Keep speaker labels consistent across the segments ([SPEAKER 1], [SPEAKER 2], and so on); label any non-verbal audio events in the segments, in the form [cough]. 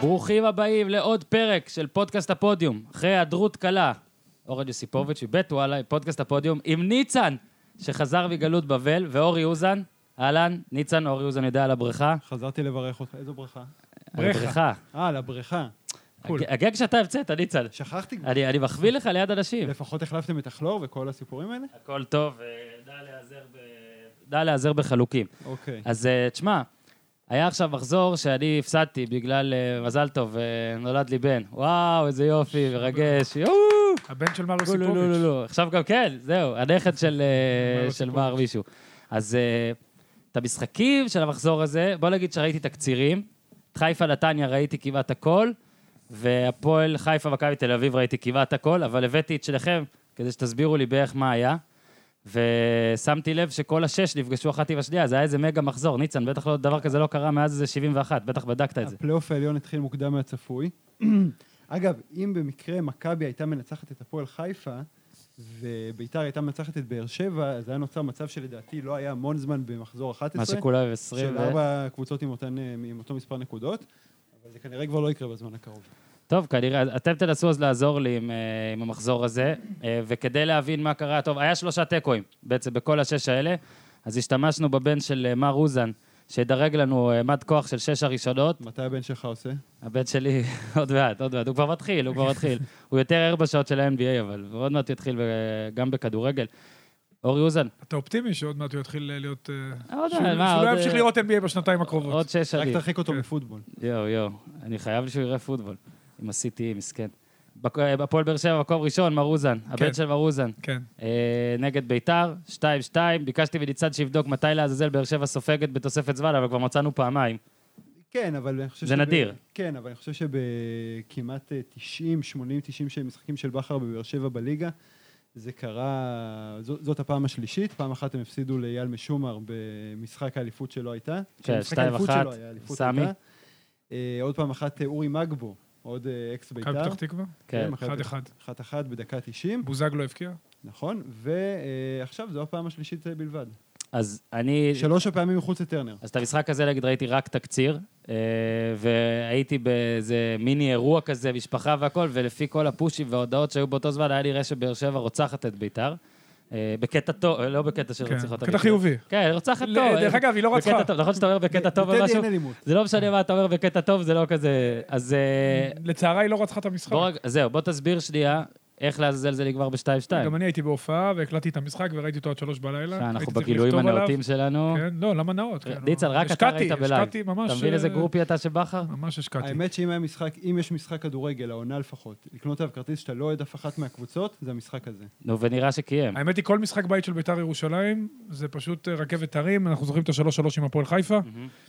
[SPEAKER 1] ברוכים הבאים לעוד פרק של פודקאסט הפודיום, אחרי היעדרות קלה. אורן יוסיפוביץ' מבית וואלה, פודקאסט הפודיום, עם ניצן, שחזר מגלות בבל, ואורי אוזן, אהלן, ניצן, אורי אוזן יודע על הבריכה.
[SPEAKER 2] חזרתי לברך אותך, איזו ברכה?
[SPEAKER 1] על הבריכה.
[SPEAKER 2] אה, לבריכה.
[SPEAKER 1] הג-
[SPEAKER 2] קול.
[SPEAKER 1] הגג שאתה המצאת, ניצן.
[SPEAKER 2] שכחתי כבר.
[SPEAKER 1] אני אני מחביא לך ליד אנשים.
[SPEAKER 2] לפחות החלפתם את הכלור וכל הסיפורים האלה?
[SPEAKER 1] הכל טוב, אה, דע להיעזר ב- דע להיעזר בחלוקים.
[SPEAKER 2] אוקיי.
[SPEAKER 1] אז אה, תשמע, היה עכשיו מחזור שאני הפסדתי בגלל אה, מזל טוב, אה, נולד לי בן. וואו, איזה יופי, מרגש, יואו!
[SPEAKER 3] הבן של מר
[SPEAKER 1] לא, לא, לא, לא,
[SPEAKER 3] יוסיפוביץ'.
[SPEAKER 1] לא, עכשיו גם כן, זהו, הנכד של, אה,
[SPEAKER 3] מר
[SPEAKER 1] של
[SPEAKER 3] יוסיפוביץ'.
[SPEAKER 1] מר מישהו. אז אה, את המשחקים של המחזור הזה, בוא נגיד שראיתי תקצירים, את חיפה נתניה ראיתי כמעט הכל, והפועל חיפה מכבי תל אביב ראיתי כמעט הכל, אבל הבאתי את שלכם כדי שתסבירו לי בערך מה היה. ושמתי לב שכל השש נפגשו אחת עם השנייה, זה היה איזה מגה מחזור. ניצן, בטח לא, דבר כזה לא קרה מאז איזה 71, בטח בדקת את אה, זה.
[SPEAKER 2] הפלייאוף העליון התחיל מוקדם מהצפוי. [clears throat] אגב, אם במקרה מכבי הייתה מנצחת את הפועל חיפה, וביתר הייתה מנצחת את באר שבע, אז היה נוצר מצב שלדעתי לא היה המון זמן במחזור 11.
[SPEAKER 1] מה שכולם אה? 20
[SPEAKER 2] של
[SPEAKER 1] ו...
[SPEAKER 2] ארבע קבוצות עם אותן, אה, עם אותו מספר נקודות, אבל זה כנראה כבר לא יקרה בזמן הקרוב.
[SPEAKER 1] טוב, כנראה, אז אתם תנסו אז לעזור לי עם, אה, עם המחזור הזה, אה, וכדי להבין מה קרה, טוב, היה שלושה תיקואים בעצם בכל השש האלה, אז השתמשנו בבן של אה, מר אוזן, שידרג לנו אה, מד כוח של שש הראשונות.
[SPEAKER 2] מתי הבן שלך עושה?
[SPEAKER 1] הבן שלי, [laughs] עוד מעט, עוד מעט, הוא כבר מתחיל, הוא כבר [laughs] מתחיל. הוא יותר ער בשעות של ה-NBA, אבל הוא עוד מעט יתחיל ב- גם בכדורגל. אורי אוזן,
[SPEAKER 3] אתה אופטימי שעוד מעט הוא יתחיל אה, להיות... אה,
[SPEAKER 1] אה, עוד
[SPEAKER 3] שהוא
[SPEAKER 1] מעט, מה,
[SPEAKER 3] שהוא לא
[SPEAKER 1] עוד,
[SPEAKER 3] ימשיך
[SPEAKER 1] אה,
[SPEAKER 3] לראות NBA בשנתיים
[SPEAKER 1] עוד
[SPEAKER 3] הקרובות.
[SPEAKER 1] שש
[SPEAKER 2] רק
[SPEAKER 1] שנים.
[SPEAKER 2] תרחיק אותו מפוטבול.
[SPEAKER 1] יואו, יואו, אני חייב שהוא יראה פוטבול, עם ה-CTE, מסכן. בק- אה, הפועל באר שבע, מקום ראשון, מר אוזן, הבן
[SPEAKER 3] כן.
[SPEAKER 1] של מר אוזן.
[SPEAKER 3] כן.
[SPEAKER 1] אה, נגד ביתר, 2-2. ביקשתי מניצן שיבדוק מתי לעזאזל באר שבע סופגת בתוספת זמן, אבל כבר מצאנו פעמיים.
[SPEAKER 2] כן, אבל אני חושב...
[SPEAKER 1] זה
[SPEAKER 2] שב-
[SPEAKER 1] נדיר.
[SPEAKER 2] כן, אבל אני חושב שבכמעט אה, 90, 80, 90 של משחקים של בכר בבאר שבע בליגה, זה קרה... זו- זאת הפעם השלישית. פעם אחת הם הפסידו לאייל משומר במשחק האליפות שלא הייתה. שמשחק
[SPEAKER 1] כן, שתיים
[SPEAKER 2] האליפות
[SPEAKER 1] אחת,
[SPEAKER 2] שלו היה, האליפות
[SPEAKER 1] סמי.
[SPEAKER 2] הייתה. אה, עוד פעם אחת אה, אורי מגבו, עוד אה, אקס בית"ר.
[SPEAKER 3] מכבי פתח תקווה?
[SPEAKER 1] כן.
[SPEAKER 2] מכבי
[SPEAKER 3] אחד
[SPEAKER 2] פתח-
[SPEAKER 3] אחד.
[SPEAKER 2] אחת אחת בדקה 90,
[SPEAKER 3] בוזגלו
[SPEAKER 1] לא,
[SPEAKER 3] הבקיע?
[SPEAKER 2] נכון. ועכשיו זו הפעם השלישית אה, בלבד.
[SPEAKER 1] אז אני...
[SPEAKER 2] שלוש הפעמים מחוץ לטרנר.
[SPEAKER 1] אז את המשחק הזה, נגיד, ראיתי רק תקציר, אה, והייתי באיזה מיני אירוע כזה, משפחה והכל, ולפי כל הפושים וההודעות שהיו באותו זמן, היה נראה שבאר שבע רוצחת את ביתר. אה, בקטע טוב, לא בקטע של
[SPEAKER 3] כן.
[SPEAKER 1] רוצחת.
[SPEAKER 3] קטע חיובי.
[SPEAKER 1] כן, רוצחת
[SPEAKER 3] ל-
[SPEAKER 1] טוב.
[SPEAKER 3] דרך אגב, היא לא
[SPEAKER 1] בקטע
[SPEAKER 3] רצחה.
[SPEAKER 1] טוב. נכון שאתה אומר בקטע טוב
[SPEAKER 2] בטדי
[SPEAKER 1] ומשהו?
[SPEAKER 2] אין אלימות.
[SPEAKER 1] זה לא משנה מה אתה אומר בקטע טוב, זה לא כזה... אז... אה,
[SPEAKER 3] לצערה היא לא רצחה את המשחק.
[SPEAKER 1] בוא רגע, זהו, בוא תסביר שנייה איך לעזאזל זה נגמר ב-2-2.
[SPEAKER 3] גם אני הייתי בהופעה והקלטתי את המשחק וראיתי אותו עד שלוש בלילה. הייתי
[SPEAKER 1] אה, אנחנו
[SPEAKER 3] צריך
[SPEAKER 1] בגילויים
[SPEAKER 3] לכתוב עליו.
[SPEAKER 1] הנאותים שלנו.
[SPEAKER 3] כן, לא, למה נאות? כן,
[SPEAKER 1] ניצן, רק אתה
[SPEAKER 3] השקעתי,
[SPEAKER 1] ראית בלייב.
[SPEAKER 3] השקעתי ממש...
[SPEAKER 1] אתה מבין איזה
[SPEAKER 3] אה,
[SPEAKER 1] גרופי אתה של בכר?
[SPEAKER 3] ממש השקעתי.
[SPEAKER 2] האמת שאם היה משחק, אם יש משחק כדורגל, העונה לפחות, לקנות עליו כרטיס שאתה לא אוהד אף אחת מהקבוצות, זה המשחק הזה.
[SPEAKER 1] נו, ונראה שקיים.
[SPEAKER 3] האמת היא, כל משחק בית של ביתר ירושלים, זה פשוט אה, רכבת הרים, אנחנו זוכרים את השלוש שלוש עם הפועל חיפה,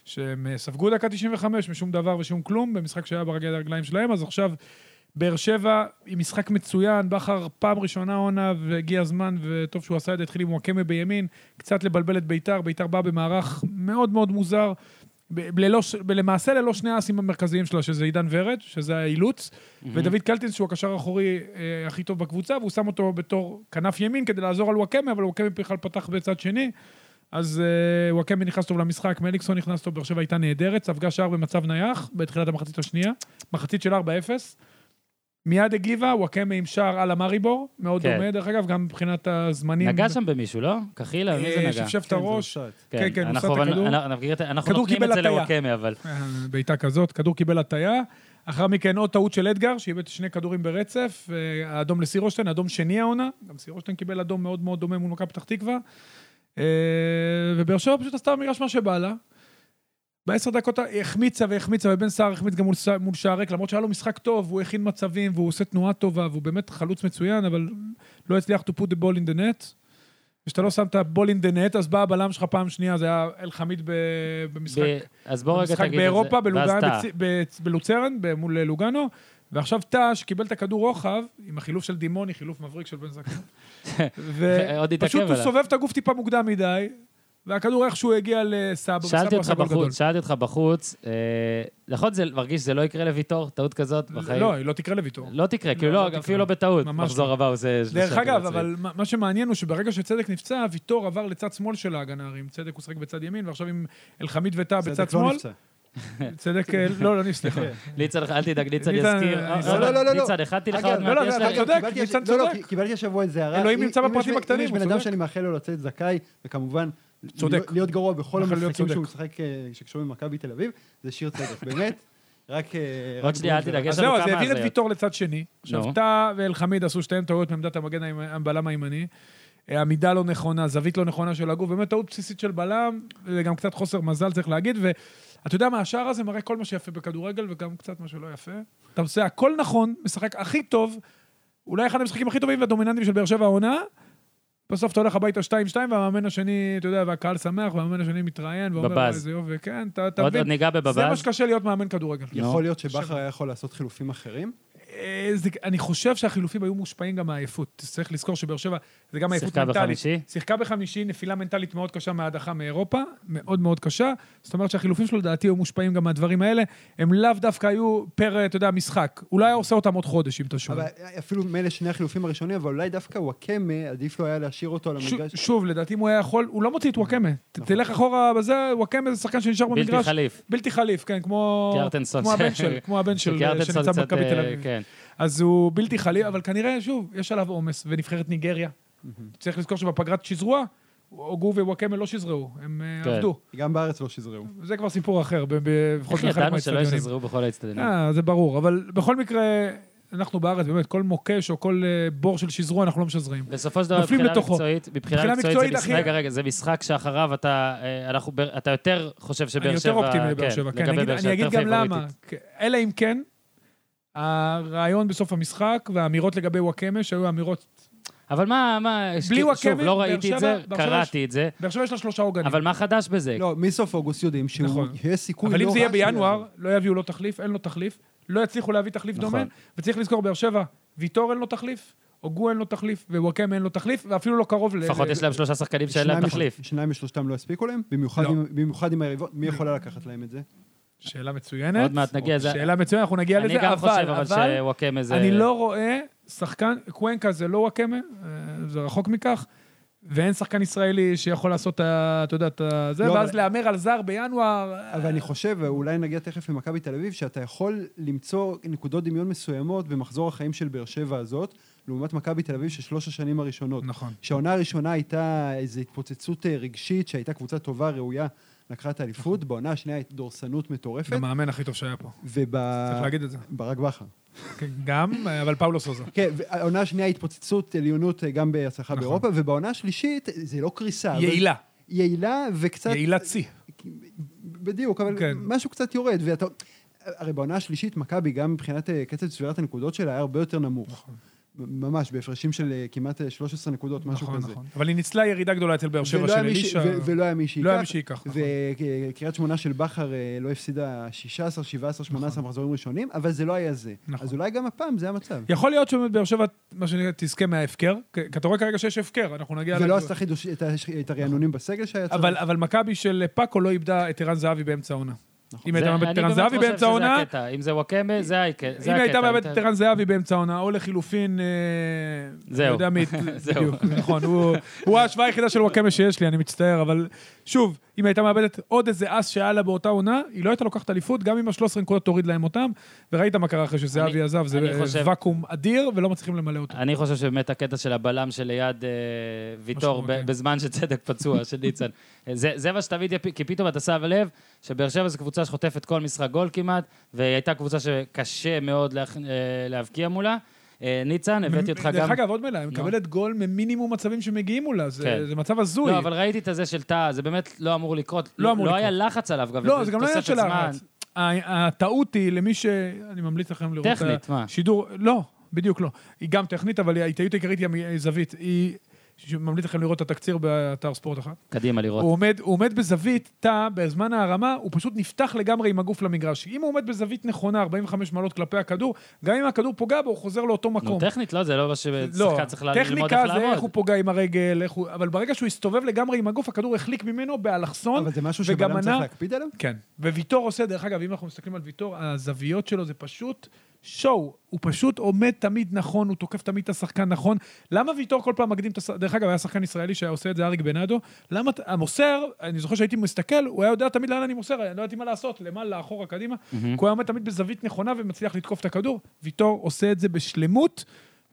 [SPEAKER 3] שהם אה, ספגו דקה 95 משום דבר ושום כלום, במשחק שהיה ברגל הרגליים שלהם, אז עכשיו באר שבע עם משחק מצוין, בכר פעם ראשונה עונה, והגיע הזמן, וטוב שהוא עשה את זה, התחיל עם וואקמה בימין, קצת לבלבל את ביתר, ביתר באה במערך מאוד מאוד מוזר. ב- ללא, ש- ב- למעשה ללא שני האסים המרכזיים שלה, שזה עידן ורד, שזה האילוץ, ודוד קלטינס, שהוא הקשר האחורי אה, הכי טוב בקבוצה, והוא שם אותו בתור כנף ימין כדי לעזור על וואקמה, אבל וואקמה בכלל פתח בצד שני. אז אה, וואקמה נכנס טוב למשחק, מליקסון נכנס טוב, באר שבע הייתה נהדרת, ספגה שער במצב נייח בתחילת המחצית השנייה, מחצית של 4-0. מיד הגיבה, וואקמה עם שער על המריבור, מאוד
[SPEAKER 1] כן.
[SPEAKER 3] דומה, דרך אגב, גם מבחינת הזמנים.
[SPEAKER 1] נגע שם במישהו, לא? קחילה, מי זה לא
[SPEAKER 3] אה,
[SPEAKER 1] נגע?
[SPEAKER 3] שפשף את
[SPEAKER 2] כן, זה
[SPEAKER 3] הראש.
[SPEAKER 2] הופשט.
[SPEAKER 3] כן, כן, הוא
[SPEAKER 1] אנחנו-
[SPEAKER 3] שם את
[SPEAKER 1] אבל-
[SPEAKER 3] הכדור.
[SPEAKER 1] אנחנו- אנחנו מכירים את- אנחנו
[SPEAKER 3] כדור
[SPEAKER 1] נותנים את
[SPEAKER 3] קיבל
[SPEAKER 1] זה
[SPEAKER 3] הטיה.
[SPEAKER 1] לוואקמה, אבל...
[SPEAKER 3] אה, בעיטה כזאת, כדור קיבל הטיה. אחר מכן עוד טעות של אדגר, שאיבד שני כדורים ברצף, אה, האדום לסירושטיין, אדום שני העונה, גם סירושטיין קיבל אדום מאוד מאוד דומה מול מכבי פתח תקווה. אה, ובאר שבע פשוט עשתה במגרש מה שבא לה. בעשר דקות היא החמיצה והחמיצה, ובן סער החמיץ גם מול, ס- מול שער ריק, למרות שהיה לו משחק טוב, הוא הכין מצבים, והוא עושה תנועה טובה, והוא באמת חלוץ מצוין, אבל לא הצליח to put the ball in the net. וכשאתה לא שם את הבול in the net, אז בא הבלם שלך פעם שנייה, זה היה אלחמיד ב- במשחק.
[SPEAKER 1] ב- אז בוא רגע תגיד
[SPEAKER 3] משחק
[SPEAKER 1] את זה.
[SPEAKER 3] באירופה,
[SPEAKER 1] ואז
[SPEAKER 3] בלוגן,
[SPEAKER 1] טעה.
[SPEAKER 3] בצ- בצ- בלוצרן, ב- מול אה, לוגאנו, ועכשיו טאה, שקיבל את הכדור רוחב, עם החילוף של דימוני, חילוף מבריק של בן
[SPEAKER 1] [laughs]
[SPEAKER 3] זקן.
[SPEAKER 1] עוד התעכב
[SPEAKER 3] ופשוט הוא
[SPEAKER 1] עליו.
[SPEAKER 3] סובב את הגוף טיפה מוקדם מדי, והכדור איכשהו הגיע לסבא,
[SPEAKER 1] שאלתי
[SPEAKER 3] וסבא
[SPEAKER 1] אותך
[SPEAKER 3] עשה גול גדול.
[SPEAKER 1] בחוץ, שאלתי אותך בחוץ, אה, נכון, זה מרגיש שזה לא יקרה לוויטור, טעות כזאת בחיים?
[SPEAKER 3] לא, היא לא תקרא לוויטור.
[SPEAKER 1] לא תקרה, כאילו
[SPEAKER 3] לא,
[SPEAKER 1] לא,
[SPEAKER 3] לא
[SPEAKER 1] אפילו
[SPEAKER 3] תקרה.
[SPEAKER 1] לא בטעות.
[SPEAKER 3] ממש לא.
[SPEAKER 1] מחזור הבא הוא זה שלושה
[SPEAKER 3] דרך אגב,
[SPEAKER 1] כדורים.
[SPEAKER 3] אבל מה מה שמעניין הוא שברגע שצדק נפצע, ויטור עבר לצד שמאל של ההגנה, הרי עם צדק הוא שחק בצד ימין, ועכשיו עם אלחמיד וטאה
[SPEAKER 2] צדק
[SPEAKER 3] אה, בצד
[SPEAKER 2] לא
[SPEAKER 3] שמאל,
[SPEAKER 2] נפצע.
[SPEAKER 3] צדק,
[SPEAKER 1] כן.
[SPEAKER 3] אה, לא, לא, אני, סליחה.
[SPEAKER 1] ניצן, אל תדאג, ניצן
[SPEAKER 3] ניצן,
[SPEAKER 1] יזכיר.
[SPEAKER 3] אה,
[SPEAKER 1] ניצן,
[SPEAKER 2] לא, לא, לא, לא.
[SPEAKER 1] ניצן, הכנתי לך
[SPEAKER 2] אגב,
[SPEAKER 1] עוד
[SPEAKER 2] לא,
[SPEAKER 1] מעט.
[SPEAKER 3] לא,
[SPEAKER 1] יש
[SPEAKER 3] לא,
[SPEAKER 1] להם-
[SPEAKER 3] אתה צודק,
[SPEAKER 2] קיבלתי-
[SPEAKER 3] ניצן
[SPEAKER 2] לא, לא,
[SPEAKER 3] צודק.
[SPEAKER 2] כי- קיבלתי השבוע איזה הערה.
[SPEAKER 3] אלוהים
[SPEAKER 2] אם-
[SPEAKER 3] נמצא
[SPEAKER 2] אם יש
[SPEAKER 3] בפרטים
[SPEAKER 2] בן-
[SPEAKER 3] הקטנים,
[SPEAKER 2] אם
[SPEAKER 3] הוא
[SPEAKER 2] יש בן אדם
[SPEAKER 3] צודק.
[SPEAKER 2] שאני מאחל לו לצאת זכאי, וכמובן...
[SPEAKER 3] צודק.
[SPEAKER 2] להיות- להיות גרוע בכל
[SPEAKER 3] מאחל להיות
[SPEAKER 2] המשחקים
[SPEAKER 3] צודק.
[SPEAKER 2] שהוא משחק אה, שקשורים במכבי תל אביב, זה שיר צדק, באמת. [laughs] רק... אה,
[SPEAKER 1] עוד
[SPEAKER 2] רק
[SPEAKER 1] שנייה, אל
[SPEAKER 2] בגלל זה.
[SPEAKER 1] תדאג, יש
[SPEAKER 3] אז
[SPEAKER 1] לנו
[SPEAKER 3] זהו, אז
[SPEAKER 1] כמה
[SPEAKER 3] העביר את
[SPEAKER 1] הזיות.
[SPEAKER 3] ויטור לצד שני. עכשיו,
[SPEAKER 1] נו.
[SPEAKER 3] טאה ואלחמיד עשו שתיהן טעויות מעמדת המגן הימ- בלם הימני. עמידה לא נכונה, זווית לא נכונה של הגוף, באמת טעות בסיסית של בלם, זה גם קצת חוסר מזל, צריך להגיד, ואתה יודע מה, השער הזה מראה כל מה שיפה בכדורגל, וגם קצת מה שלא יפה. אתה עושה הכל נכון, משחק הכי טוב, אולי אחד המשחקים הכי טובים והדומיננטיים של באר שבע העונה, בסוף אתה הולך הביתה 2-2, והמאמן השני, אתה יודע, והקהל שמח, והמאמן השני מתראיין, ואומר,
[SPEAKER 1] בבאז.
[SPEAKER 3] "וואי, איזה יופי, כן, אתה אתה
[SPEAKER 1] עוד עוד
[SPEAKER 3] מבין,
[SPEAKER 1] ניגע
[SPEAKER 3] זה מה
[SPEAKER 1] בבבאז.
[SPEAKER 3] שקשה להיות מאמן כדורגל.
[SPEAKER 2] יכול להיות שבכר היה יכול לעשות חילופים אחרים?
[SPEAKER 3] אה, זה, אני חושב שהחילופים היו מושפעים גם מהעייפות. צריך לזכור שבאר שבע, זה גם עייפות
[SPEAKER 1] שיחקה
[SPEAKER 3] מנטלית.
[SPEAKER 1] בחמישי?
[SPEAKER 3] שיחקה בחמישי, נפילה מנטלית מאוד קשה מההדחה מאירופה, מאוד מאוד קשה. זאת אומרת שהחילופים שלו לדעתי היו מושפעים גם מהדברים האלה. הם לאו דווקא היו פר, אה, אתה יודע, משחק. אולי היה עושה אותם עוד חודש, אם אתה שומע.
[SPEAKER 2] אבל אה, אפילו מילא שני החילופים הראשונים, אבל אולי דווקא וואקמה, עדיף לו היה להשאיר אותו על
[SPEAKER 3] ש-
[SPEAKER 2] המגרש.
[SPEAKER 3] שוב, לדעתי אם הוא היה יכול, הוא לא מוציא את וואקמה. ת-
[SPEAKER 2] נכון.
[SPEAKER 3] תלך אחורה בזה, וואקמה זה שחקן שנשאר במגרש.
[SPEAKER 1] בלתי חליף.
[SPEAKER 3] בלתי חליף, כן, כמו...
[SPEAKER 1] קיארטנסון.
[SPEAKER 3] כמו הבן של, כמו הבן של,
[SPEAKER 1] שקיארטנסון
[SPEAKER 3] שנמצא
[SPEAKER 1] קצת,
[SPEAKER 3] במכבי תל
[SPEAKER 1] אה,
[SPEAKER 3] אביב.
[SPEAKER 1] כן.
[SPEAKER 3] אז הוא בלתי חליף, אבל כנראה, שוב, יש עליו עומס, ונבחרת ניגריה. צריך לזכור שבפגרת שזרוע, הוגו ווואקמה לא שזרעו, הם אה,
[SPEAKER 1] כן.
[SPEAKER 3] עבדו.
[SPEAKER 2] גם בארץ לא שזרעו.
[SPEAKER 3] זה כבר סיפור אחר, ב- ב- לפחות
[SPEAKER 1] איך
[SPEAKER 3] בחלק
[SPEAKER 1] ידענו שלא
[SPEAKER 3] מהאצטדיונים.
[SPEAKER 1] ישזרו בכל האצטדיונים?
[SPEAKER 3] אה, זה ברור, אבל בכל מקרה, אנחנו בארץ, באמת, כל מוקש או כל אה, בור של שזרוע, אנחנו לא משזרים.
[SPEAKER 1] בסופו של דבר,
[SPEAKER 3] נופלים
[SPEAKER 1] מבחינה
[SPEAKER 3] לתוכו.
[SPEAKER 1] מקצועית, מבחינה
[SPEAKER 3] מבחינה
[SPEAKER 1] מקצועית זה
[SPEAKER 3] מקצועית,
[SPEAKER 1] משחק,
[SPEAKER 3] אחי-
[SPEAKER 1] רגע, רגע, זה משחק שאחריו אתה, אה, אנחנו, ב- אתה יותר חושב שבאר שבע,
[SPEAKER 3] אני יותר אופטימי לבאר שבע, כן. אני
[SPEAKER 1] לגבי
[SPEAKER 3] אגיד-
[SPEAKER 1] באר שבע,
[SPEAKER 3] אני אגיד
[SPEAKER 1] יותר
[SPEAKER 3] גם למה.
[SPEAKER 1] פייבוריטית.
[SPEAKER 3] כ- אלא אם כן, הרעיון בסוף המשחק והאמירות לגבי וואקמה, שהיו אמירות...
[SPEAKER 1] אבל מה, מה, שוב,
[SPEAKER 3] וואקמה,
[SPEAKER 1] לא
[SPEAKER 3] באר
[SPEAKER 1] ראיתי את
[SPEAKER 3] שבע-
[SPEAKER 1] זה,
[SPEAKER 3] באר שבע
[SPEAKER 1] קראתי את זה,
[SPEAKER 3] באר שבע יש לה שלושה עוגנים.
[SPEAKER 1] אבל מה חדש בזה?
[SPEAKER 2] לא, מסוף אוגוסט יודעים שהוא
[SPEAKER 3] נכון.
[SPEAKER 2] יש סיכוי
[SPEAKER 3] אבל אם
[SPEAKER 2] לא
[SPEAKER 3] זה יהיה
[SPEAKER 2] רע שהוא
[SPEAKER 3] בינואר,
[SPEAKER 2] יעזוב.
[SPEAKER 3] לא יביאו לו תחליף, אין לו תחליף, לא יצליחו להביא תחליף
[SPEAKER 1] נכון.
[SPEAKER 3] דומה, וצריך לזכור, באר שבע, ויטור אין לו תחליף, אוגו אין לו תחליף, ווואקמה אין לו תחליף, ואפילו לא קרוב ל...
[SPEAKER 1] לפחות
[SPEAKER 3] ל-
[SPEAKER 1] יש להם שלושה שחקנים שאין להם
[SPEAKER 2] שניים מש-
[SPEAKER 1] תחליף.
[SPEAKER 2] שניים משלושתם לא יספיקו להם? במיוחד
[SPEAKER 3] לא. אה.
[SPEAKER 2] עם- במיוחד עם היריבות, מי יכולה לקחת להם את זה?
[SPEAKER 3] שאלה מצוינת.
[SPEAKER 1] עוד מעט נגיע לזה.
[SPEAKER 3] שאלה מצוינת, אנחנו נגיע
[SPEAKER 1] אני
[SPEAKER 3] לזה,
[SPEAKER 1] גם
[SPEAKER 3] אבל,
[SPEAKER 1] חושב אבל
[SPEAKER 3] אבל,
[SPEAKER 1] שוואקמה זה...
[SPEAKER 3] אני לא רואה שחקן, קוונקה זה לא וואקמה, אה, זה רחוק מכך. ואין שחקן ישראלי שיכול לעשות, את ה- אתה יודע, את ה- זה,
[SPEAKER 2] לא,
[SPEAKER 3] ואז
[SPEAKER 2] אבל-
[SPEAKER 3] להמר על זר בינואר,
[SPEAKER 2] אבל אני חושב, ואולי נגיע תכף למכבי תל אביב, שאתה יכול למצוא נקודות דמיון מסוימות במחזור החיים של באר שבע הזאת, לעומת מכבי תל אביב של שלוש השנים הראשונות.
[SPEAKER 3] נכון.
[SPEAKER 2] שהעונה הראשונה הייתה איזו התפוצצות אה, רגשית, שהייתה קבוצה טובה, ראויה, לקחה את האליפות, בעונה השנייה הייתה דורסנות מטורפת,
[SPEAKER 3] נכון. גם המאמן הכי טוב שהיה פה, צריך
[SPEAKER 2] וברק
[SPEAKER 3] להגיד את זה.
[SPEAKER 2] בכר.
[SPEAKER 3] כן, גם, אבל פאולו סוזה.
[SPEAKER 2] כן, והעונה השנייה היא התפוצצות עליונות אה, גם בהצלחה
[SPEAKER 3] נכון.
[SPEAKER 2] באירופה, ובעונה השלישית זה לא קריסה. אבל-
[SPEAKER 3] יעילה,
[SPEAKER 2] יעילה וקצת...
[SPEAKER 3] יעילת שיא.
[SPEAKER 2] בדיוק, אבל
[SPEAKER 3] כן.
[SPEAKER 2] משהו קצת יורד, ואתה... הרי בעונה השלישית, מכבי, גם מבחינת אה, קצב צבירת הנקודות שלה, היה הרבה יותר נמוך.
[SPEAKER 3] נכון.
[SPEAKER 2] מ- ממש, בהפרשים של אה, כמעט אה, 13 נקודות, משהו
[SPEAKER 3] נכון,
[SPEAKER 2] כזה.
[SPEAKER 3] נכון. אבל היא ניצלה ירידה גדולה אצל באר שבע
[SPEAKER 2] ולא
[SPEAKER 3] של
[SPEAKER 2] היה מי ש-
[SPEAKER 3] אלישע.
[SPEAKER 2] ו- ולא היה מי שייקח.
[SPEAKER 3] לא היה מי שייקח, נכון.
[SPEAKER 2] וקריית שמונה של בכר אה, לא הפסידה 16, 17, 18 מחזורים ראשונים, אבל זה לא היה זה.
[SPEAKER 3] נכון.
[SPEAKER 2] אז אולי גם הפעם זה המצב.
[SPEAKER 3] יכול להיות שבאמת באר שבע, מה שנקרא, תזכה מההפקר, כי כי אתה רואה כרגע שיש הפקר, אנחנו נגיע...
[SPEAKER 2] ולא
[SPEAKER 3] לזה.
[SPEAKER 2] עשתה חידוש, את ה- את הרענונים בסגל שהיה צריך.
[SPEAKER 3] אבל אבל מכבי של פאקו לא איבדה את ערן זהבי באמצע העונה.
[SPEAKER 2] נכון.
[SPEAKER 3] אם
[SPEAKER 1] זה-
[SPEAKER 3] הייתה
[SPEAKER 1] אני
[SPEAKER 3] מאבדת את
[SPEAKER 1] באמת
[SPEAKER 3] ערן זהבי
[SPEAKER 1] חושב
[SPEAKER 3] באמצע
[SPEAKER 1] שזה
[SPEAKER 3] העונה,
[SPEAKER 1] הקטע. אם זה וואקמה, זה היק- זה הקטע.
[SPEAKER 3] אם הייתה מאבדת
[SPEAKER 1] אם
[SPEAKER 3] את
[SPEAKER 1] אתה-
[SPEAKER 3] ערן זהבי באמצע העונה, או לחילופין... אה,
[SPEAKER 1] זהו.
[SPEAKER 3] אני לא יודע מי...
[SPEAKER 1] [laughs] זהו.
[SPEAKER 3] בדיוק, נכון. הוא- הוא ההשוואה היחידה של וואקמה שיש לי, אני מצטער, אבל שוב, אם הייתה מאבדת עוד איזה אס שהיה לה באותה עונה, היא לא הייתה לוקחת אליפות, גם אם ה-13 נקודות תוריד להם אותם, וראית מה קרה אחרי
[SPEAKER 1] אני-
[SPEAKER 3] שזהבי עזב, זה
[SPEAKER 1] אני
[SPEAKER 3] אה,
[SPEAKER 1] חושב-
[SPEAKER 3] ואקום אדיר, ולא מצליחים למלא אותו.
[SPEAKER 1] אני חושב שבאמת הקטע של הבלם שליד אה, ויטור, ב-
[SPEAKER 3] משמעותי.
[SPEAKER 1] בזמן שצדק פצוע, של ניצן. אה, זה זה מה שתמיד, יפ- כי פתאום אתה שם לב שבאר שבע זו קבוצה שחוטפת כל משחק גול כמעט, והיא הייתה קבוצה שקשה מאוד להכ- אה, להבקיע מולה. אה, ניצן, הבאתי אותך גם... לא.
[SPEAKER 3] דרך אגב, עוד מילה, היא מקבלת גול ממינימום מצבים שמגיעים מולה, זה-
[SPEAKER 1] כן.
[SPEAKER 3] זה מצב הזוי.
[SPEAKER 1] לא, אבל ראיתי את הזה של טאה, זה באמת לא אמור לקרות.
[SPEAKER 3] לא אמור
[SPEAKER 1] לא
[SPEAKER 3] לקרות.
[SPEAKER 1] היה לחץ עליו גם.
[SPEAKER 3] לא, זה גם לא עניין
[SPEAKER 1] תוספת
[SPEAKER 3] של
[SPEAKER 1] זמן.
[SPEAKER 3] הארץ. הטעות היא למי ש... אני ממליץ לכם לראות... את
[SPEAKER 1] טכנית, מה?
[SPEAKER 3] השידור... לא, בדיוק לא. היא גם טכנית, אבל הטעות העיקרית היא הזווית. היא... ש- ממליץ לכם לראות את התקציר באתר ספורט אחת.
[SPEAKER 1] קדימה לראות.
[SPEAKER 3] הוא עומד, הוא עומד בזווית תא, בזמן ההרמה, הוא פשוט נפתח לגמרי עם הגוף למגרש. אם הוא עומד בזווית נכונה, 45 מעלות כלפי הכדור, גם אם הכדור פוגע בו, הוא חוזר לאותו
[SPEAKER 1] נו,
[SPEAKER 3] מקום.
[SPEAKER 1] טכנית לא, זה לא מה ששחקן
[SPEAKER 3] לא,
[SPEAKER 1] צריך ל- ללמוד איך
[SPEAKER 3] טכניקה זה איך הוא
[SPEAKER 1] לעמוד.
[SPEAKER 3] פוגע עם הרגל, איך הוא... אבל ברגע שהוא הסתובב לגמרי עם הגוף, הכדור החליק ממנו באלכסון,
[SPEAKER 2] אבל זה משהו
[SPEAKER 3] נכון? וגם
[SPEAKER 2] שבלם צריך
[SPEAKER 3] ענה-
[SPEAKER 2] להקפיד עליו?
[SPEAKER 3] כן, וויטור עושה, דרך אגב, אם אנחנו מסתכלים על ויטור, הזוויות שלו זה פשוט שואו. הוא פשוט עומד תמיד נכון, הוא תוקף תמיד את השחקן נכון. למה ויטור כל פעם מקדים את השחקן? דרך אגב, היה שחקן ישראלי שהיה עושה את זה, אריק בנאדו. למה ת- המוסר, אני זוכר שהייתי מסתכל, הוא היה יודע תמיד לאן אני מוסר, אני לא ידעתי מה לעשות, למעלה, אחורה, קדימה.
[SPEAKER 1] Mm-hmm.
[SPEAKER 3] כי הוא היה עומד תמיד בזווית נכונה ומצליח לתקוף את הכדור. ויטור עושה את זה בשלמות,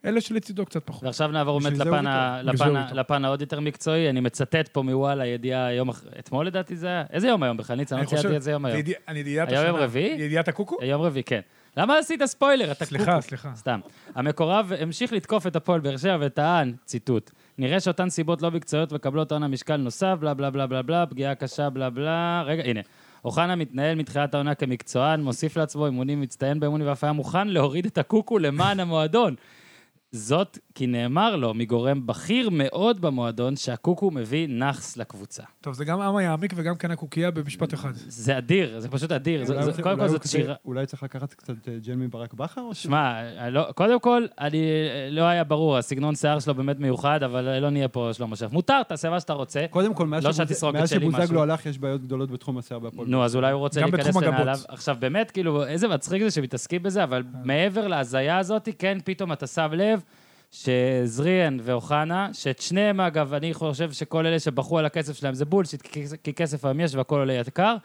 [SPEAKER 3] אלה שלצידו קצת פחות.
[SPEAKER 1] ועכשיו נעבור באמת
[SPEAKER 2] בשביל זה
[SPEAKER 1] לפן,
[SPEAKER 2] הוא
[SPEAKER 1] ה...
[SPEAKER 3] איתו.
[SPEAKER 1] לפן,
[SPEAKER 3] בשביל
[SPEAKER 1] ה...
[SPEAKER 3] זה הוא
[SPEAKER 1] לפן העוד יותר מקצועי, אני מצטט פה מוואלה ידיעה יום אחרי, אתמול לדעתי זה היה? איזה יום היום בכלל? ניצן, לא
[SPEAKER 3] אני
[SPEAKER 1] ציינתי
[SPEAKER 3] חושב-
[SPEAKER 1] את זה יום
[SPEAKER 3] זה
[SPEAKER 1] היום.
[SPEAKER 3] ידיע- אני ידיעת
[SPEAKER 1] היום
[SPEAKER 3] השנה.
[SPEAKER 1] יום רביעי?
[SPEAKER 3] ידיעת הקוקו?
[SPEAKER 1] יום רביעי, כן. למה עשית ספוילר? אתה
[SPEAKER 3] סליחה, סליחה.
[SPEAKER 1] סתם. המקורב המשיך לתקוף את הפועל באר שבע וטען, ציטוט, נראה שאותן סיבות לא מקצועיות מקבלות עונה משקל נוסף, בלה בלה בלה בלה בלה, פגיעה קשה בלה בלה, רגע, הנה. אוחנה מתנהל מתחילת העונה כמקצוען, מוסיף לעצמו אימונים, מצטיין באימונים ואף היה מוכן להוריד את הקוקו למען המועדון. זאת כי נאמר לו מגורם בכיר מאוד במועדון שהקוקו מביא נאחס לקבוצה.
[SPEAKER 3] טוב, זה גם עם היעמיק וגם כן הקוקייה במשפט אחד.
[SPEAKER 1] זה אדיר, זה פשוט אדיר. זה-
[SPEAKER 2] אולי
[SPEAKER 1] זה-
[SPEAKER 2] הוא-
[SPEAKER 1] קודם
[SPEAKER 2] אולי
[SPEAKER 1] כל
[SPEAKER 2] הוא
[SPEAKER 1] זאת
[SPEAKER 2] כזה-
[SPEAKER 1] שירה...
[SPEAKER 2] אולי צריך לקחת קצת אה, ג'ל מברק בכר? או ש-
[SPEAKER 1] שמע, לא, קודם כל, אני לא היה ברור, הסגנון שיער שלו באמת מיוחד, אבל לא נהיה פה שלמה שף. מותר, תעשה מה שאתה רוצה.
[SPEAKER 2] קודם כל, מאז
[SPEAKER 1] לא
[SPEAKER 2] שבוז-
[SPEAKER 1] שתסרוק
[SPEAKER 2] מאז
[SPEAKER 1] את שלי משהו.
[SPEAKER 2] שבוזגלו הלך, יש בעיות גדולות בתחום השיער בהפועל.
[SPEAKER 1] נו, אז אולי הוא רוצה
[SPEAKER 3] גם
[SPEAKER 1] להיכנס
[SPEAKER 3] בתחום הגבות. אה.
[SPEAKER 1] לנעליו. עכשיו, באמת, כאילו, איזה מצחיק זה שמתעסקים בזה, אבל מעבר להזיה הזאת, כן, פתאום אתה שם לב שזריאן ואוחנה, שאת שניהם, אגב, אני חושב שכל אלה שבחרו על הכסף שלהם זה בולשיט, כי- כי כסף היום יש והכול עולה יקר,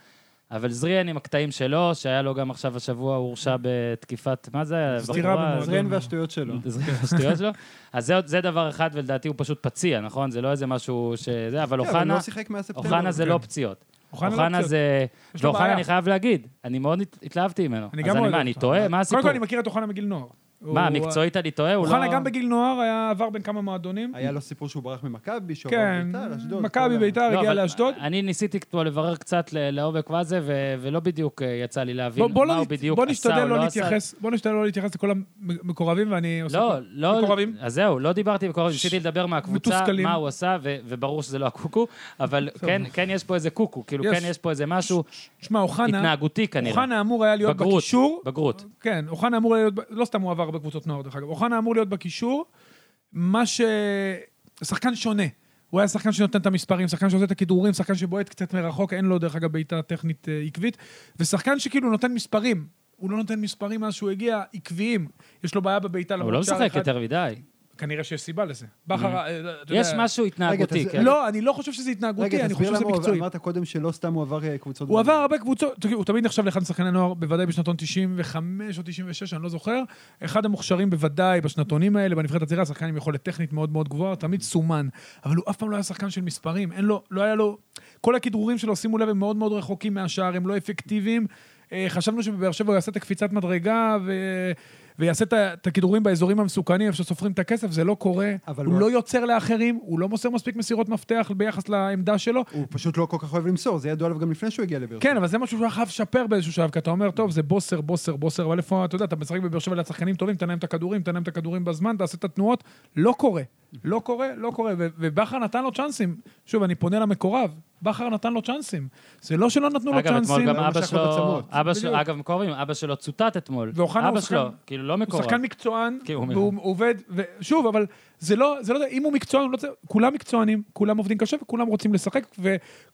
[SPEAKER 1] אבל זריאן עם הקטעים שלו, שהיה לו גם עכשיו השבוע, הוא הורשע בתקיפת, מה זה? היה?
[SPEAKER 3] סטירה
[SPEAKER 1] בחורה?
[SPEAKER 3] במועדון.
[SPEAKER 2] זרן והשטויות שלו.
[SPEAKER 3] לא.
[SPEAKER 1] [laughs] זה השטויות שלו. אז זה- זה דבר אחד, ולדעתי הוא פשוט פציע, נכון? זה לא איזה משהו שזה, אבל
[SPEAKER 2] כן, אבל הוא
[SPEAKER 1] אוחנה,
[SPEAKER 2] לא שיחק מאז ספטמבר.
[SPEAKER 1] אוחנה זה
[SPEAKER 3] כן.
[SPEAKER 1] לא פציעות.
[SPEAKER 3] אוחנה לא
[SPEAKER 1] אוחנה
[SPEAKER 3] פציע.
[SPEAKER 1] זה...
[SPEAKER 3] יש לו
[SPEAKER 1] ואוחנה,
[SPEAKER 3] בעיה.
[SPEAKER 1] אני חייב להגיד, אני מאוד הת- התלהבתי ממנו.
[SPEAKER 3] אני
[SPEAKER 1] אז
[SPEAKER 3] גם
[SPEAKER 1] אני
[SPEAKER 3] אוהב
[SPEAKER 1] מה, אני
[SPEAKER 3] אותו.
[SPEAKER 1] טועה? מה
[SPEAKER 3] קודם כל,
[SPEAKER 1] הסיפור?
[SPEAKER 3] אני מכיר את אוחנה מגיל נוער.
[SPEAKER 1] מה,
[SPEAKER 3] הוא-
[SPEAKER 1] מקצועית אני טועה? הוא לא...
[SPEAKER 3] אוחנה גם בגיל נוער היה עבר בין כמה מועדונים.
[SPEAKER 2] היה לו סיפור שהוא ברח ממכבי, שהוא עבר
[SPEAKER 3] כן,
[SPEAKER 2] ביתר, אשדוד.
[SPEAKER 3] מכבי
[SPEAKER 2] כל ה-
[SPEAKER 3] ביתר
[SPEAKER 1] לא,
[SPEAKER 3] הגיע
[SPEAKER 1] אבל
[SPEAKER 3] לאשדוד.
[SPEAKER 1] אני ניסיתי כבר לברר קצת ל- לעומק מה זה, ו- ולא בדיוק אה, יצא לי להבין
[SPEAKER 3] בוא- בוא
[SPEAKER 1] מה
[SPEAKER 3] לא
[SPEAKER 1] הוא
[SPEAKER 3] נת-
[SPEAKER 1] בדיוק
[SPEAKER 3] בוא
[SPEAKER 1] עשה
[SPEAKER 3] נשתדל
[SPEAKER 1] או
[SPEAKER 3] לא
[SPEAKER 1] לא עשה.
[SPEAKER 3] להתייחס, בוא נשתדל לא להתייחס לכל המקורבים, ואני עושה...
[SPEAKER 1] לא,
[SPEAKER 3] פה-
[SPEAKER 1] לא...
[SPEAKER 3] מקורבים?
[SPEAKER 1] אז זהו, לא דיברתי עם מקורבים,
[SPEAKER 3] ש-
[SPEAKER 1] ניסיתי לדבר מהקבוצה,
[SPEAKER 3] מתוסכלים.
[SPEAKER 1] מה הוא עשה, ו- וברור שזה לא הקוקו,
[SPEAKER 3] [laughs]
[SPEAKER 1] אבל
[SPEAKER 3] בסדר.
[SPEAKER 1] כן- כן יש פה איזה קוקו, כאילו
[SPEAKER 3] יש.
[SPEAKER 1] כן יש פה איזה משהו
[SPEAKER 3] שמע, אוחנה,
[SPEAKER 1] התנהגותי כנראה.
[SPEAKER 3] אוחנה אמור היה להיות
[SPEAKER 1] בגרות.
[SPEAKER 3] בקישור.
[SPEAKER 1] בגרות.
[SPEAKER 3] כן, אוחנה אמור להיות, ב- לא סתם הוא עבר בקבוצות נוער, דרך אגב, אוחנה אמור להיות בקישור, מה ש... שחקן שונה. הוא היה שחקן שנותן את המספרים, שחקן שעושה את הכידורים, שחקן שבועט קצת מרחוק, אין לו דרך אגב בעיטה טכנית אה, עקבית, ושחקן שכאילו נותן מספרים. הוא לא נותן מספרים מאז שהוא הגיע, עקביים. יש לו בעיה בבעיטה
[SPEAKER 1] הוא לא
[SPEAKER 3] שער
[SPEAKER 1] משחק
[SPEAKER 3] אחד.
[SPEAKER 1] יותר Mm. מדי.
[SPEAKER 3] כנראה שיש סיבה לזה. בכר, אה, אתה יודע...
[SPEAKER 1] יש משהו התנהגותי,
[SPEAKER 2] תס-
[SPEAKER 1] כן.
[SPEAKER 3] לא, אני לא חושב שזה
[SPEAKER 2] רגע,
[SPEAKER 3] התנהגותי, אני
[SPEAKER 2] תסביר
[SPEAKER 3] חושב שזה
[SPEAKER 2] למה הוא-
[SPEAKER 3] מקצועי.
[SPEAKER 2] אמרת קודם שלא סתם הוא עבר אה, קבוצות.
[SPEAKER 3] הוא עבר
[SPEAKER 2] גדולות.
[SPEAKER 3] הרבה קבוצות, תראי, הוא תמיד נחשב לאחד משחקני הנוער, בוודאי בשנתון 95 או 96, אני לא זוכר. אחד המוכשרים בוודאי בשנתונים האלה, בנבחרת הצעירה, שחקן עם יכולת טכנית מאוד מאוד גבוהה, תמיד סומן. אבל הוא אף פעם לא היה שחקן של מספרים, אין לו, לא היה לו... כל הכדרורים שלו, שימו לב, הם מאוד מאוד רחוקים מהשאר, הם לא אפקטיביים. אה, חשבנו שבבאר שבע הוא יעשה את הקפיצת מדרגה ו... ויעשה את ה- את הכידורים באזורים המסוכנים, איפה שסופרים את הכסף, זה לא קורה.
[SPEAKER 2] אבל
[SPEAKER 3] הוא
[SPEAKER 2] הוא-
[SPEAKER 3] לא יוצר לאחרים, הוא לא מוסר מספיק מסירות מפתח ביחס לעמדה שלו.
[SPEAKER 2] הוא פשוט לא כל כך אוהב למסור, זה ידוע עליו גם לפני שהוא הגיע לבאר שבע.
[SPEAKER 3] כן, אבל זה משהו שהוא היה חייב לשפר באיזשהו שלב, כי אתה אומר, טוב, זה בוסר, בוסר, בוסר, אבל איפה, אתה יודע, אתה משחק בבאר שבע ליד שחקנים טובים, תן להם את הכדורים, תן להם את הכדורים בזמן, תעשה את התנועות, לא קורה. לא קורה, לא קורה, ו- ובכר נתן לו צ'אנסים. שוב, אני פונה למקורב, בכר נתן לו צ'אנסים. זה לא שלא נתנו לו
[SPEAKER 1] אגב, אתמול
[SPEAKER 3] צ'אנסים,
[SPEAKER 1] גם
[SPEAKER 2] הוא
[SPEAKER 1] אבא
[SPEAKER 2] משך
[SPEAKER 1] שלו,
[SPEAKER 2] לו בעצמות.
[SPEAKER 1] אבא שלו,
[SPEAKER 3] בדיוק.
[SPEAKER 1] אגב, מקורבים, אבא שלו צוטט אתמול.
[SPEAKER 3] ואוחנה הוא
[SPEAKER 1] אבא שלו,
[SPEAKER 3] שחקן-
[SPEAKER 1] כאילו לא
[SPEAKER 3] הוא
[SPEAKER 1] מקורב.
[SPEAKER 3] שחקן מקצוען,
[SPEAKER 1] כן, הוא אומר.
[SPEAKER 3] והוא עובד, ושוב, אבל זה לא, זה לא, אם הוא מקצוען, הוא לא צריך- כולם מקצוענים, כולם עובדים קשה וכולם רוצים לשחק,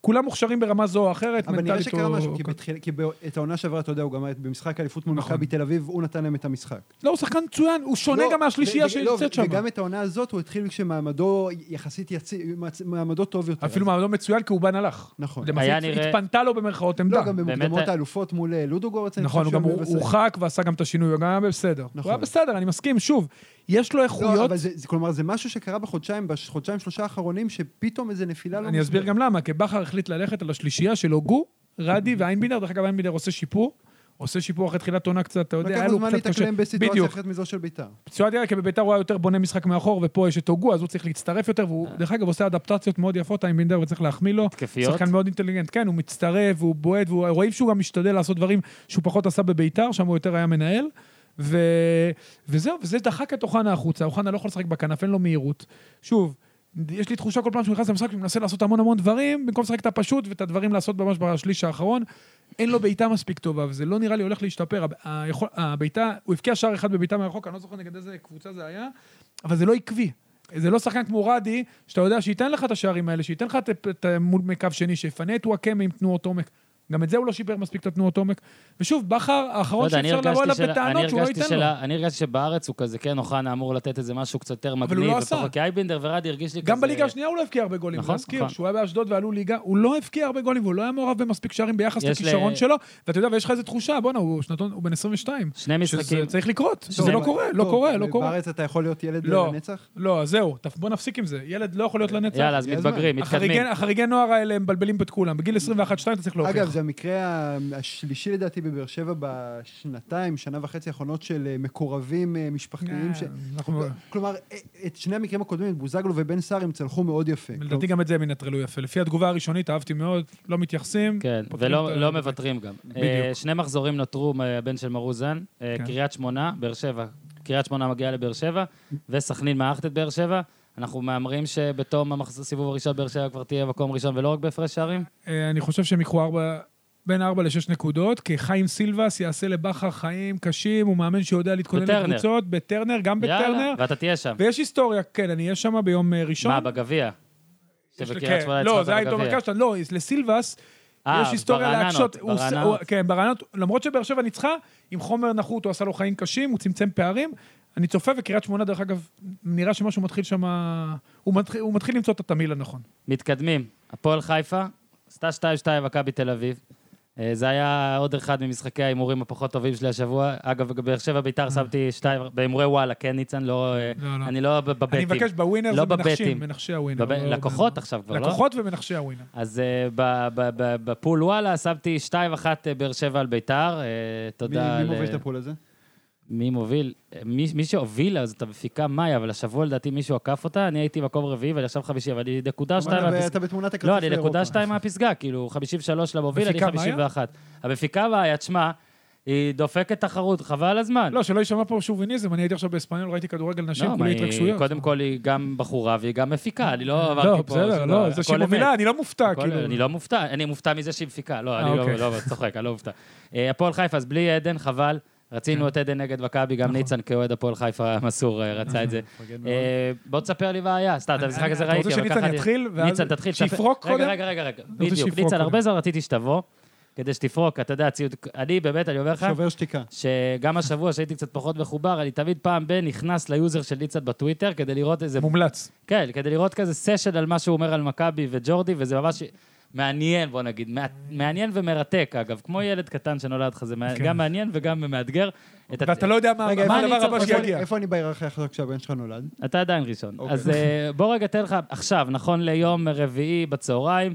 [SPEAKER 3] וכולם מוכשרים ברמה זו או אחרת,
[SPEAKER 2] אבל נראה
[SPEAKER 3] מנטלית
[SPEAKER 2] שקרה
[SPEAKER 3] או-
[SPEAKER 2] משהו, כי
[SPEAKER 3] אוקיי.
[SPEAKER 2] בתחיל- כי בא- את העונה שעברה, אתה יודע, הוא גם היה במשחק אליפות מול
[SPEAKER 3] נכון.
[SPEAKER 2] מכבי תל אביב, הוא נתן להם את המשחק.
[SPEAKER 3] לא, הוא שחקן מצוין, הוא שונה
[SPEAKER 2] לא,
[SPEAKER 3] גם מהשלישייה
[SPEAKER 2] ו- ו- לא,
[SPEAKER 3] שנמצאת שם.
[SPEAKER 2] וגם את העונה הזאת הוא התחיל כשמעמדו יחסית יציב, מעצ- מעמדו טוב יותר.
[SPEAKER 3] אפילו
[SPEAKER 2] אז-
[SPEAKER 3] מעמדו מצוין, כי אובן הלך.
[SPEAKER 2] נכון.
[SPEAKER 1] היה
[SPEAKER 3] למעשה
[SPEAKER 1] נראה-
[SPEAKER 3] התפנתה לו במרכאות עמדה.
[SPEAKER 2] לא, גם
[SPEAKER 1] באמת
[SPEAKER 2] במוקדמות
[SPEAKER 1] היה-
[SPEAKER 2] האלופות מול אה, לודוגורץ. אני
[SPEAKER 3] נכון, הוא
[SPEAKER 2] חושב
[SPEAKER 3] גם
[SPEAKER 2] שהוא
[SPEAKER 3] הוא-
[SPEAKER 2] מבשר.
[SPEAKER 3] הורחק ועשה גם את השינוי, הוא גם היה בסדר. הוא
[SPEAKER 2] נכון.
[SPEAKER 3] היה בסדר, אני מסכים. שוב, יש לו
[SPEAKER 2] לא,
[SPEAKER 3] איכויות,
[SPEAKER 2] אבל זה, זה- כלומר, זה משהו שקרה בחודשיים, בחודשיים שלושה האחרונים, שפתאום איזה נפילה לא...
[SPEAKER 3] אני אסביר גם למה, כי בכר החליט ללכת על השלישייה שלו, גו, רדי
[SPEAKER 2] אוקיי.
[SPEAKER 3] ואיינבינדר, דרך אגב, איינבינדר עושה שיפור. עושה שיפור אחרי תחילת עונה קצת, אתה יודע,
[SPEAKER 2] לקח
[SPEAKER 3] היה
[SPEAKER 2] לו
[SPEAKER 3] לו
[SPEAKER 2] זמן
[SPEAKER 3] קצת קשה.
[SPEAKER 2] להתאקלם בסיטואציה
[SPEAKER 3] בדיוק.
[SPEAKER 2] אחרת מזו של ביתר.
[SPEAKER 3] פצועת ירך, כי בביתר הוא היה יותר בונה משחק מאחור, ופה יש את הוגו, אז הוא צריך להצטרף יותר, והוא,
[SPEAKER 2] אה.
[SPEAKER 3] דרך אגב, עושה אדפטציות מאוד יפות, איימבינדר, וצריך להחמיא לו.
[SPEAKER 1] התקפיות?
[SPEAKER 3] שחקן מאוד אינטליגנט, כן, הוא מצטרף, הוא בועט, והוא- רואים שהוא גם משתדל לעשות דברים שהוא פחות עשה בביתר, שם הוא יותר היה מנהל. ו... וזהו, וזה דחק את אוחנה החוצה, אוחנה לא יכול לשחק בכנף, אין לו מהירות. שוב, יש לי תחושה כל פעם שהוא נכנס למשחק, הוא מנסה לעשות המון המון דברים, במקום לשחק את הפשוט ואת הדברים לעשות ממש בשליש האחרון. אין לו בעיטה מספיק טובה, וזה לא נראה לי הולך להשתפר. הב- היכול- הבעיטה, הוא הבקיע שער אחד בבעיטה מרחוק, אני לא זוכר נגד איזה קבוצה זה היה, אבל זה לא עקבי. זה לא שחקן כמו רדי, שאתה יודע שייתן לך את השערים האלה, שייתן לך את- את מול מקו שני, שיפנה את וואקמה עם תנועות עומק. גם את זה הוא לא שיפר מספיק את התנועות עומק. ושוב, בכר,
[SPEAKER 1] לא
[SPEAKER 3] האחרון
[SPEAKER 1] יודע, אני
[SPEAKER 3] שאפשר לבוא
[SPEAKER 1] הרגשתי
[SPEAKER 3] אליו
[SPEAKER 1] של- אני
[SPEAKER 3] בטענות שהוא לא
[SPEAKER 1] הרגשתי
[SPEAKER 3] ייתן לו.
[SPEAKER 1] של ה- אני הרגשתי שבארץ הוא כזה, כן, אוחנה אמור לתת איזה משהו קצת יותר
[SPEAKER 3] הוא
[SPEAKER 1] מגניב,
[SPEAKER 3] לא עשה.
[SPEAKER 1] ופחות, כי אייבינדר ורדי הרגיש לי כזה...
[SPEAKER 3] גם בליגה השנייה הוא לא הבקיע הרבה גולים,
[SPEAKER 1] נכון,
[SPEAKER 3] להזכיר,
[SPEAKER 1] נכון.
[SPEAKER 3] שהוא היה באשדוד ועלו ליגה, הוא לא הבקיע הרבה גולים, והוא לא היה מעורב במספיק שערים ביחס
[SPEAKER 1] יש ל-
[SPEAKER 3] לכישרון שלו, ואתה יודע, ויש לך איזו תחושה, בואנה, הוא שנתון, הוא בן 22,
[SPEAKER 1] שני משחקים.
[SPEAKER 3] שזה צריך לקרות,
[SPEAKER 1] שזה
[SPEAKER 3] זה לא
[SPEAKER 1] מה-
[SPEAKER 3] קורה, לא
[SPEAKER 2] טוב, אה,
[SPEAKER 3] קורה, לא קורה.
[SPEAKER 2] בארץ אתה יכול להיות ילד אה,
[SPEAKER 3] לא.
[SPEAKER 2] לנצח?
[SPEAKER 3] לא, אז זהו, תפ- בוא נפסיק עם זה, ילד לא יכול להיות לנצח.
[SPEAKER 1] יאללה, אז
[SPEAKER 2] הגיע הזמן.
[SPEAKER 1] מתבגרים, מתקדמים.
[SPEAKER 3] החריגי- החריגי נוער האלה הם מבלבלים פה את כולם, בגיל 21-2 אתה צריך
[SPEAKER 2] אגב,
[SPEAKER 3] להוכיח.
[SPEAKER 2] זה המקרה ה- השלישי לדעתי בבאר שבע בשנתיים, שנה וחצי האחרונות של אה, מקורבים אה, משפחתיים.
[SPEAKER 3] כן.
[SPEAKER 2] ש-
[SPEAKER 3] אנחנו-
[SPEAKER 2] כלומר, אה, את שני המקרים הקודמים, את בוזגלו ובן סער, הם צלחו מאוד יפה.
[SPEAKER 3] לדעתי גם את זה הם ינטרלו יפה. לפי התגובה הראשונית, אהבתי מאוד, לא מתייחסים.
[SPEAKER 1] כן,
[SPEAKER 3] פותחים את
[SPEAKER 1] ולא
[SPEAKER 3] ה-
[SPEAKER 1] לא מוותרים גם. אה, שני מחזורים נותרו מהבן של מרוזן, אה,
[SPEAKER 3] כן.
[SPEAKER 1] קריית שמונה, באר שבע. קריית שמונה מגיעה לבאר שבע, וסכנין מארחת את באר שבע. אנחנו מהמרים שבתום המחז- הסיבוב הראשון באר שבע כבר תהיה מקום ראשון ולא רק בהפרש שערים?
[SPEAKER 3] אה, אני חושב שהם יקחו ארבע, בין ארבע לשש נקודות, כי חיים סילבס יעשה לבכר חיים קשים, הוא מאמן שיודע להתכונן
[SPEAKER 1] בטרנר.
[SPEAKER 3] לקבוצות, בטרנר, גם
[SPEAKER 1] יאללה,
[SPEAKER 3] בטרנר.
[SPEAKER 1] ואתה תהיה שם.
[SPEAKER 3] ויש היסטוריה, כן, אני אהיה שם ביום אה, ראשון.
[SPEAKER 1] מה, בגביע?
[SPEAKER 3] יש לי-
[SPEAKER 1] שבקריית
[SPEAKER 3] כן,
[SPEAKER 1] שמונה
[SPEAKER 3] לא,
[SPEAKER 1] הצבעת
[SPEAKER 3] זה היה איתו
[SPEAKER 1] בגביע.
[SPEAKER 3] מרקשטן, לא, לסילבס
[SPEAKER 1] אה,
[SPEAKER 3] יש היסטוריה
[SPEAKER 1] ברעננות,
[SPEAKER 3] להקשות. הוא-
[SPEAKER 1] ברעננות.
[SPEAKER 3] הוא- כן, ברעננות, למרות שבאר שבע ניצחה, עם חומר נחות הוא עשה לו חיים קשים, הוא צמצם פערים. אני צופה, וקריית שמונה, דרך אגב, נראה שמשהו מתחיל שם... הוא מתחיל- הוא מתחיל למצוא את התמהיל הנכון.
[SPEAKER 1] מתקדמים, הפועל חיפה, עשתה 2-2 מכבי תל אביב. אה, זה היה עוד אחד ממשחקי ההימורים הפחות טובים שלי השבוע. אגב, בבאר שבע ביתר שמתי שתיים, בהימורי וואלה, כן, ניצן? לא... אה,
[SPEAKER 3] לא, לא.
[SPEAKER 1] אני לא ב- בבטים.
[SPEAKER 3] אני מבקש בווינר
[SPEAKER 1] לא
[SPEAKER 3] זה מנחשים,
[SPEAKER 1] בבטים.
[SPEAKER 3] מנחשי הווינר.
[SPEAKER 1] בב-
[SPEAKER 3] לא-
[SPEAKER 1] לקוחות
[SPEAKER 3] לא-
[SPEAKER 1] עכשיו כבר, לא?
[SPEAKER 3] לקוחות ומנחשי הווינר.
[SPEAKER 1] אז אה, ב- ב- ב- בפול וואלה שמתי 2-1 אה, באר שבע על ביתר. אה,
[SPEAKER 2] מי
[SPEAKER 1] תודה.
[SPEAKER 2] מי
[SPEAKER 1] ל-
[SPEAKER 2] מוביל את הפועל הזה?
[SPEAKER 1] מי מוביל? אה, מי מי שהובילה, אז את המפיקה מאי, אבל השבוע לדעתי מישהו עקף אותה. אני הייתי מקום רביעי ואני עכשיו חמישי, אבל אני נקודה שתיים
[SPEAKER 2] אבל
[SPEAKER 1] על
[SPEAKER 2] אתה בתמונת הכרטיס
[SPEAKER 1] לא, אני
[SPEAKER 2] לאירופה.
[SPEAKER 1] נקודה שתיים מהפסגה, כאילו, 53 למוביל, אני
[SPEAKER 3] מפיקה מאיה?
[SPEAKER 1] 51. המפיקה מאיה, תשמע, היא דופקת תחרות, חבל על הזמן.
[SPEAKER 3] לא, שלא יישמע פה שוביניזם, אני הייתי עכשיו באספניול, ראיתי כדורגל נשים,
[SPEAKER 1] כן. לא,
[SPEAKER 3] כולי
[SPEAKER 1] מה, היא-
[SPEAKER 3] התרגשויות.
[SPEAKER 1] קודם כל היא גם בחורה והיא גם מפיקה, אני לא
[SPEAKER 3] לא,
[SPEAKER 1] עברתי פה...
[SPEAKER 3] בסדר, לא,
[SPEAKER 1] הכל
[SPEAKER 3] זה שהיא
[SPEAKER 1] אמת.
[SPEAKER 3] מובילה, אני לא מופתע,
[SPEAKER 1] הכל-
[SPEAKER 3] כאילו.
[SPEAKER 1] אני לא מופתע, אני מופתע מזה שהיא מפיקה, לא,
[SPEAKER 3] אה,
[SPEAKER 1] אני לא-
[SPEAKER 3] אוקיי.
[SPEAKER 1] לא, צוחק, אני לא מופתע. אה, הפועל חיפה, אז בלי עדן, חבל. רצינו את עדן נגד מכבי, גם
[SPEAKER 3] נכון.
[SPEAKER 1] ניצן כאוהד הפועל חיפה המסור אה, רצה את זה.
[SPEAKER 2] מפרגן מאוד.
[SPEAKER 1] אה, בוא תספר לי מה היה. סתם, את המשחק הזה ראיתי, אבל
[SPEAKER 3] אתה רוצה
[SPEAKER 1] ככה...
[SPEAKER 3] שניצן
[SPEAKER 1] אני-
[SPEAKER 3] יתחיל? ואז-
[SPEAKER 1] ניצן, תתחיל. תספר-
[SPEAKER 3] שיפרוק קודם?
[SPEAKER 1] רגע, רגע, רגע, רגע.
[SPEAKER 3] רוצה
[SPEAKER 1] בדיוק.
[SPEAKER 3] שיפרוק
[SPEAKER 1] ניצן,
[SPEAKER 3] קודם.
[SPEAKER 1] הרבה זמן רציתי שתבוא, כדי שתפרוק. אתה יודע, ציוד... אני באמת, אני אומר לך,
[SPEAKER 2] שובר שתיקה.
[SPEAKER 1] שגם השבוע, שהייתי קצת פחות מחובר, אני תמיד פעם ב... נכנס ליוזר של ניצן בטוויטר, כדי לראות איזה...
[SPEAKER 3] מומלץ.
[SPEAKER 1] כן, כדי לראות כזה סשן על מה שהוא אומר על מכבי וג'ורדי, וזה ממש מעניין, בוא נגיד. מע- מעניין ומרתק, אגב. כמו ילד קטן שנולד לך, זה מע-
[SPEAKER 3] כן.
[SPEAKER 1] גם מעניין וגם מאתגר. את הת-
[SPEAKER 3] ואתה לא יודע מה
[SPEAKER 2] רגע,
[SPEAKER 3] מה
[SPEAKER 2] איפה
[SPEAKER 1] אני
[SPEAKER 3] הדבר
[SPEAKER 1] צריך-
[SPEAKER 3] הבא
[SPEAKER 1] איפה
[SPEAKER 2] איפה אני-
[SPEAKER 3] שיגיע.
[SPEAKER 2] איפה אני בהיררכיה עכשיו כשהבן שלך נולד?
[SPEAKER 1] אתה עדיין ראשון.
[SPEAKER 2] אוקיי.
[SPEAKER 1] אז אה, בוא רגע תן לך עכשיו, נכון ליום רביעי בצהריים,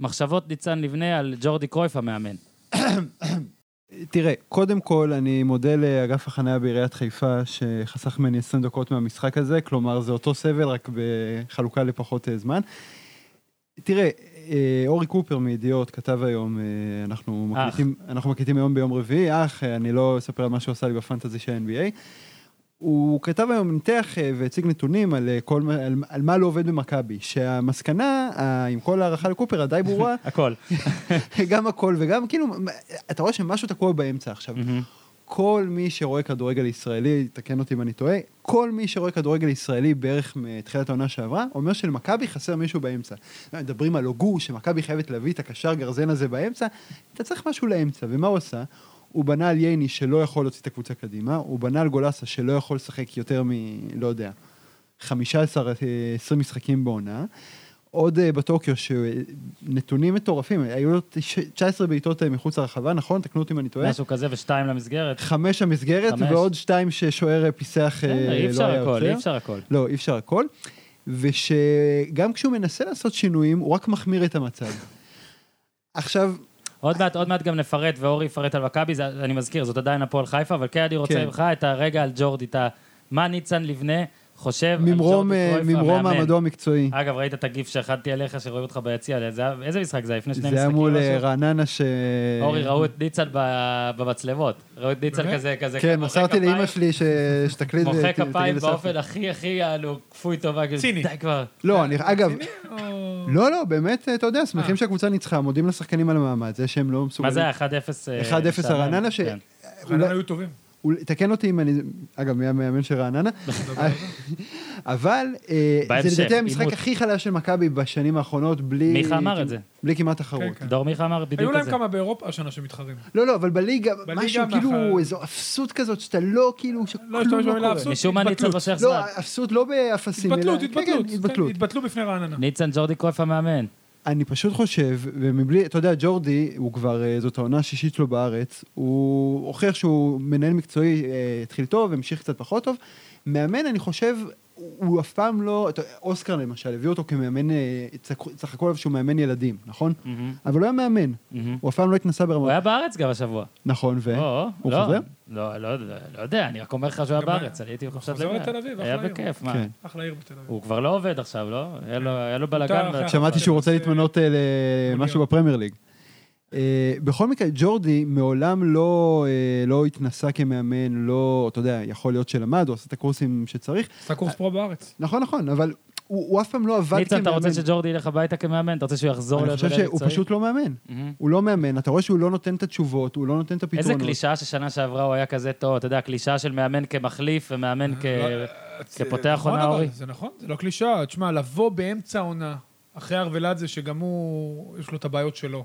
[SPEAKER 1] מחשבות ניצן לבנה על ג'ורדי קרויף המאמן.
[SPEAKER 2] תראה, קודם כל אני מודה לאגף החניה בעיריית חיפה שחסך ממני 20 דקות מהמשחק הזה, כלומר זה אותו סבל רק בחלוקה לפחות אה, זמן. תראה, אה, אורי קופר מידיעות כתב היום, אה, אנחנו
[SPEAKER 1] אח.
[SPEAKER 2] מקליטים, אנחנו מקליטים היום ביום רביעי, אך, אה, אני לא אספר על מה שהוא עשה לי בפנטזי של NBA. הוא כתב היום ניתח אה, והציג נתונים על, אה, כל, מה- על, על מה לא עובד במכבי, שהמסקנה, אה, עם כל הערכה לקופר, הדי ברורה,
[SPEAKER 1] הכל.
[SPEAKER 2] גם הכל וגם כאילו, אתה רואה שמשהו תקוע באמצע עכשיו. כל מי שרואה כדורגל ישראלי, תקן אותי אם אני טועה, כל מי שרואה כדורגל ישראלי בערך מתחילת העונה שעברה, אומר שלמכבי חסר מישהו באמצע. מדברים על הוגו, שמכבי חייבת להביא את הקשר גרזן הזה באמצע, אתה צריך משהו לאמצע, ומה הוא עשה? הוא בנה על ייני שלא יכול להוציא את הקבוצה קדימה, הוא בנה על גולסה שלא יכול לשחק יותר מ... לא יודע, 15-20 משחקים בעונה. עוד אה, בטוקיו, שנתונים מטורפים, היו לו תש- 19 בעיטות אה, מחוץ לרחבה, נכון? תקנו אותי אם אני טועה.
[SPEAKER 1] משהו כזה ושתיים למסגרת.
[SPEAKER 2] חמש המסגרת,
[SPEAKER 1] חמש.
[SPEAKER 2] ועוד שתיים ששוער אה, פיסח אה, לא
[SPEAKER 1] בסדר,
[SPEAKER 2] היה
[SPEAKER 1] אי אפשר הכל, אי
[SPEAKER 2] עוצר.
[SPEAKER 1] אפשר הכל.
[SPEAKER 2] לא, אי אפשר הכל. ושגם כשהוא מנסה לעשות שינויים, הוא רק מחמיר את המצב.
[SPEAKER 1] לא,
[SPEAKER 2] עכשיו,
[SPEAKER 1] עוד מעט, עוד מעט גם נפרט, ואורי יפרט על מכבי, זה- אני מזכיר, זאת עדיין הפועל חיפה, אבל כן אני רוצה
[SPEAKER 2] כן.
[SPEAKER 1] ממך את הרגע על ג'ורדי, את ה... מה ניצן לבנה חושב אה, על
[SPEAKER 2] ממרום,
[SPEAKER 1] ג'ורדי
[SPEAKER 2] אה,
[SPEAKER 1] קרויף
[SPEAKER 2] ממרום
[SPEAKER 1] המאמן.
[SPEAKER 2] מעמדו המקצועי.
[SPEAKER 1] אגב, ראית את הגיף שאחדתי עליך, שרואים אותך ביציע, זה היה- איזה משחק זה היה? לפני שני
[SPEAKER 2] זה
[SPEAKER 1] משחקים?
[SPEAKER 2] היה מול אה,
[SPEAKER 1] משהו?
[SPEAKER 2] רעננה ש...
[SPEAKER 1] אורי, ראו את ניצן ב- במצלמות. ראו את ניצן
[SPEAKER 3] באמת?
[SPEAKER 1] כזה, כזה...
[SPEAKER 2] כן,
[SPEAKER 1] מוחא
[SPEAKER 2] מסרתי
[SPEAKER 1] כפיים,
[SPEAKER 2] לאימא שלי ש- שתקליט
[SPEAKER 1] מוחא
[SPEAKER 2] ות-
[SPEAKER 1] כפיים
[SPEAKER 2] ותגיד לסבתא.
[SPEAKER 1] באופן הכי הכי, יענו, כפוי טובה. כאילו,
[SPEAKER 3] ציני.
[SPEAKER 1] די כבר.
[SPEAKER 2] לא, אני, אגב,
[SPEAKER 3] רציני או-
[SPEAKER 2] לא, לא, באמת, אה, אתה יודע, שמחים
[SPEAKER 3] אה.
[SPEAKER 2] שהקבוצה ניצחה, מודים לשחקנים על המעמד, זה שהם לא מסוגלים.
[SPEAKER 1] מה זה היה? 1-0? אה,
[SPEAKER 2] 1-0
[SPEAKER 1] שערים?
[SPEAKER 2] הרעננה, ש...
[SPEAKER 1] כן.
[SPEAKER 2] [laughs]
[SPEAKER 3] רעננה היו טובים.
[SPEAKER 2] אולי- תקן אותי אם אני... אגב, מי המאמן של רעננה? אבל אה,
[SPEAKER 1] בהמשך,
[SPEAKER 2] זה לדעתי המשחק
[SPEAKER 1] עימות.
[SPEAKER 2] הכי חלש של מכבי בשנים האחרונות, בלי... כאילו
[SPEAKER 1] מיכה אמר את זה.
[SPEAKER 2] בלי כמעט תחרות.
[SPEAKER 3] כן, כן.
[SPEAKER 1] דור מיכה אמר
[SPEAKER 3] היו
[SPEAKER 1] בדיוק את
[SPEAKER 3] להם
[SPEAKER 1] זה.
[SPEAKER 3] כמה באירופה השנה שמתחרים.
[SPEAKER 2] לא, לא, אבל בליגה,
[SPEAKER 3] בליגה
[SPEAKER 2] משהו
[SPEAKER 3] מאחר-
[SPEAKER 2] כאילו, איזו אפסות כזאת, שאתה לא כאילו, שכלום
[SPEAKER 3] לא אשתמש במילה אפסות,
[SPEAKER 1] משום מה ניצן
[SPEAKER 3] התבטלות.
[SPEAKER 1] מושך
[SPEAKER 2] לא,
[SPEAKER 1] זמן.
[SPEAKER 2] אפסות לא באפסים, אלא...
[SPEAKER 3] התבטלות,
[SPEAKER 2] כן, כן,
[SPEAKER 3] התבטלות.
[SPEAKER 2] התבטלות.
[SPEAKER 3] כן, התבטלו בפני רעננה.
[SPEAKER 1] ניצן ג'ורדי קרויף המאמן.
[SPEAKER 2] אני פשוט חושב, ומבלי, אתה יודע, ג'ורדי, הוא כבר, אה, זאת העונה השישית שלו בארץ, הוא הוכיח שהוא מנהל מקצועי, אה, התחיל טוב, המשיך קצת פחות טוב. מאמן, אני חושב, הוא- הוא אף פעם לא, אתה- אוסקר למשל, הביאו אותו כמאמן, אה, צחקו- צחקו עליו שהוא מאמן ילדים, נכון?
[SPEAKER 1] מהמם,
[SPEAKER 2] אבל הוא היה מאמן,
[SPEAKER 1] מהמם.
[SPEAKER 2] הוא אף פעם לא התנסה
[SPEAKER 1] הוא
[SPEAKER 2] ברמות.
[SPEAKER 1] היה בארץ גם השבוע.
[SPEAKER 2] נכון, ו...
[SPEAKER 1] או,
[SPEAKER 2] הוא
[SPEAKER 1] לא,
[SPEAKER 2] חוזר?
[SPEAKER 1] לא, לא, לא לא יודע, אני רק אומר לך שהוא היה
[SPEAKER 3] גם היה.
[SPEAKER 1] בארץ, אני הייתי בחופשת
[SPEAKER 3] חוזר
[SPEAKER 1] לידה.
[SPEAKER 3] לתל אביב,
[SPEAKER 1] היה
[SPEAKER 3] אחלה יום.
[SPEAKER 1] בכיף, מה?
[SPEAKER 2] כן.
[SPEAKER 3] אחלה עיר בתל אביב.
[SPEAKER 1] הוא כבר לא עובד עכשיו, לא? היה לו- היה לו
[SPEAKER 3] מותר
[SPEAKER 1] בלאגן.
[SPEAKER 3] אחרי
[SPEAKER 2] שמעתי שהוא רוצה
[SPEAKER 3] אה,
[SPEAKER 2] להתמנות אה, למשהו
[SPEAKER 3] מוניות.
[SPEAKER 2] בפרמייר ליג. אה, בכל מקרה, ג'ורדי מעולם לא, אה, לא התנסה כמאמן, לא, אתה יודע, יכול להיות שלמד, הוא עשה את הקורסים שצריך.
[SPEAKER 3] עשה קורס פרו בארץ.
[SPEAKER 2] נכון, נכון, אבל הוא, הוא אף פעם לא עבד
[SPEAKER 1] ניצן,
[SPEAKER 2] כמאמן.
[SPEAKER 1] אתה רוצה שג'ורדי ילך הביתה כמאמן? אתה רוצה שהוא יחזור
[SPEAKER 2] אני חושב
[SPEAKER 1] למאמן
[SPEAKER 2] שהוא
[SPEAKER 1] מקצועי?
[SPEAKER 2] פשוט לא מאמן.
[SPEAKER 1] מהמם.
[SPEAKER 2] הוא לא מאמן, אתה רואה שהוא לא נותן את התשובות, הוא לא נותן את הפתרונות.
[SPEAKER 1] איזה קלישאה ששנה שעברה הוא היה כזה טוב, אתה יודע, קלישאה של מאמן כמחליף ומאמן כ... כפותח
[SPEAKER 3] אה, נכון,
[SPEAKER 1] עונה,
[SPEAKER 3] אבל
[SPEAKER 1] אורי.
[SPEAKER 3] זה נכון, זה לא קלישאה. תשמע, לבוא באמצע העונה, אחרי ארוולדזה, שגם הוא, יש לו את הבעיות שלו.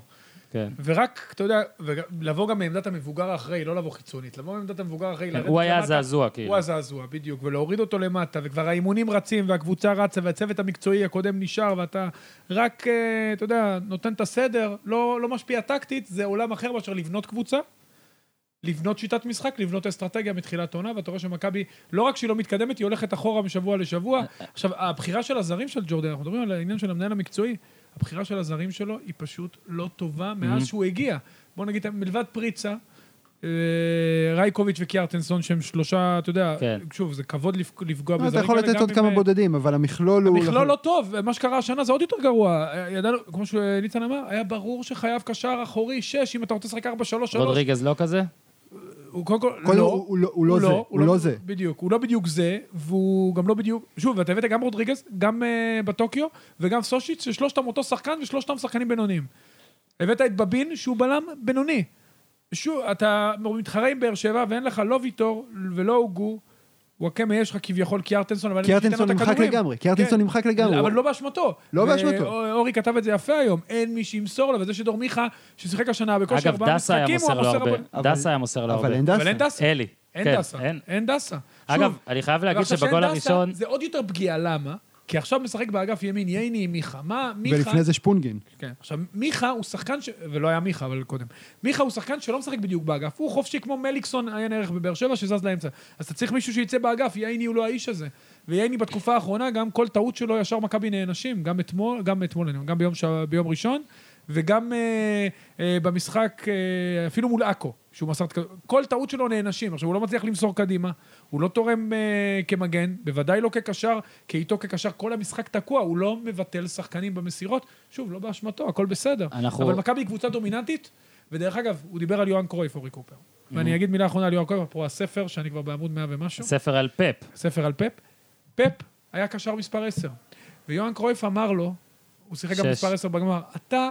[SPEAKER 1] כן.
[SPEAKER 3] ורק, אתה יודע, וג- לבוא גם מעמדת המבוגר האחראי, לא לבוא חיצונית, לבוא מעמדת המבוגר האחראי, לרדת
[SPEAKER 1] כן, הוא היה
[SPEAKER 3] למטה,
[SPEAKER 1] הזעזוע, כאילו.
[SPEAKER 3] הוא הזעזוע, בדיוק, ולהוריד אותו למטה, וכבר האימונים רצים, והקבוצה רצה, והצוות המקצועי הקודם נשאר, ואתה רק, אה, אתה יודע, נותן את הסדר, לא, לא משפיע טקטית, זה עולם אחר מאשר לבנות קבוצה, לבנות שיטת משחק, לבנות אסטרטגיה מתחילת עונה, ואתה רואה שמכבי, לא רק שהיא לא מתקדמת, היא הולכת אחורה משבוע לשבוע. עכשיו, הבחירה של הזרים של ג'ורדן, אנחנו מדברים על העניין של המנהל המקצועי, הבחירה של הזרים שלו היא פשוט לא טובה מאז שהוא הגיע. בוא נגיד, מלבד פריצה, אה, רייקוביץ' וקיארטנסון, שהם שלושה, אתה יודע,
[SPEAKER 1] כן.
[SPEAKER 3] שוב, זה כבוד לפג- לפגוע
[SPEAKER 2] לא,
[SPEAKER 3] בזרים
[SPEAKER 2] אתה יכול
[SPEAKER 3] כאלה,
[SPEAKER 2] לתת
[SPEAKER 3] גם
[SPEAKER 2] עוד
[SPEAKER 3] אם,
[SPEAKER 2] כמה
[SPEAKER 3] אה,
[SPEAKER 2] בודדים, אבל המכלול הוא... נכון.
[SPEAKER 3] המכלול לא טוב, מה שקרה השנה זה עוד יותר גרוע. אה, ידענו, כמו שניצן אמר, היה ברור שחייב קשר אחורי 6, אם אתה רוצה לשחק 4-3-3.
[SPEAKER 1] רודריגז לא כזה?
[SPEAKER 3] הוא קודם כל,
[SPEAKER 2] קודם
[SPEAKER 3] לא.
[SPEAKER 2] הוא- הוא לא- הוא לא זה, הוא לא זה.
[SPEAKER 3] בדיוק, הוא לא בדיוק זה, והוא גם לא בדיוק... שוב, אתה הבאת גם רודריגז, גם אה, בטוקיו, וגם סושיץ, ששלושתם אותו שחקן ושלושתם שחקנים בינוניים. הבאת את בבין, שהוא בלם בינוני. שוב, אתה מתחרה עם באר שבע, ואין לך לא ויטור ולא הוגו. וואקמה יש לך כביכול קיארטנסון, אבל
[SPEAKER 2] קיארטנסון נמחק לגמרי, קיארטנסון
[SPEAKER 3] כן.
[SPEAKER 2] נמחק לגמרי.
[SPEAKER 3] אבל לא באשמתו.
[SPEAKER 2] לא
[SPEAKER 3] ו-
[SPEAKER 2] באשמתו.
[SPEAKER 3] א- אורי כתב את זה יפה היום, אין מי שימסור לו, וזה שדור מיכה, ששיחק השנה בכושר
[SPEAKER 1] אגב,
[SPEAKER 3] ארבעה
[SPEAKER 1] דסה היה
[SPEAKER 3] משחקים, הוא
[SPEAKER 1] מוסר לו
[SPEAKER 3] המוסר
[SPEAKER 1] הרבה.
[SPEAKER 3] הבא-
[SPEAKER 2] אבל-
[SPEAKER 1] דסה היה מוסר לו הרבה.
[SPEAKER 2] אבל אין
[SPEAKER 3] אבל אין
[SPEAKER 2] דסה.
[SPEAKER 3] דסה.
[SPEAKER 1] אלי.
[SPEAKER 3] אין
[SPEAKER 1] כן,
[SPEAKER 3] דסה,
[SPEAKER 1] אין.
[SPEAKER 3] אין דסה.
[SPEAKER 1] אגב,
[SPEAKER 3] שוב,
[SPEAKER 1] אני חייב להגיד
[SPEAKER 3] ועכשיו
[SPEAKER 1] שבגול
[SPEAKER 3] שאין דסה,
[SPEAKER 1] הראשון...
[SPEAKER 3] זה עוד יותר פגיעה, למה? כי עכשיו משחק באגף ימין ייני עם מיכה. מה, מיכה...
[SPEAKER 2] ולפני זה שפונגין.
[SPEAKER 3] כן. עכשיו, מיכה הוא שחקן ש... ולא היה מיכה, אבל קודם. מיכה הוא שחקן שלא משחק בדיוק באגף. הוא חופשי כמו מליקסון, עיין ערך בבאר שבע, שזז לאמצע. אז אתה צריך מישהו שיצא באגף, ייני הוא לא האיש הזה. וייני בתקופה האחרונה, גם כל טעות שלו ישר מכבי נענשים. גם אתמול, גם אתמול, אני אומר, גם ביום, ש... ביום ראשון, וגם אה, אה, במשחק, אה, אפילו מול עכו, שהוא מסר... את הכדור. כל טעות שלו נענשים. עכשיו, הוא לא מצליח למסור קדימה, הוא לא תורם אה, כמגן, בוודאי לא כקשר, כי איתו כקשר כל המשחק תקוע, הוא לא מבטל שחקנים במסירות. שוב, לא באשמתו, הכל בסדר.
[SPEAKER 1] אנחנו-
[SPEAKER 3] אבל מכבי היא קבוצה דומיננטית, ודרך אגב, הוא דיבר על יוהאן קרויף, אורי קופר. ואני אגיד מילה אחרונה על יוהאן קרויף, אפרופו הספר, שאני כבר בעמוד 100 ומשהו.
[SPEAKER 1] ספר על פאפ.
[SPEAKER 3] ספר על פפ. פפ היה קשר מספר 10. ויוהאן קרויף אמר לו, הוא שיחק גם
[SPEAKER 1] שש.
[SPEAKER 3] מספר 10 בגמר, אתה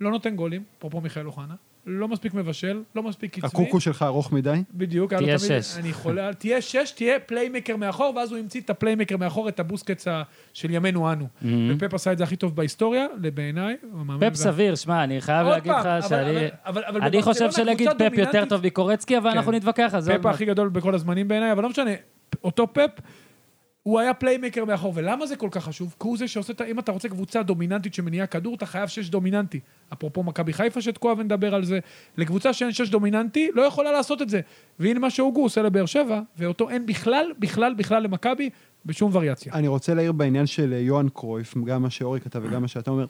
[SPEAKER 3] לא נותן גולים, אפרופו מיכאל אוחנה, לא מספיק מבשל, לא מספיק קצבי.
[SPEAKER 2] הקוקו שלך ארוך מדי.
[SPEAKER 3] בדיוק, היה לו
[SPEAKER 1] תהיה
[SPEAKER 3] תמיד-
[SPEAKER 1] שש.
[SPEAKER 3] אני חולה, על- תהיה שש, תהיה פליימקר מאחור, ואז הוא המציא את הפליימקר מאחור, את הבוסקטס ה- של ימינו אנו.
[SPEAKER 1] Mm-hmm.
[SPEAKER 3] ופפ עשה את זה הכי טוב בהיסטוריה, לבעיניי, הוא המאמן
[SPEAKER 1] פאפ
[SPEAKER 3] וה-
[SPEAKER 1] סביר, שמע, אני חייב
[SPEAKER 3] עוד
[SPEAKER 1] להגיד
[SPEAKER 3] פעם,
[SPEAKER 1] לך
[SPEAKER 3] אבל-
[SPEAKER 1] שאני...
[SPEAKER 3] אבל- אבל- אבל
[SPEAKER 1] אני חושב
[SPEAKER 3] בברצלונה
[SPEAKER 1] שלהגיד
[SPEAKER 3] קבוצה
[SPEAKER 1] פאפ יותר
[SPEAKER 3] דומיננטית,
[SPEAKER 1] טוב מקורצקי, אבל
[SPEAKER 3] כן.
[SPEAKER 1] אנחנו נתווכח על זה. עוד
[SPEAKER 3] פפ
[SPEAKER 1] מעט.
[SPEAKER 3] הכי גדול בכל הזמנים בעיניי, אבל לא משנה, אותו פפ, הוא היה פליימקר מאחור, ולמה זה כל כך חשוב? כי הוא זה שעושה את ה... אם אתה רוצה קבוצה דומיננטית שמניעה כדור, אתה חייב שש דומיננטי. אפרופו מכבי חיפה שתקועה ונדבר על זה, לקבוצה שאין שש דומיננטי, לא יכולה לעשות את זה. והנה מה שהוגו עושה לבאר שבע, ואותו אין בכלל, בכלל, בכלל למכבי, בשום וריאציה.
[SPEAKER 2] אני רוצה להעיר בעניין של אה, יוהאן קרויף, גם מה שאורי כתב וגם מה שאתה אומר.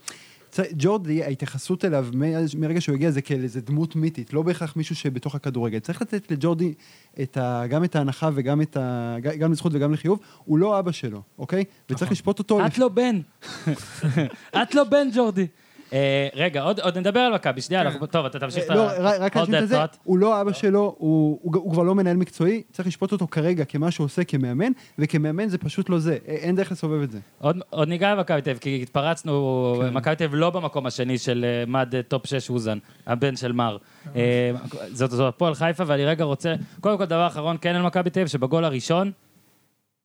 [SPEAKER 2] צ- ג'ורדי, ההתייחסות אליו מאז- מרגע שהוא הגיע זה כאל איזה דמות מיתית, לא בהכרח מישהו שבתוך הכדורגל. צריך לתת לג'ורדי את ה, גם את ההנחה וגם את ה, ג- גם לזכות וגם לחיוב, הוא לא אבא שלו, אוקיי? וצריך לשפוט אותו.
[SPEAKER 1] את לא בן. את לא בן, ג'ורדי. כן. אה, רגע, עוד עוד נדבר על מכבי, שנייה, אנחנו... טוב, אתה תמשיך את ה...
[SPEAKER 2] לא, רק רק
[SPEAKER 1] עוד
[SPEAKER 2] להשלים את זה,
[SPEAKER 1] דקות.
[SPEAKER 2] הוא לא אבא שלו, הוא הוא ג- הוא כבר לא מנהל מקצועי, צריך לשפוט אותו כרגע כמה שהוא עושה כמאמן, וכמאמן זה פשוט לא זה, א- אין דרך לסובב את זה.
[SPEAKER 1] עוד, עוד ניגע במכבי תל אביב, כי התפרצנו,
[SPEAKER 2] כן.
[SPEAKER 1] מכבי תל אביב לא במקום השני של אה, מד אה, טופ 6 אוזן, הבן של מר. אה, זאת, זאת הפועל חיפה, ואני רגע רוצה, קודם כל דבר אחרון, כן על מכבי תל אביב, שבגול הראשון,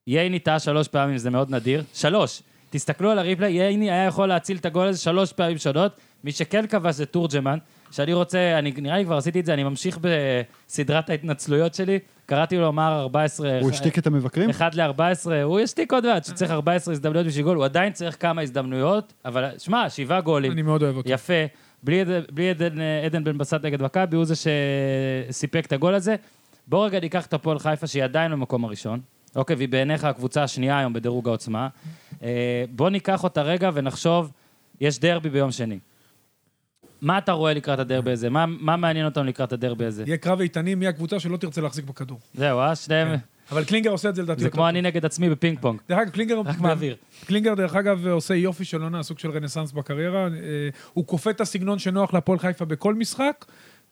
[SPEAKER 1] ייני טעה שלוש פעמים, זה מאוד נדיר. שלוש. תסתכלו על הריפלי, ייני היה יכול להציל את הגול הזה שלוש פעמים שונות. מי שכן כבש זה תורג'מן, שאני רוצה, אני נראה לי כבר עשיתי את זה, אני ממשיך בסדרת ההתנצלויות שלי. קראתי לו מר 14...
[SPEAKER 2] הוא השתיק את המבקרים?
[SPEAKER 1] 1 ל-14, הוא ישתיק עוד מעט, שצריך 14 הזדמנויות בשביל גול, הוא עדיין צריך כמה הזדמנויות, אבל שמע, שבעה גולים,
[SPEAKER 3] אני מאוד אוהב אותו.
[SPEAKER 1] יפה. בלי, עד- בלי עדן, אה, עדן בן בסט נגד מכבי, הוא זה שסיפק את הגול הזה. בואו רגע ניקח את הפועל חיפה, שהיא עדיין במקום הראשון. אוקיי, והיא בעיניך הקבוצה השנייה היום בדירוג העוצמה. אה, בואו ניקח אותה רגע ונחשוב, יש דרבי ביום שני. מה אתה רואה לקראת הדרבי הזה? מה, מה מעניין אותנו לקראת הדרבי הזה?
[SPEAKER 3] יהיה קרב איתנים, מי הקבוצה שלא תרצה להחזיק בכדור.
[SPEAKER 1] זהו, אה? שניהם...
[SPEAKER 3] אבל קלינגר עושה את זה לדעתי.
[SPEAKER 1] זה
[SPEAKER 3] יותר
[SPEAKER 1] כמו
[SPEAKER 3] טוב.
[SPEAKER 1] אני נגד עצמי בפינג פונג.
[SPEAKER 3] דרך אגב, קלינגר...
[SPEAKER 1] רק מהאוויר.
[SPEAKER 3] קלינגר, דרך אגב, עושה יופי של עונה, סוג של רנסאנס בקריירה. אה, הוא כופה את הסגנון שנוח להפועל חיפה בכל משחק,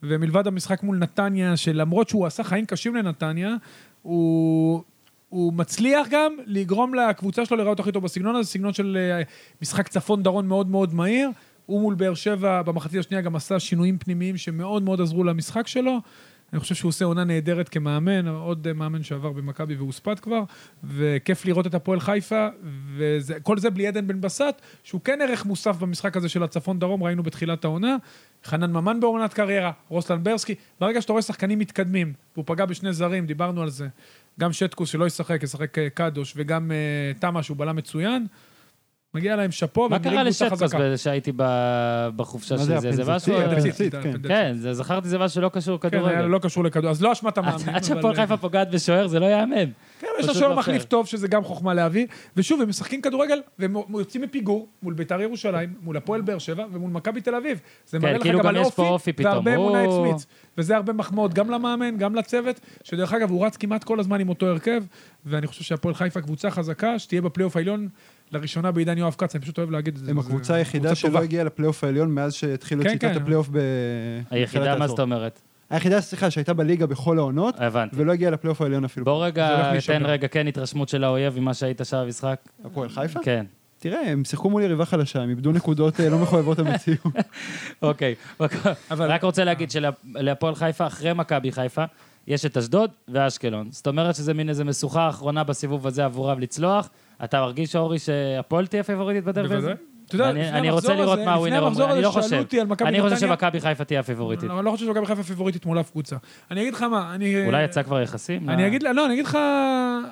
[SPEAKER 3] ומלבד המשחק מול נתניה, שלמרות שהוא עשה חיים קשים לנתניה, הוא... הוא מצליח גם לגרום לקבוצה שלו להיראות הכי טוב בסגנון הזה, סגנון של אה, משחק צפון-דרום מאוד מאוד מהיר. הוא מול באר שבע במחצית השנייה גם עשה שינויים פנימיים שמאוד מאוד עזרו למשחק שלו. אני חושב שהוא עושה עונה נהדרת כמאמן, עוד אה, מאמן שעבר במכבי והוספד כבר, וכיף לראות את הפועל חיפה, וכל זה בלי עדן בן בסט, שהוא כן ערך מוסף במשחק הזה של הצפון-דרום, ראינו בתחילת העונה. חנן ממן בעונת קריירה, רוסלן ברסקי, ברגע שאתה רואה שחקנים מתקדמים, והוא פגע בשני זרים, דיברנו על זה, גם שטקוס שלא ישחק, ישחק אה, קדוש, וגם אה, תמה שהוא בלם מצוין, מגיע להם
[SPEAKER 1] מה
[SPEAKER 3] שאפו, והם
[SPEAKER 1] קרה
[SPEAKER 3] נראים קבוצה
[SPEAKER 1] לשטקוס
[SPEAKER 3] חזקה.
[SPEAKER 1] בזה שהייתי ב- בחופשה
[SPEAKER 2] מה
[SPEAKER 1] של
[SPEAKER 2] זה
[SPEAKER 1] זה? זה משהו...
[SPEAKER 2] הפנדל?
[SPEAKER 3] הפנדלצית,
[SPEAKER 2] הפנדלצית, כן.
[SPEAKER 3] הפנדלצית.
[SPEAKER 1] כן, זה- זכרתי שזה משהו שלא קשור
[SPEAKER 3] כן, היה
[SPEAKER 1] לכדורגל.
[SPEAKER 3] לו לא קשור לכדור, אז לא אשמת
[SPEAKER 1] עד-
[SPEAKER 3] המאמנים.
[SPEAKER 1] עד
[SPEAKER 3] אבל- אה,
[SPEAKER 1] שהפועל חיפה פוגעת בשוער, זה לא ייאמן.
[SPEAKER 3] כן, אבל יש לה
[SPEAKER 1] פשוט
[SPEAKER 3] שוער
[SPEAKER 1] לא
[SPEAKER 3] מחליף
[SPEAKER 1] פייר.
[SPEAKER 3] טוב, שזה גם חוכמה להביא. ושוב, הם משחקים כדורגל, והם יוצאים מפיגור מול ביתר ירושלים, מול הפועל באר שבע ומול מכבי תל אביב. זה
[SPEAKER 1] כן,
[SPEAKER 3] מראה לך
[SPEAKER 1] כאילו
[SPEAKER 3] גם
[SPEAKER 1] גם
[SPEAKER 3] על
[SPEAKER 1] יש פה
[SPEAKER 3] אופי,
[SPEAKER 1] אופי
[SPEAKER 3] והרבה
[SPEAKER 1] פתאום.
[SPEAKER 3] אמונה
[SPEAKER 1] הוא-
[SPEAKER 3] עצמית. וזה הרבה מחמאות גם למאמן, גם לצוות, שדרך אגב, הוא רץ כמעט כל הזמן עם אותו הרכב, ואני חושב שהפועל חיפה קבוצה חזקה, שתהיה בפלייאוף העליון לראשונה בעידן יואב כץ, אני פשוט אוהב להגיד את זה.
[SPEAKER 2] הם
[SPEAKER 3] זה
[SPEAKER 2] הקבוצה היחידה
[SPEAKER 3] קבוצה
[SPEAKER 2] שלא
[SPEAKER 3] טובה.
[SPEAKER 2] הגיעה לפלייאוף העליון מאז שהתחילו את
[SPEAKER 3] כן,
[SPEAKER 2] שיטת
[SPEAKER 3] כן.
[SPEAKER 2] הפלייאוף ב...
[SPEAKER 1] היחידה,
[SPEAKER 2] בתחילת
[SPEAKER 1] מה זאת
[SPEAKER 2] העשור.
[SPEAKER 1] אומרת?
[SPEAKER 2] היחידה, סליחה, שהייתה בליגה בכל העונות,
[SPEAKER 1] הבנתי.
[SPEAKER 2] ולא הגיעה לפלייאוף העליון אפילו.
[SPEAKER 1] בוא
[SPEAKER 3] זה הולך
[SPEAKER 1] רגע,
[SPEAKER 3] להישבר.
[SPEAKER 1] תן רגע כן התרשמות של האויב ממה שהיית שם במשחק.
[SPEAKER 2] הפועל חיפה?
[SPEAKER 1] כן.
[SPEAKER 2] תראה, הם שיחקו מול יריבה חלשה, הם איבדו נקודות אה, לא מחויבות המציאות.
[SPEAKER 1] אוקיי.
[SPEAKER 3] אבל-
[SPEAKER 1] רק רוצה להגיד שלהפועל חיפה, אחרי מכבי חיפה, יש את אשדוד ואשקלון. זאת אומרת שזה מין איזה משוכה אחרונה בסיבוב הזה עבורם לצלוח. אתה מרגיש, אורי, שהפועל תהיה פייבוריטית בדרבי הזה?
[SPEAKER 3] בוודאי. אתה יודע,
[SPEAKER 1] אני-
[SPEAKER 3] לפני
[SPEAKER 1] אני רוצה
[SPEAKER 3] המחזור
[SPEAKER 1] לראות
[SPEAKER 3] הזה-
[SPEAKER 1] מה
[SPEAKER 3] לפני
[SPEAKER 1] הווינר
[SPEAKER 3] המחזור
[SPEAKER 1] אומר, אני
[SPEAKER 3] הזה
[SPEAKER 1] לא
[SPEAKER 3] שאלו
[SPEAKER 1] חושב.
[SPEAKER 3] אותי על מכבי
[SPEAKER 1] אני חושב
[SPEAKER 3] נתניה.
[SPEAKER 1] שמכבי חיפה תהיה הפייבוריטית.
[SPEAKER 3] אני לא חושב שמכבי חיפה פיבוריטית מול אף קבוצה. אני אגיד לך מה, אני...
[SPEAKER 1] אולי יצא כבר יחסים? אה,
[SPEAKER 3] אני
[SPEAKER 1] מה?
[SPEAKER 3] אגיד, לא, אני אגיד לך,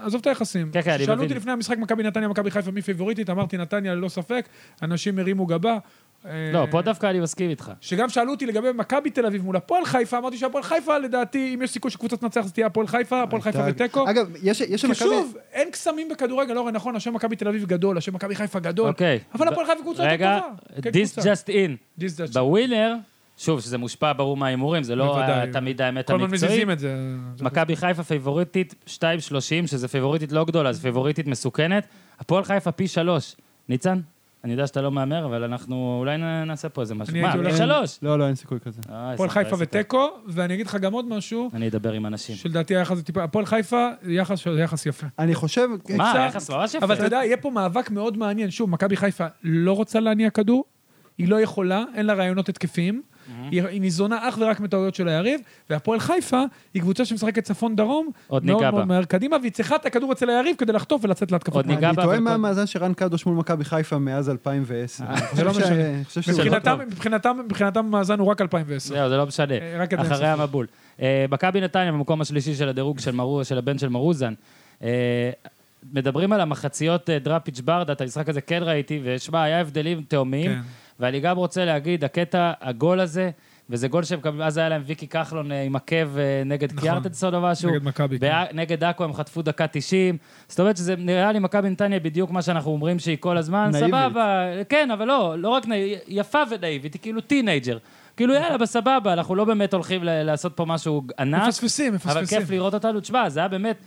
[SPEAKER 3] עזוב את היחסים.
[SPEAKER 1] כן, כן, אני
[SPEAKER 3] שאלו
[SPEAKER 1] מבין.
[SPEAKER 3] אותי לפני המשחק מכבי נתניה, מכבי חיפה, מי פיבוריטית? אמרתי נתניה, ללא ספק. אנשים הרימו גבה. אה,
[SPEAKER 1] לא, פה דווקא אני מסכים איתך.
[SPEAKER 3] שגם שאלו אותי לגבי מכבי תל אביב מול הפועל חיפה, אמרתי שהפועל חיפה, לדעתי, אם יש סיכוי שקבוצה תנצח, זה תהיה הפועל חיפה, הפועל חיפה
[SPEAKER 2] הייתה-
[SPEAKER 3] ותיקו.
[SPEAKER 2] אגב, יש יש
[SPEAKER 3] כי
[SPEAKER 2] למכבי...
[SPEAKER 3] שוב, אין קסמים בכדורגל, אורן, נכון, השם מכבי תל אביב גדול, השם מכבי חיפה גדול.
[SPEAKER 1] אוקיי.
[SPEAKER 3] אבל
[SPEAKER 1] ב-
[SPEAKER 3] הפועל חיפה קבוצה יותר
[SPEAKER 1] רגע,
[SPEAKER 3] טובה. כן,
[SPEAKER 1] this
[SPEAKER 3] קבוצה.
[SPEAKER 1] just in.
[SPEAKER 3] This just-
[SPEAKER 1] בווינר, שוב, שזה מושפע ברור מההימורים, זה לא
[SPEAKER 3] בוודאי.
[SPEAKER 1] היה תמיד האמת
[SPEAKER 3] כל הזמן
[SPEAKER 1] המקצועית.
[SPEAKER 3] מזיזים את זה.
[SPEAKER 1] מכבי חיפה פייבוריטית 2.30, שזה פייבוריטית לא גדולה, זה פייבוריטית מסוכנת. הפועל חיפה פי שלוש. ניצן, אני יודע שאתה לא מהמר, אבל אנחנו אולי נ- נעשה פה איזה משהו.
[SPEAKER 3] אני
[SPEAKER 1] מה,
[SPEAKER 3] הייתי
[SPEAKER 1] פי
[SPEAKER 3] הולך-
[SPEAKER 1] שלוש?
[SPEAKER 2] לא, לא, אין סיכוי כזה.
[SPEAKER 1] אה, איזה
[SPEAKER 3] הפועל
[SPEAKER 1] טוב,
[SPEAKER 3] חיפה
[SPEAKER 1] איזה טוב.
[SPEAKER 3] ותיקו, ואני אגיד לך גם עוד משהו,
[SPEAKER 1] אני אדבר עם אנשים.
[SPEAKER 3] שלדעתי היחס זה טיפה, הפועל חיפה, יחס, יחס יפה.
[SPEAKER 2] אני חושב...
[SPEAKER 1] מה,
[SPEAKER 3] אפשר-
[SPEAKER 1] היחס ממש יפה.
[SPEAKER 3] אבל אתה יודע, יהיה פה מאבק מאוד מעניין. שוב, מכבי חיפה לא רוצה להניע כדור, היא לא יכולה, אין לה רעיונות התקפיים, היא היא ניזונה אך ורק מטעויות של היריב, והפועל חיפה היא קבוצה שמשחקת צפון-דרום,
[SPEAKER 1] עוד
[SPEAKER 3] מאוד
[SPEAKER 1] ניגע בה.
[SPEAKER 3] מאוד מהר קדימה, והיא צריכה את הכדור אצל היריב כדי לחטוף ולצאת להתקפות.
[SPEAKER 1] עוד ניגע
[SPEAKER 2] אני
[SPEAKER 1] בה,
[SPEAKER 2] טועה
[SPEAKER 1] אבל
[SPEAKER 2] מה
[SPEAKER 1] טוב.
[SPEAKER 2] המאזן של רן קדוש מול מכבי חיפה מאז 2010.
[SPEAKER 3] זה לא
[SPEAKER 2] אני חושב ש-
[SPEAKER 3] משנה.
[SPEAKER 2] אני חושב שזה...
[SPEAKER 3] מבחינתם, מבחינתם, מבחינתם המאזן הוא רק 2010.
[SPEAKER 1] זהו, זה לא משנה.
[SPEAKER 3] אה, רק את זה
[SPEAKER 1] אחרי
[SPEAKER 3] אני חושב.
[SPEAKER 1] המבול. אה, מכבי נתניה במקום השלישי של הדירוג של מרו- של הבן של מרוזן. אה, מדברים על המחציות אה, דראפיץ' ברדה, את המשחק הזה כן ראיתי, ושמע, היה הבדלים תאומיים.
[SPEAKER 3] כן.
[SPEAKER 1] ואני גם רוצה להגיד, הקטע, הגול הזה, וזה גול שהם גם, אז היה להם ויקי כחלון אה, עם עקב אה, נגד
[SPEAKER 3] נכון.
[SPEAKER 1] קיארטנסון או משהו.
[SPEAKER 3] נגד מכבי, כן.
[SPEAKER 1] בא- נגד עכו הם חטפו דקה 90. זאת אומרת שזה נראה לי מכבי נתניה בדיוק מה שאנחנו אומרים שהיא כל הזמן,
[SPEAKER 2] נאיבית.
[SPEAKER 1] סבבה. כן, אבל לא, לא רק נאיבית, יפה ונאיבית, היא כאילו טינג'ר. כאילו יאללה, בסבבה, אנחנו לא באמת הולכים ל- לעשות פה משהו ענק.
[SPEAKER 3] מפספסים,
[SPEAKER 1] אבל
[SPEAKER 3] מפספסים.
[SPEAKER 1] כיף לראות אותנו. תשמע, זה היה באמת...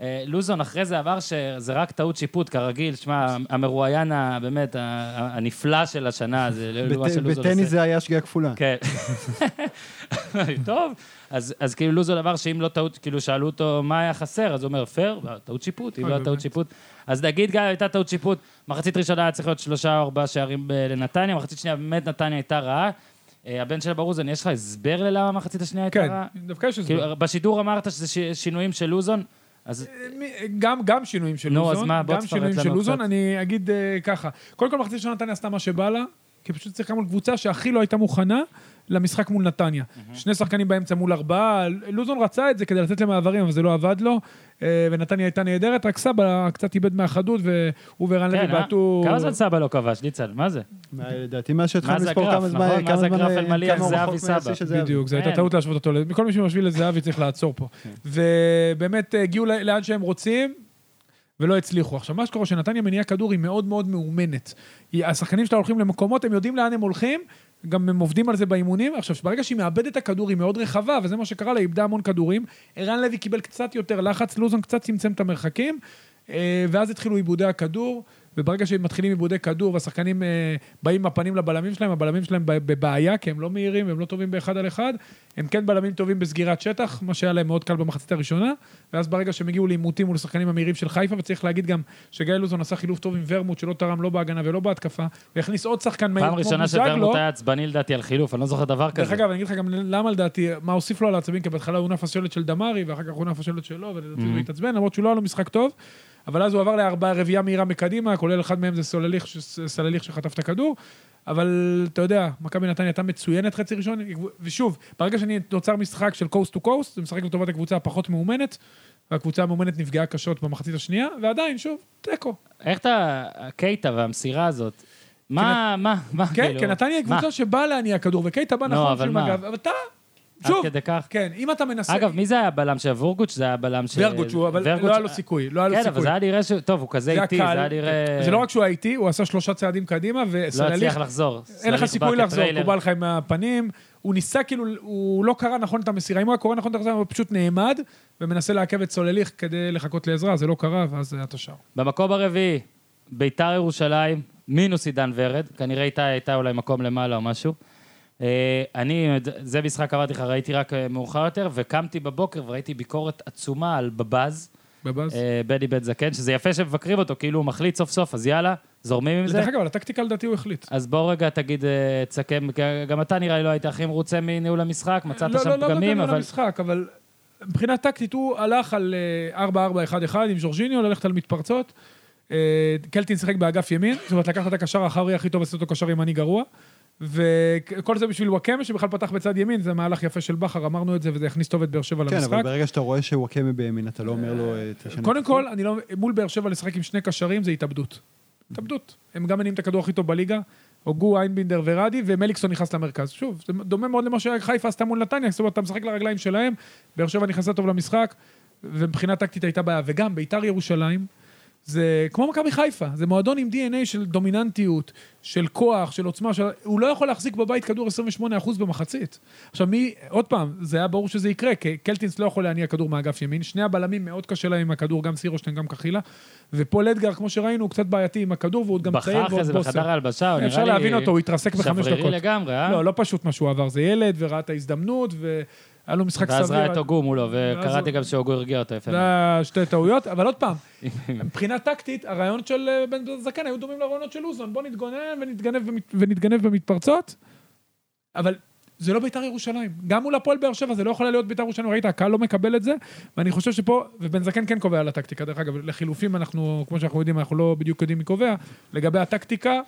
[SPEAKER 1] אה, לוזון אחרי זה אמר שזה רק טעות שיפוט, כרגיל. שמע, המרואיין, ה- באמת, ה- ה- הנפלא של השנה, זה לא מה
[SPEAKER 2] בת-
[SPEAKER 1] שלוזון עושה.
[SPEAKER 2] בטניס זה היה שגיאה כפולה.
[SPEAKER 1] כן. טוב, אז, אז כאילו לוזון אמר שאם לא טעות, כאילו שאלו אותו מה היה חסר, אז הוא אומר, פייר, טעות שיפוט, אם
[SPEAKER 3] אוי,
[SPEAKER 1] לא היה טעות
[SPEAKER 3] באמת.
[SPEAKER 1] שיפוט. אז נגיד גם הייתה טעות שיפוט, מחצית ראשונה היה צריך להיות שלושה או ארבעה שערים ב- לנתניה, מחצית שנייה באמת נתניה הייתה רעה. אה, הבן של ברוזן, יש לך הסבר ללמה המחצית השנייה הייתה
[SPEAKER 3] כן,
[SPEAKER 1] רעה?
[SPEAKER 3] דווקא יש הסבר.
[SPEAKER 1] כאילו, בשידור אמרת שזה ש- שינויים של לוזון, אז
[SPEAKER 3] מי- גם, גם שינויים של
[SPEAKER 1] נו,
[SPEAKER 3] לוזון.
[SPEAKER 1] אז מה, בוא
[SPEAKER 3] גם
[SPEAKER 1] תפרט
[SPEAKER 3] שינויים
[SPEAKER 1] לנו
[SPEAKER 3] של לוזון,
[SPEAKER 1] קצת.
[SPEAKER 3] אני אגיד אה, ככה. קודם כל, מחצית של נתניה עשתה מה שבא לה, כי פשוט צריך מול קבוצה שהכי לא הייתה מוכנה למשחק מול נתניה. שני שחקנים באמצע מול ארבעה, לוזון רצה את זה כדי לתת למעברים, אבל זה לא עבד לו, אה, ונתניה הייתה נהדרת, רק סבא קצת איבד מהחדות, והוא ורן
[SPEAKER 1] כן,
[SPEAKER 3] לוי
[SPEAKER 1] אה?
[SPEAKER 3] בעטו...
[SPEAKER 1] כמה זמן סבא לא כבש, ניצן? מה זה?
[SPEAKER 2] מה, לדעתי, מאז
[SPEAKER 1] מה
[SPEAKER 2] שהתחלנו
[SPEAKER 1] זה
[SPEAKER 2] לספור
[SPEAKER 1] הגרף,
[SPEAKER 2] כמה זמן,
[SPEAKER 1] נכון? מה
[SPEAKER 2] כמה
[SPEAKER 1] זה
[SPEAKER 2] זמן, אה,
[SPEAKER 1] הגרף על מליח?
[SPEAKER 2] כמה הוא
[SPEAKER 1] זה
[SPEAKER 2] רחוק
[SPEAKER 1] אבי
[SPEAKER 2] מהשיא
[SPEAKER 1] סבא.
[SPEAKER 2] של זהבי.
[SPEAKER 3] בדיוק, זו הייתה
[SPEAKER 1] כן.
[SPEAKER 3] טעות להשוות אותו. ל- כל מי שמשוויל לזהבי צריך לעצור פה. ובאמת אה, הגיעו ל- לאן שהם רוצים. ולא הצליחו. עכשיו, מה שקורה, שנתניה מניעה כדור היא מאוד מאוד מאומנת. היא- השחקנים שלה הולכים למקומות, הם יודעים לאן הם הולכים, גם הם עובדים על זה באימונים. עכשיו, ברגע שהיא מאבדת את הכדור, היא מאוד רחבה, וזה מה שקרה לה, היא איבדה המון כדורים. ערן לוי קיבל קצת יותר לחץ, לוזון קצת צמצם את המרחקים, אה, ואז התחילו עיבודי הכדור, וברגע שמתחילים עיבודי כדור, והשחקנים אה, באים עם הפנים לבלמים שלהם, הבלמים שלהם ב- בבעיה, כי הם לא מהירים, הם לא טובים באחד על אחד, הם כן בלמים טובים בסגירת שטח, מה שהיה להם מאוד קל במחצית הראשונה, ואז ברגע שהם הגיעו לעימותים מול השחקנים המהירים של חיפה, וצריך להגיד גם שגיא לוזון עשה חילוף טוב עם ורמוט, שלא תרם לא בהגנה ולא בהתקפה, והכניס עוד שחקן מהיר
[SPEAKER 1] פעם
[SPEAKER 3] כמו
[SPEAKER 1] ראשונה
[SPEAKER 3] בוזגלו.
[SPEAKER 1] שברמוט היה עצבני לדעתי על חילוף, אני לא זוכר דבר
[SPEAKER 3] דרך
[SPEAKER 1] כזה.
[SPEAKER 3] אגב, אני אגיד לך גם למה לדעתי, מה הוסיף לו על העצבים, כי בהתחלה הוא נף השלט של דמארי, ואחר כך הוא נף השלט שלו, ולדעתי הוא
[SPEAKER 1] Mhm.
[SPEAKER 3] התעצבן, למרות שהוא לא היה לו משחק טוב, אבל אז הוא עבר לארבעה רביעייה מהירה מקדימה, כולל אחד מהם זה סולליך, ש- סלליך שחטף את הכדור, אבל אתה יודע, מכבי נתניה הייתה מצוינת חצי ראשון, ושוב, ברגע שאני נוצר משחק של קוסט טו קוסט, זה משחק לטובת הקבוצה הפחות מאומנת, והקבוצה המאומנת נפגעה קשות במחצית השנייה, ועדיין, שוב, תיקו.
[SPEAKER 1] איך אתה, הקייטה והמסירה הזאת, מה, מה, מה,
[SPEAKER 3] כן,
[SPEAKER 1] כאילו,
[SPEAKER 3] כי נתניה היא
[SPEAKER 1] מה?
[SPEAKER 3] קבוצה שבאה להניע כדור, וקייטה בא
[SPEAKER 1] לא,
[SPEAKER 3] נכון
[SPEAKER 1] אבל
[SPEAKER 3] של
[SPEAKER 1] מה?
[SPEAKER 3] מג"ב, אבל אתה,
[SPEAKER 1] עד
[SPEAKER 3] שוב,
[SPEAKER 1] כדי כך.
[SPEAKER 3] כן, אם אתה מנסה...
[SPEAKER 1] אגב, מי זה היה הבלם של וורגוץ'? זה היה הבלם של...
[SPEAKER 3] ורגוץ', הוא- אבל לא היה לו סיכוי, לא היה לו
[SPEAKER 1] כן, אבל
[SPEAKER 3] סיכוי.
[SPEAKER 1] זה היה נראה ש... טוב, הוא כזה איטי, זה
[SPEAKER 3] הקהל.
[SPEAKER 1] היה נראה...
[SPEAKER 3] זה לא רק שהוא היה איטי, הוא עשה שלושה צעדים קדימה,
[SPEAKER 1] לא
[SPEAKER 3] וסלליך,
[SPEAKER 1] הצליח לחזור.
[SPEAKER 3] אין לך
[SPEAKER 1] סלליך
[SPEAKER 3] סיכוי
[SPEAKER 1] בא
[SPEAKER 3] לחזור,
[SPEAKER 1] כטריילר.
[SPEAKER 3] הוא בא לך עם הפנים, הוא ניסה כאילו, הוא לא קרא נכון את המסירה, אם הוא היה קורא נכון את המסירה, הוא פשוט נעמד, ומנסה לעכב את סולליך כדי לחכות לעזרה, זה לא קרה, ואז היה את השאר.
[SPEAKER 1] במקום הרביעי, ביתר ירושלים, מינוס עידן ורד, כנראה איתה הייתה אולי מקום למעלה או משהו. אה, אני, זה משחק, אמרתי לך, ראיתי רק אה, מאוחר יותר, וקמתי בבוקר וראיתי ביקורת עצומה על בבאז,
[SPEAKER 3] בבאז.
[SPEAKER 1] אה, בני בן זקן, שזה יפה שמבקרים אותו, כאילו הוא מחליט סוף סוף, אז יאללה, זורמים עם זה.
[SPEAKER 3] דרך אגב, על הטקטיקה לדעתי הוא החליט.
[SPEAKER 1] אז בוא רגע תגיד, אה, תסכם, גם אתה נראה לי לא היית הכי מרוצה מניהול המשחק, מצאת
[SPEAKER 3] לא,
[SPEAKER 1] שם
[SPEAKER 3] לא, לא, לא,
[SPEAKER 1] פגמים,
[SPEAKER 3] לא, לא,
[SPEAKER 1] אבל...
[SPEAKER 3] למשחק, אבל מבחינה טקטית הוא הלך על אה, 4-4-1-1 עם ז'ורג'יניו, ללכת על מתפרצות. אה, קלטין שיחק באגף ימין, זאת אומרת, לקחת את הקשר האחורי הכי טוב, עשית אותו קשר ימני גרוע. וכל זה בשביל וואקמה שבכלל פתח בצד ימין, זה מהלך יפה של בכר, אמרנו את זה, וזה יכניס טוב את באר שבע
[SPEAKER 2] כן, אבל
[SPEAKER 3] למשחק.
[SPEAKER 2] ברגע שאתה רואה שוואקמה בימין, אתה לא אומר לו... אה, תשנה.
[SPEAKER 3] קודם כל, אני לא, מול באר שבע לשחק עם שני קשרים זה התאבדות. התאבדות. הם גם מניעים את הכדור הכי טוב בליגה, הוגו, איינבינדר וראדי, ומליקסון נכנס למרכז. שוב, זה דומה מאוד למה שחיפה עשתה מול נתניה, זאת אומרת, אתה משחק לרגליים שלהם, באר שבע נכנסה טוב למשחק, ומבחינה טקטית הייתה בעיה. וגם ביתר ירושלים, זה כמו מכבי חיפה, זה מועדון עם DNA של דומיננטיות, של כוח, של עוצמה, של... הוא לא יכול להחזיק בבית כדור 28% במחצית. עכשיו מי, עוד פעם, זה היה ברור שזה יקרה, כי קלטינס לא יכול להניע כדור מאגף ימין, שני הבלמים מאוד קשה להם עם הכדור, גם סירושטיין, גם קחילה, ופול אדגר, כמו שראינו, הוא קצת בעייתי עם הכדור, והוא עוד גם צעיר
[SPEAKER 1] בכר אחרי
[SPEAKER 3] ועוד
[SPEAKER 1] זה
[SPEAKER 3] בוסר. כן,
[SPEAKER 1] בחדר ההלבשה, הוא נראה לי...
[SPEAKER 3] אפשר להבין אותו, הוא התרסק בחמש
[SPEAKER 1] שברירי
[SPEAKER 3] דקות.
[SPEAKER 1] לגמרי, אה?
[SPEAKER 3] לא, לא פשוט מה שהוא עבר, זה ילד, וראה את ההזדמנות, והיה לו משחק סביר.
[SPEAKER 1] ואז ראה את הוגו מולו,
[SPEAKER 3] ואז
[SPEAKER 1] וקראתי
[SPEAKER 3] הוא-
[SPEAKER 1] גם שהוגו הרגיע אותו יפה.
[SPEAKER 3] זה היה שתי טעויות, אבל עוד
[SPEAKER 1] [laughs]
[SPEAKER 3] פעם, מבחינה טקטית, הרעיונות של אה, בן זקן היו דומים לרעיונות של לוזון. בוא נתגונן ונתגנב, במת- ונתגנב במתפרצות, אבל זה לא ביתר ירושלים. גם מול הפועל באר שבע זה לא יכול היה להיות ביתר ירושלים, ראית, הקהל לא מקבל את זה, ואני חושב שפה, ובן זקן כן קובע על הטקטיקה, דרך אגב, לחילופים אנחנו, כמו שאנחנו יודעים, אנחנו לא בדיוק יודעים מי קובע. לגבי הטקטיקה,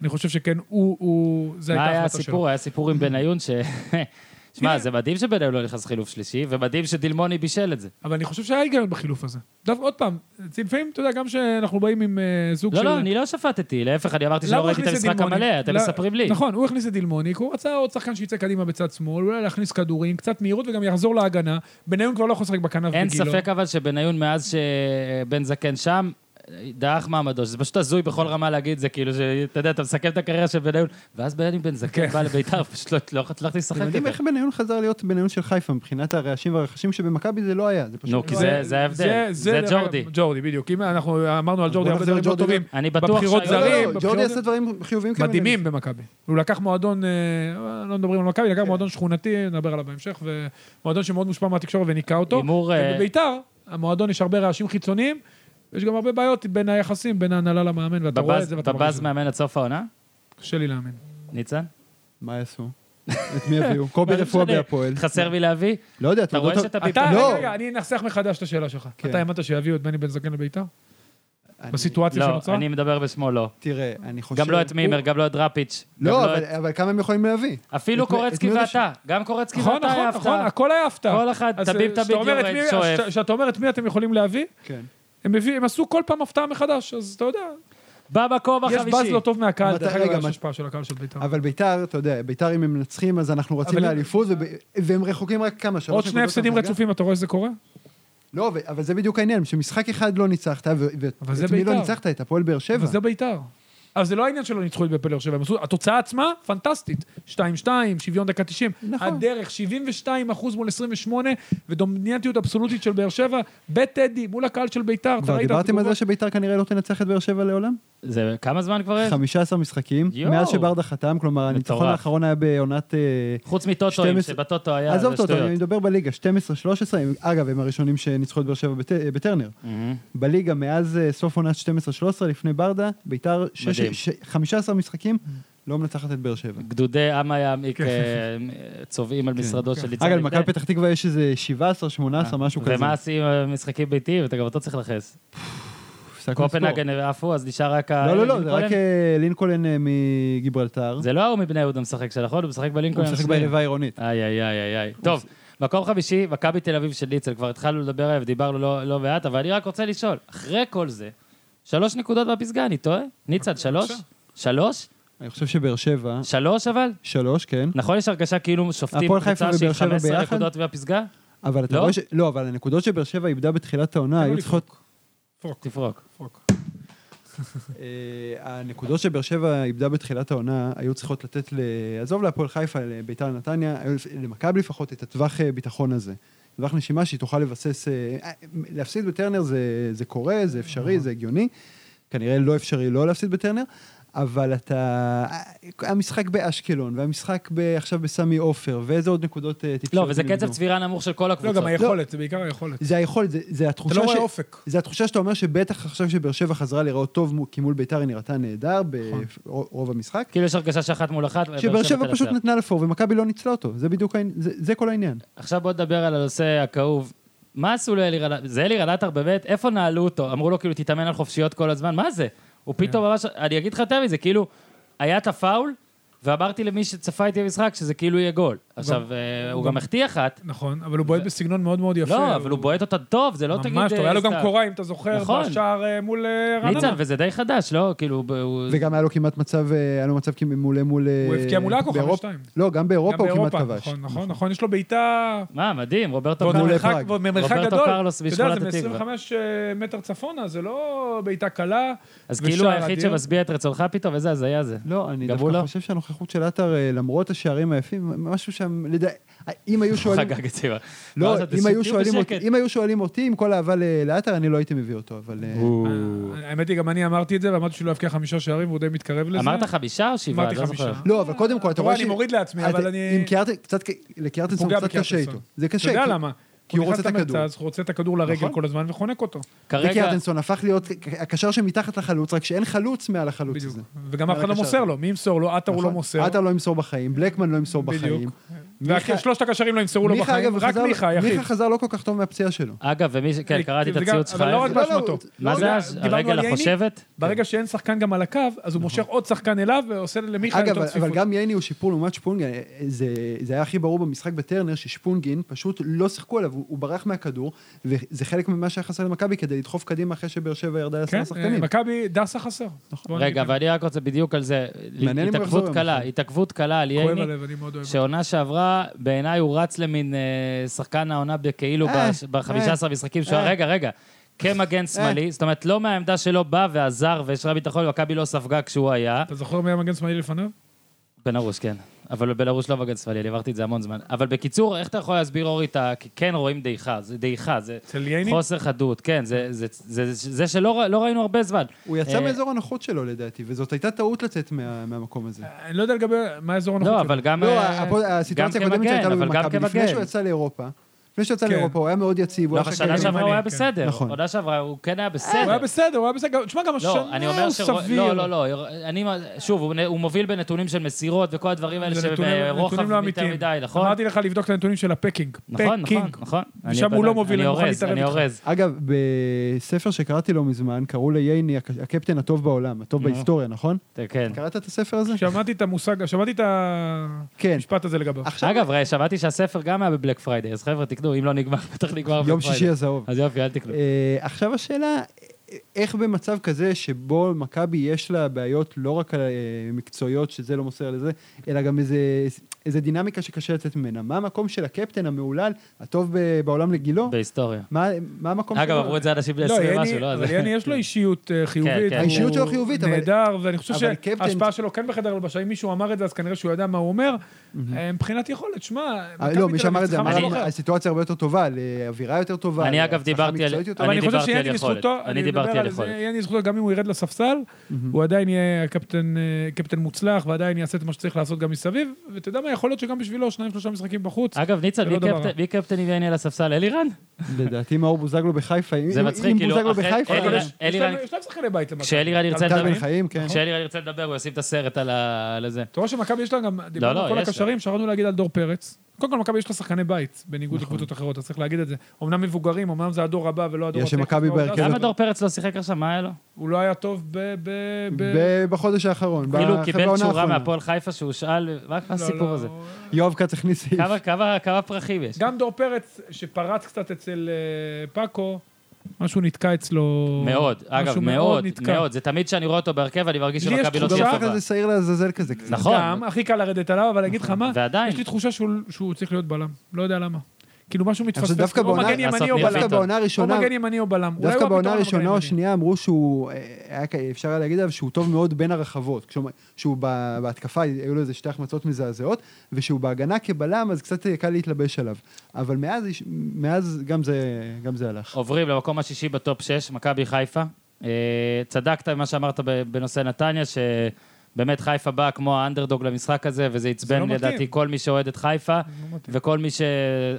[SPEAKER 3] אני חושב שכן, הוא, הוא, זה
[SPEAKER 1] מה
[SPEAKER 3] הייתה
[SPEAKER 1] היה
[SPEAKER 3] ההחלטה שלו.
[SPEAKER 1] הסיפור? היה סיפור עם בניון ש...
[SPEAKER 3] [laughs]
[SPEAKER 1] שמע, זה מדהים שבניון לא נכנס חילוף שלישי, ומדהים שדילמוני בישל את זה.
[SPEAKER 3] אבל אני חושב שהיה היגיון בחילוף הזה. דווקא עוד פעם, לפעמים, אתה יודע, גם שאנחנו באים עם אה, זוג
[SPEAKER 1] לא,
[SPEAKER 3] של...
[SPEAKER 1] לא, אני לא שפטתי, להפך, אני אמרתי
[SPEAKER 3] למה
[SPEAKER 1] שלא
[SPEAKER 3] לא, הוא
[SPEAKER 1] ראיתי את
[SPEAKER 3] הכניס
[SPEAKER 1] המשחק
[SPEAKER 3] דילמוני?
[SPEAKER 1] המלא, אתם
[SPEAKER 3] לא-
[SPEAKER 1] מספרים לי.
[SPEAKER 3] נכון, הוא הכניס את דילמוניק, הוא רצה עוד שחקן שיצא קדימה בצד שמאל, אולי להכניס כדורים, קצת מהירות וגם יחזור להגנה. בניון כבר לא יכול לשחק בכנף בגילו.
[SPEAKER 1] אין ספק אבל שבניון מאז שבן זקן שם, דעך מעמדו, שזה פשוט הזוי בכל רמה להגיד זה, כאילו, שאתה יודע, אתה מסכם את הקריירה של בניון, ואז בניון בן
[SPEAKER 3] כן.
[SPEAKER 1] זקן בא לביתר, פשוט לא- לא הצלחתי לשחק
[SPEAKER 2] אתם יודעים
[SPEAKER 1] איתו.
[SPEAKER 2] איך בניון חזר להיות בניון של חיפה מבחינת הרעשים והרכשים שבמכבי זה לא היה, זה פשוט...
[SPEAKER 1] נו,
[SPEAKER 2] לא
[SPEAKER 1] כי זה
[SPEAKER 2] היה.
[SPEAKER 1] זה ההבדל, זה
[SPEAKER 3] אה, דרך אגב,
[SPEAKER 1] ג'ורדי.
[SPEAKER 3] ג'ורדי, בדיוק. אם אנחנו אמרנו על
[SPEAKER 2] אז
[SPEAKER 3] ג'ורדי
[SPEAKER 2] בוא
[SPEAKER 3] הרבה
[SPEAKER 2] נחזיר
[SPEAKER 3] דברים לא
[SPEAKER 2] לג'ורדי
[SPEAKER 3] טובים.
[SPEAKER 1] אני בטוח
[SPEAKER 3] בבחירות
[SPEAKER 1] שהיו-
[SPEAKER 3] זרים,
[SPEAKER 2] לא, לא,
[SPEAKER 3] בבחירות-
[SPEAKER 2] ג'ורדי עשה דברים חיובים כאלה.
[SPEAKER 3] מדהימים במכבי. הוא לקח מועדון, אה, לא מדברים על מכבי, לקח
[SPEAKER 2] כן.
[SPEAKER 3] מועדון שכונתי, נדבר עליו בהמשך, ומועדון שמאוד מושפע מהתקשורת וניקה אותו.
[SPEAKER 1] הימור, אה,
[SPEAKER 3] ובביתר, המועדון יש הרבה רעשים חיצוניים, יש גם הרבה בעיות בין היחסים, בין ההנהלה למאמן, ואתה רואה את
[SPEAKER 1] בבאז
[SPEAKER 3] זה ואתה מרגיש את
[SPEAKER 1] בבאז
[SPEAKER 3] זה.
[SPEAKER 1] מאמן עד סוף העונה?
[SPEAKER 3] קשה לי להאמין.
[SPEAKER 1] ניצן?
[SPEAKER 2] מה יעשו? את מי
[SPEAKER 1] [laughs]
[SPEAKER 2] יביאו? קובי
[SPEAKER 1] מה זה
[SPEAKER 2] רפואה
[SPEAKER 1] משנה?
[SPEAKER 2] בהפועל.
[SPEAKER 3] כן.
[SPEAKER 1] חסר מלהביא?
[SPEAKER 2] לא יודע,
[SPEAKER 1] אתה רואה
[SPEAKER 2] תעודות-
[SPEAKER 1] שאתה
[SPEAKER 3] אתה,
[SPEAKER 1] לא.
[SPEAKER 3] רגע, רגע, אני אנסח מחדש את השאלה שלך.
[SPEAKER 2] כן.
[SPEAKER 3] אתה האמנת שיביאו את בני בן זקן לביתר?
[SPEAKER 2] אני-
[SPEAKER 3] בסיטואציה
[SPEAKER 1] לא,
[SPEAKER 3] שנוצרה?
[SPEAKER 1] אני מדבר בשמו לא.
[SPEAKER 2] תראה, אני חושב...
[SPEAKER 1] גם לא את מימר, גם לא את דראפיץ'. גם
[SPEAKER 2] לא,
[SPEAKER 1] את-
[SPEAKER 2] אבל- אבל כמה הם יכולים להביא?
[SPEAKER 1] אפילו
[SPEAKER 2] את מי-
[SPEAKER 1] קורצקי
[SPEAKER 2] את מי הוא
[SPEAKER 1] ואתה. גם קורצקי
[SPEAKER 3] נכון,
[SPEAKER 1] ואתה
[SPEAKER 3] נכון,
[SPEAKER 1] היה
[SPEAKER 3] נכון,
[SPEAKER 1] הפתעה.
[SPEAKER 3] הכל היה הפתעה.
[SPEAKER 1] כל אחד,
[SPEAKER 3] אז,
[SPEAKER 1] תביב,
[SPEAKER 3] אה,
[SPEAKER 1] תביב,
[SPEAKER 3] כשאתה אומר את
[SPEAKER 1] יורד,
[SPEAKER 3] מי- אה,
[SPEAKER 1] שואף.
[SPEAKER 3] כשאתה- כשאתה אומר את מי אתם יכולים להביא,
[SPEAKER 2] כן.
[SPEAKER 3] הם הביא- הם עשו כל פעם הפתעה מחדש, אז אתה יודע,
[SPEAKER 1] בא במקום
[SPEAKER 3] יש באז
[SPEAKER 1] החמישי.
[SPEAKER 3] לא טוב מהקהל,
[SPEAKER 2] מתי-
[SPEAKER 3] דרך אגב,
[SPEAKER 2] רגע,
[SPEAKER 3] יש
[SPEAKER 2] מת-
[SPEAKER 3] השפעה של הקהל של ביתר.
[SPEAKER 2] אבל ביתר, אתה יודע, ביתר אם הם מנצחים, אז אנחנו רצים
[SPEAKER 3] נכון. אבל-
[SPEAKER 2] לאליפות, וב- והם רחוקים רק כמה, שלוש
[SPEAKER 3] עוד שני
[SPEAKER 2] נקודות
[SPEAKER 3] הפסדים
[SPEAKER 2] מהמגע?
[SPEAKER 3] רצופים, אתה רואה שזה קורה?
[SPEAKER 2] לא, ו- אבל זה בדיוק העניין, שמשחק אחד לא ניצחת, ו-
[SPEAKER 3] אבל זה
[SPEAKER 2] ואת מי לא
[SPEAKER 3] בית"ר.
[SPEAKER 2] ניצחת? את הפועל באר שבע.
[SPEAKER 3] אבל זה ביתר. אז זה לא העניין שלא ניצחו את בפלר שבע, הם עשו- התוצאה עצמה, פנטסטית. 2-2, שוויון דקה 90.
[SPEAKER 2] נכון.
[SPEAKER 3] הדרך, 72 אחוז מול 28, ודומיננטיות אבסולוטית של באר שבע, בטדי, מול הקהל של ביתר. אתה
[SPEAKER 2] כבר
[SPEAKER 3] ראית את
[SPEAKER 2] דיברתם על זה
[SPEAKER 3] התגובות?
[SPEAKER 2] שביתר כנראה לא תנצח את באר שבע לעולם?
[SPEAKER 1] זה כמה זמן כבר
[SPEAKER 3] אה.
[SPEAKER 1] יש?
[SPEAKER 2] 15 משחקים,
[SPEAKER 1] יואו.
[SPEAKER 2] מאז שברדה חתם, כלומר, הניצחון האחרון היה בעונת... אה,
[SPEAKER 1] חוץ מטוטוים,
[SPEAKER 2] 12.
[SPEAKER 1] שבטוטו היה
[SPEAKER 2] עזוב
[SPEAKER 1] זה
[SPEAKER 2] אותו,
[SPEAKER 1] שטויות.
[SPEAKER 2] אני מדבר בליגה, 12-13, הם- אגב, הם הראשונים שניצחו את באר שבע בט- אה, בטרנר.
[SPEAKER 1] מהמם.
[SPEAKER 2] בליגה מאז אה, סוף עונת 12-13, לפני ברדה, ביתר שש-
[SPEAKER 1] מדהים.
[SPEAKER 2] ש- 15 משחקים,
[SPEAKER 3] אה.
[SPEAKER 2] לא מנצחת את באר שבע.
[SPEAKER 1] גדודי עם היעמיק אה, צובעים על משרדו של ליצן.
[SPEAKER 2] כן. אגב,
[SPEAKER 1] יבנה.
[SPEAKER 2] למכבי פתח תקווה יש איזה 17-18, משהו כזה.
[SPEAKER 1] אה, ומה עשי עם המשחקים ביתיים? אתה גם אותו צריך לכס.
[SPEAKER 2] הפסקנו לספור.
[SPEAKER 1] קופנהגן עפו, אז נשאר רק ה...
[SPEAKER 2] לא, לא, לא, זה רק
[SPEAKER 1] לינקולן?
[SPEAKER 2] אה, לינקולן אה, מגיברלטר.
[SPEAKER 1] זה לא ההוא מבני יהודה משחק שלו, נכון? הוא משחק
[SPEAKER 2] הוא
[SPEAKER 1] בלינקולן.
[SPEAKER 2] משחק
[SPEAKER 1] השני.
[SPEAKER 2] ביריבה העירונית.
[SPEAKER 1] איי, איי, איי, איי, איי. טוב, מקום חמישי, מכבי תל אביב של ליצל. כבר התחלנו לדבר עליו, דיברנו לא- לא מעט, אבל אני רק רוצה לשאול, אחרי כל זה, שלוש נקודות בפסגה, אני טועה? ניצן, שלוש?
[SPEAKER 3] בבקשה.
[SPEAKER 1] שלוש?
[SPEAKER 2] אני חושב שבאר שבע,
[SPEAKER 1] שלוש אבל?
[SPEAKER 2] שלוש, כן.
[SPEAKER 1] נכון, יש הרגשה כאילו שופטים
[SPEAKER 2] הפועל
[SPEAKER 1] קבוצה
[SPEAKER 2] חיפה
[SPEAKER 1] שהיא
[SPEAKER 2] ובאר שבע
[SPEAKER 1] 15
[SPEAKER 2] ביחד?
[SPEAKER 1] נקודות מהפסגה?
[SPEAKER 2] אבל אתה
[SPEAKER 1] לא?
[SPEAKER 2] רואה ש... לא, אבל הנקודות שבאר שבע איבדה בתחילת העונה
[SPEAKER 3] תן לו
[SPEAKER 2] היו צריכות...
[SPEAKER 3] פרוק,
[SPEAKER 1] תפרוק.
[SPEAKER 3] פרוק.
[SPEAKER 2] אה, הנקודות שבאר שבע איבדה בתחילת העונה היו צריכות לתת, ל... עזוב להפועל חיפה, לביתר נתניה, היו לפ- למכבי לפחות, את הטווח אה, ביטחון הזה. טווח נשימה שהיא תוכל לבסס... אה, אה, להפסיד בטרנר זה, זה קורה, זה אפשרי, זה הגיוני. כנראה לא אפשרי לא להפסיד בטרנר, אבל אתה... אה, המשחק באשקלון, והמשחק ב... עכשיו בסמי עופר, ואיזה עוד נקודות אה, טיפשות.
[SPEAKER 1] לא, וזה
[SPEAKER 2] הם
[SPEAKER 1] קצב
[SPEAKER 2] איבדו.
[SPEAKER 1] צבירה נמוך של כל
[SPEAKER 3] לא,
[SPEAKER 1] הקבוצות.
[SPEAKER 3] גם היכולת, זה בעיקר היכולת.
[SPEAKER 2] זה היכולת, זה, זה התחושה
[SPEAKER 3] אתה לא
[SPEAKER 2] ש...
[SPEAKER 3] רואה אופק.
[SPEAKER 2] זה התחושה שאתה אומר שבטח עכשיו שבאר שבע חזרה להיראות טוב, מו- כי מול ביתר היא נראתה נהדר ברוב המשחק.
[SPEAKER 1] כאילו יש הרגשה שאחת מול אחת, ובאר
[SPEAKER 2] שבאר נכון. שבע פשוט
[SPEAKER 1] תנצח.
[SPEAKER 2] נתנה לפור ומכבי לא ניצלה אותו, זה בדיוק, העניין- זה, זה כל העניין.
[SPEAKER 1] עכשיו בוא נדבר על הנושא הכאוב. מה עשו לאליר עטר? זה אליר עטר באמת, איפה נעלו אותו? אמרו לו כאילו תתאמן על חופשיות כל הזמן, מה זה? הוא פתאום ממש, אני אגיד לך יותר מזה, כאילו, היה את הפאול, ואמרתי למי שצפה איתי במשחק שזה כאילו יהיה גול. עכשיו, אה, הוא גם החטיא אחת.
[SPEAKER 3] נכון, אבל הוא בועט בסגנון מאוד מאוד יפה.
[SPEAKER 1] לא, אבל הוא בועט אותה טוב, זה לא תגיד...
[SPEAKER 3] ממש, טוב,
[SPEAKER 1] אה,
[SPEAKER 3] היה לו גם
[SPEAKER 1] סתם.
[SPEAKER 3] קורה, אם אתה זוכר,
[SPEAKER 1] נכון.
[SPEAKER 3] בשער אה, מול אה,
[SPEAKER 1] ניצן,
[SPEAKER 3] רעננה.
[SPEAKER 1] וזה די חדש, לא? כאילו, ב- הוא...
[SPEAKER 2] וגם היה לו כמעט מצב, אה, היה לו מצב כמעט מעולה מול... אה,
[SPEAKER 3] הוא הבקיע מול עכו,
[SPEAKER 2] באירופ-
[SPEAKER 3] 5-2.
[SPEAKER 2] לא, גם באירופה
[SPEAKER 3] גם
[SPEAKER 2] הוא כמעט
[SPEAKER 3] באירופה,
[SPEAKER 2] כבש.
[SPEAKER 3] נכון, נכון, נכון, יש לו בעיטה...
[SPEAKER 1] מה, מדהים, רוברטו
[SPEAKER 3] ועוד
[SPEAKER 2] מול
[SPEAKER 1] קרלוס.
[SPEAKER 3] מרחק-
[SPEAKER 2] פראג.
[SPEAKER 3] ועוד ממרחק
[SPEAKER 1] רוברטו
[SPEAKER 3] גדול.
[SPEAKER 1] קרלוס
[SPEAKER 3] אתה יודע,
[SPEAKER 1] משכונת
[SPEAKER 3] זה
[SPEAKER 1] התקווה.
[SPEAKER 3] מ-25 אה, מטר צפונה, זה לא בעיטה קלה.
[SPEAKER 1] אז
[SPEAKER 3] ושער
[SPEAKER 1] כאילו היחיד
[SPEAKER 3] אדיר.
[SPEAKER 1] שמשביע את רצונך פתאום, איזה הזיה
[SPEAKER 3] [laughs]
[SPEAKER 1] זה.
[SPEAKER 2] לא, אני
[SPEAKER 1] גם הוא
[SPEAKER 2] דווקא
[SPEAKER 1] לא?
[SPEAKER 2] חושב שהנוכחות של עטר, אה, למרות השערים היפים, משהו שם, לדע... אם [laughs] היו
[SPEAKER 1] הוא
[SPEAKER 2] שואלים...
[SPEAKER 1] חגג את זה.
[SPEAKER 2] לא,
[SPEAKER 1] ואז אתה
[SPEAKER 2] אם היו
[SPEAKER 1] תהיו
[SPEAKER 2] שואלים
[SPEAKER 1] בשקט.
[SPEAKER 2] אותי- אם היו שואלים אותי, עם כל האהבה ל- לעטר, אני לא הייתי מביא אותו, אבל... אה,
[SPEAKER 3] האמת היא, גם אני אמרתי את זה, ואמרתי שהוא לא יבקיע חמישה שערים, והוא די מתקרב לזה.
[SPEAKER 1] אה, אמרת חמישה או שבעה?
[SPEAKER 3] אמרתי
[SPEAKER 1] לא זוכר.
[SPEAKER 3] חמישה.
[SPEAKER 2] לא, אבל קודם כל, אתה
[SPEAKER 3] לא,
[SPEAKER 2] רואה
[SPEAKER 3] אני מוריד לעצמי,
[SPEAKER 2] אז
[SPEAKER 3] אבל אני-
[SPEAKER 2] עם קיארטנסון קצת... לקיארטנסון
[SPEAKER 3] פוגע
[SPEAKER 2] קצת קשה
[SPEAKER 3] בקיארטנסון.
[SPEAKER 2] איתו. זה
[SPEAKER 3] אתה
[SPEAKER 2] קשה.
[SPEAKER 3] יודע
[SPEAKER 2] כי-
[SPEAKER 3] למה?
[SPEAKER 2] כי הוא רוצה את
[SPEAKER 3] נכנס
[SPEAKER 2] הכדור.
[SPEAKER 3] למרכז, הוא רוצה את הכדור לרגל
[SPEAKER 2] נכון.
[SPEAKER 3] כל הזמן וחונק אותו.
[SPEAKER 1] כרגע,
[SPEAKER 2] וקרטנסון הפך להיות הקשר שמתחת לחלוץ, רק שאין חלוץ מעל החלוץ
[SPEAKER 3] בדיוק.
[SPEAKER 2] הזה.
[SPEAKER 3] וגם אף אחד לא
[SPEAKER 2] לקשר.
[SPEAKER 3] מוסר לו. מי ימסור לו? עטר הוא לא
[SPEAKER 2] נכון?
[SPEAKER 3] מוסר.
[SPEAKER 2] עטר לא ימסור בחיים, בלקמן לא ימסור בחיים.
[SPEAKER 3] בדיוק. ושלושת הקשרים לא ימסרו לו
[SPEAKER 2] מיכה,
[SPEAKER 3] בחיים,
[SPEAKER 2] אגב,
[SPEAKER 3] רק
[SPEAKER 2] חזר-
[SPEAKER 3] מיכה היחיד.
[SPEAKER 2] מיכה חזר לא כל כך טוב מהפציעה שלו.
[SPEAKER 1] אגב, ומי ש... כן, קראתי את
[SPEAKER 3] וגם-
[SPEAKER 1] הציוץ שלך.
[SPEAKER 3] אה, אבל לא רק
[SPEAKER 2] לא, לא,
[SPEAKER 3] באשמתו.
[SPEAKER 1] מה
[SPEAKER 3] לא,
[SPEAKER 1] זה
[SPEAKER 3] לא,
[SPEAKER 1] הש-
[SPEAKER 3] דיברנו על
[SPEAKER 1] הרגל
[SPEAKER 3] ייני.
[SPEAKER 1] החושבת?
[SPEAKER 3] ברגע שאין שחקן גם על הקו, אז הוא מושך עוד שחקן אליו ועושה למיכה
[SPEAKER 2] נכון. אגב,
[SPEAKER 3] יותר
[SPEAKER 2] אבל- אבל
[SPEAKER 3] צפיפות.
[SPEAKER 2] גם ייני הוא שיפור לעומת שפונגין. אה, זה זה היה הכי ברור במשחק בטרנר, ששפונגין פשוט לא שיחקו עליו, הוא הוא ברח מהכדור, וזה חלק ממה שהיה חסר למכבי כדי לדחוף קדימה אחרי שבאר שבע ירדה
[SPEAKER 3] כן,
[SPEAKER 2] לעשרה
[SPEAKER 3] אה,
[SPEAKER 2] שחקנים.
[SPEAKER 3] מכבי, דסה חסר. בוא נגיד
[SPEAKER 1] נכון. רגע,
[SPEAKER 3] את זה.
[SPEAKER 1] ואני רק רוצה בדיוק על זה.
[SPEAKER 2] מעניין אם הוא
[SPEAKER 1] התעכבות
[SPEAKER 2] יחזור
[SPEAKER 1] קלה,
[SPEAKER 2] יום
[SPEAKER 1] התעכבות קלה על
[SPEAKER 3] כואב
[SPEAKER 1] ייני,
[SPEAKER 3] הלב, אני מאוד אוהב.
[SPEAKER 1] שעונה שעברה, בעיניי הוא רץ למין אה, שחקן העונה כאילו בכאילו
[SPEAKER 2] אה,
[SPEAKER 1] ב-15 משחקים שהוא...
[SPEAKER 2] אה.
[SPEAKER 1] רגע, רגע.
[SPEAKER 3] אה.
[SPEAKER 1] כמגן שמאלי, זאת אומרת, לא מהעמדה שלו בא ועזר והשרה ביטחון, מכבי לא ספגה כשהוא היה.
[SPEAKER 3] אתה זוכר מי המגן שמאלי לפניו?
[SPEAKER 1] בן ארוש, כן. אבל בן ארוש לא מגן שמאלי, אני עברתי את זה המון זמן. אבל בקיצור, איך אתה יכול להסביר, אורי, את ה... כי כן רואים דעיכה, זה דעיכה, זה
[SPEAKER 3] אצל ייני?
[SPEAKER 1] חוסר חדות, כן, זה, זה, זה, זה, זה שלא ר- לא ראינו הרבה זמן.
[SPEAKER 2] הוא יצא
[SPEAKER 1] אה,
[SPEAKER 2] מאזור הנוחות שלו לדעתי, וזאת הייתה טעות לצאת מה- מהמקום הזה.
[SPEAKER 3] אני לא יודע לגבי מה האזור הנוחות
[SPEAKER 1] לא,
[SPEAKER 3] שלו.
[SPEAKER 1] אבל גם...
[SPEAKER 2] לא,
[SPEAKER 1] אה,
[SPEAKER 2] הפו- הסיטואציה
[SPEAKER 1] גם
[SPEAKER 2] הקודמת
[SPEAKER 1] כמגן,
[SPEAKER 2] שהייתה לו
[SPEAKER 1] אבל גם
[SPEAKER 2] במכבי, לפני
[SPEAKER 1] כמגן.
[SPEAKER 2] שהוא יצא לאירופה, לפני שיצא
[SPEAKER 3] כן.
[SPEAKER 2] לאירופה, הוא היה מאוד יציב. הוא
[SPEAKER 1] לא,
[SPEAKER 2] היה
[SPEAKER 1] שנה
[SPEAKER 2] חכה-
[SPEAKER 1] שעברה הוא היה
[SPEAKER 3] כן. אה,
[SPEAKER 1] בסדר.
[SPEAKER 2] נכון.
[SPEAKER 1] עונה שעברה הוא כן היה
[SPEAKER 3] הוא היה
[SPEAKER 1] בסדר.
[SPEAKER 3] בסדר, הוא היה בסדר. גם- תשמע, גם
[SPEAKER 1] לא, אני
[SPEAKER 3] השנה
[SPEAKER 1] אומר
[SPEAKER 3] הוא
[SPEAKER 1] ש...
[SPEAKER 3] סביר.
[SPEAKER 1] לא, לא, לא. אני... שוב, הוא- הוא מוביל בנתונים של מסירות וכל הדברים האלה
[SPEAKER 3] זה נתונים-
[SPEAKER 1] שברוחב
[SPEAKER 3] נתונים לא
[SPEAKER 1] יותר
[SPEAKER 3] אמיתיים.
[SPEAKER 1] מדי, נכון?
[SPEAKER 3] אמרתי לך לבדוק את הנתונים של הפקינג.
[SPEAKER 1] נכון, נכון,
[SPEAKER 3] פקינג.
[SPEAKER 1] נכון.
[SPEAKER 3] ושם
[SPEAKER 1] אני
[SPEAKER 3] הוא לא
[SPEAKER 1] בדק,
[SPEAKER 3] מוביל,
[SPEAKER 1] אני
[SPEAKER 3] אני מוכן
[SPEAKER 1] אורז,
[SPEAKER 3] להתערב
[SPEAKER 1] אני
[SPEAKER 3] איתך.
[SPEAKER 1] אורז.
[SPEAKER 2] אגב, בספר שקראתי לא מזמן, קראו לייני הק- הקפטן הטוב בעולם, הטוב
[SPEAKER 1] נו.
[SPEAKER 2] בהיסטוריה, נכון?
[SPEAKER 1] כן.
[SPEAKER 2] קראת את הספר הזה?
[SPEAKER 3] שמעתי את המושג, שמעתי את
[SPEAKER 2] כן.
[SPEAKER 3] המשפט הזה לגביו.
[SPEAKER 2] עכשיו,
[SPEAKER 1] אגב, ראה, שמעתי שהספר גם היה בבלק פריידי, אז חבר'ה, תקנו, אם לא נגמר, [laughs] בטח נגמר בבלק
[SPEAKER 2] יום
[SPEAKER 1] פריידי.
[SPEAKER 2] שישי הזהוב.
[SPEAKER 1] אז יופי, אל תקנו.
[SPEAKER 2] אה, עכשיו השאלה, איך במצב כזה שבו מכבי יש לה בעיות לא רק אה, מקצועיות, שזה לא מוסר לזה, אלא גם איזה, איזה דינמיקה שקשה לצאת ממנה. מה המקום של הקפטן המהולל, הטוב ב- בעולם לגילו?
[SPEAKER 1] בהיסטוריה.
[SPEAKER 2] מה, מה המקום
[SPEAKER 1] אגב,
[SPEAKER 2] שלו?
[SPEAKER 1] אמרו את זה אנשים בני
[SPEAKER 3] לא,
[SPEAKER 1] 20
[SPEAKER 3] יני,
[SPEAKER 1] ומשהו, לא? אז-
[SPEAKER 3] אבל יני יש לו אישיות אה, חיובית.
[SPEAKER 1] כן.
[SPEAKER 2] האישיות
[SPEAKER 3] הוא
[SPEAKER 2] שלו חיובית, אבל-
[SPEAKER 3] נהדר, ואני חושב
[SPEAKER 2] אבל קפטן-
[SPEAKER 3] שההשפעה שלו כן בחדר הלבשה. אם מישהו אמר את זה, אז כנראה שהוא ידע מה הוא אומר. אה, מבחינת יכולת, שמע...
[SPEAKER 2] אה,
[SPEAKER 3] מכבי
[SPEAKER 2] לא, מי
[SPEAKER 3] תל
[SPEAKER 2] שאמר
[SPEAKER 3] אביב
[SPEAKER 2] את זה
[SPEAKER 3] צריכה
[SPEAKER 2] אמר,
[SPEAKER 1] אני-
[SPEAKER 3] משהו אחר.
[SPEAKER 2] הסיטואציה הרבה יותר טובה, לאווירה יותר טובה.
[SPEAKER 1] אני, אגב,
[SPEAKER 2] להצלחה
[SPEAKER 1] דיברתי על-
[SPEAKER 2] מקצועית יותר
[SPEAKER 1] אני
[SPEAKER 3] אבל
[SPEAKER 2] טובה.
[SPEAKER 3] אני חושב
[SPEAKER 1] דיברתי על
[SPEAKER 3] שיאני
[SPEAKER 1] יכולת.
[SPEAKER 3] בזכותו,
[SPEAKER 1] אני דיברתי
[SPEAKER 3] מדבר
[SPEAKER 1] על
[SPEAKER 3] על זה,
[SPEAKER 1] יכולת.
[SPEAKER 3] יאני בזכותו, גם אם הוא ירד לספסל, הוא עדיין יהיה קפטן, אה, קפטן מוצלח, ועדיין יעשה את מה שצריך לעשות גם מסביב, ואתה יודע מה, יכול להיות שגם בשבילו שניים שלושה משחקים בחוץ.
[SPEAKER 1] אגב, ניצן,
[SPEAKER 3] זה
[SPEAKER 1] מי
[SPEAKER 3] לא דבר
[SPEAKER 1] קפטן-
[SPEAKER 3] רע.
[SPEAKER 1] מי קפטן הביא יני על הספסל? אלירן?
[SPEAKER 2] לדעתי מאור בוזגלו בחיפה, אם
[SPEAKER 1] זה
[SPEAKER 2] אם-
[SPEAKER 1] מצחיק,
[SPEAKER 2] אם
[SPEAKER 1] כאילו,
[SPEAKER 2] בוזגלו
[SPEAKER 1] אחרי-
[SPEAKER 2] בחיפה,
[SPEAKER 1] אלירן-
[SPEAKER 2] אבל יש-
[SPEAKER 3] אה, יש
[SPEAKER 1] אלירן-
[SPEAKER 3] להם- יש להם שחקני בית למכבי.
[SPEAKER 1] כשאלירן ירצה
[SPEAKER 2] טל בן
[SPEAKER 1] לדבר,
[SPEAKER 2] חיים, כן.
[SPEAKER 1] כשאלירן ירצה לדבר, הוא ישים את הסרט על ה- על הזה.
[SPEAKER 3] אתה רואה שמכבי יש לה גם, דיברנו
[SPEAKER 1] לא,
[SPEAKER 3] על כל
[SPEAKER 1] יש לה.
[SPEAKER 3] הקשרים, שרדנו להגיד על דור פרץ. קודם כל, מכבי יש לה שחקני בית, בניגוד
[SPEAKER 1] נכון.
[SPEAKER 3] לקבוצות אחרות, אז צריך להגיד את זה. אמנם מבוגרים, אמנם זה הדור הבא ולא הדור
[SPEAKER 2] יש
[SPEAKER 3] התיקו,
[SPEAKER 2] שמכבי
[SPEAKER 3] לא,
[SPEAKER 2] בהרכב.
[SPEAKER 3] אבל
[SPEAKER 1] למה דור פרץ לא שיחק עכשיו? מה היה לו?
[SPEAKER 3] הוא לא היה טוב ב... ב- לא, ב-
[SPEAKER 2] ב- בחודש האחרון,
[SPEAKER 1] כאילו, הוא
[SPEAKER 2] בח-
[SPEAKER 1] קיבל
[SPEAKER 2] בעונה
[SPEAKER 1] תשורה
[SPEAKER 2] האחרונה.
[SPEAKER 1] מהפועל חיפה שהוא שאל, מה מה
[SPEAKER 3] לא,
[SPEAKER 1] הסיפור
[SPEAKER 3] לא.
[SPEAKER 1] הזה?
[SPEAKER 2] יואב כץ הכניס סעיף.
[SPEAKER 1] כמה- כמה- כמה פרחים יש?
[SPEAKER 3] גם דור פרץ, שפרץ קצת אצל אה, פאקו, משהו נתקע אצלו.
[SPEAKER 1] מאוד, אגב,
[SPEAKER 3] משהו
[SPEAKER 1] מאוד,
[SPEAKER 3] נתקע.
[SPEAKER 1] מאוד. זה תמיד כשאני רואה אותו בהרכב, אני מרגיש
[SPEAKER 3] לי יש
[SPEAKER 1] שמכבי לא
[SPEAKER 2] הוא
[SPEAKER 1] תהיה
[SPEAKER 2] גם
[SPEAKER 3] תחושה
[SPEAKER 1] טובה.
[SPEAKER 2] כזה שעיר לעזאזל כזה. קצת.
[SPEAKER 1] נכון.
[SPEAKER 3] גם, הכי קל לרדת עליו, אבל אני אגיד לך מה,
[SPEAKER 1] ועדיין.
[SPEAKER 3] יש לי תחושה שהוא- שהוא צריך להיות בלם, לא יודע למה. כאילו משהו
[SPEAKER 2] אני חושב
[SPEAKER 3] מתפספס,
[SPEAKER 2] דווקא
[SPEAKER 3] או
[SPEAKER 2] בעונה-
[SPEAKER 3] מגן ימני או
[SPEAKER 1] לעשות
[SPEAKER 3] בלם.
[SPEAKER 2] דווקא
[SPEAKER 1] ביטון.
[SPEAKER 2] בעונה
[SPEAKER 3] או
[SPEAKER 2] הראשונה,
[SPEAKER 3] מגן ימני או בלם. אולי הוא
[SPEAKER 2] דווקא
[SPEAKER 3] הפתרון
[SPEAKER 2] בעונה
[SPEAKER 3] למגן
[SPEAKER 2] הראשונה או
[SPEAKER 3] ימני.
[SPEAKER 2] השנייה אמרו שהוא, אה, היה כ- אפשר היה להגיד עליו שהוא טוב מאוד בין הרחבות. כשהוא- שהוא ב- בהתקפה, היו לו איזה שתי החמצות מזעזעות, ושהוא בהגנה כבלם, אז קצת אה, קל להתלבש עליו. אבל מאז, יש- מאז גם זה גם זה הלך.
[SPEAKER 1] עוברים למקום השישי בטופ 6, מכבי חיפה. אה, צדקת במה שאמרת ב- בנושא נתניה, שבאמת חיפה באה כמו האנדרדוג למשחק הזה, וזה
[SPEAKER 3] לא
[SPEAKER 1] עצבן
[SPEAKER 3] מתאים.
[SPEAKER 1] לדעתי כל מי שאוהד את חיפה, וכל מי ש...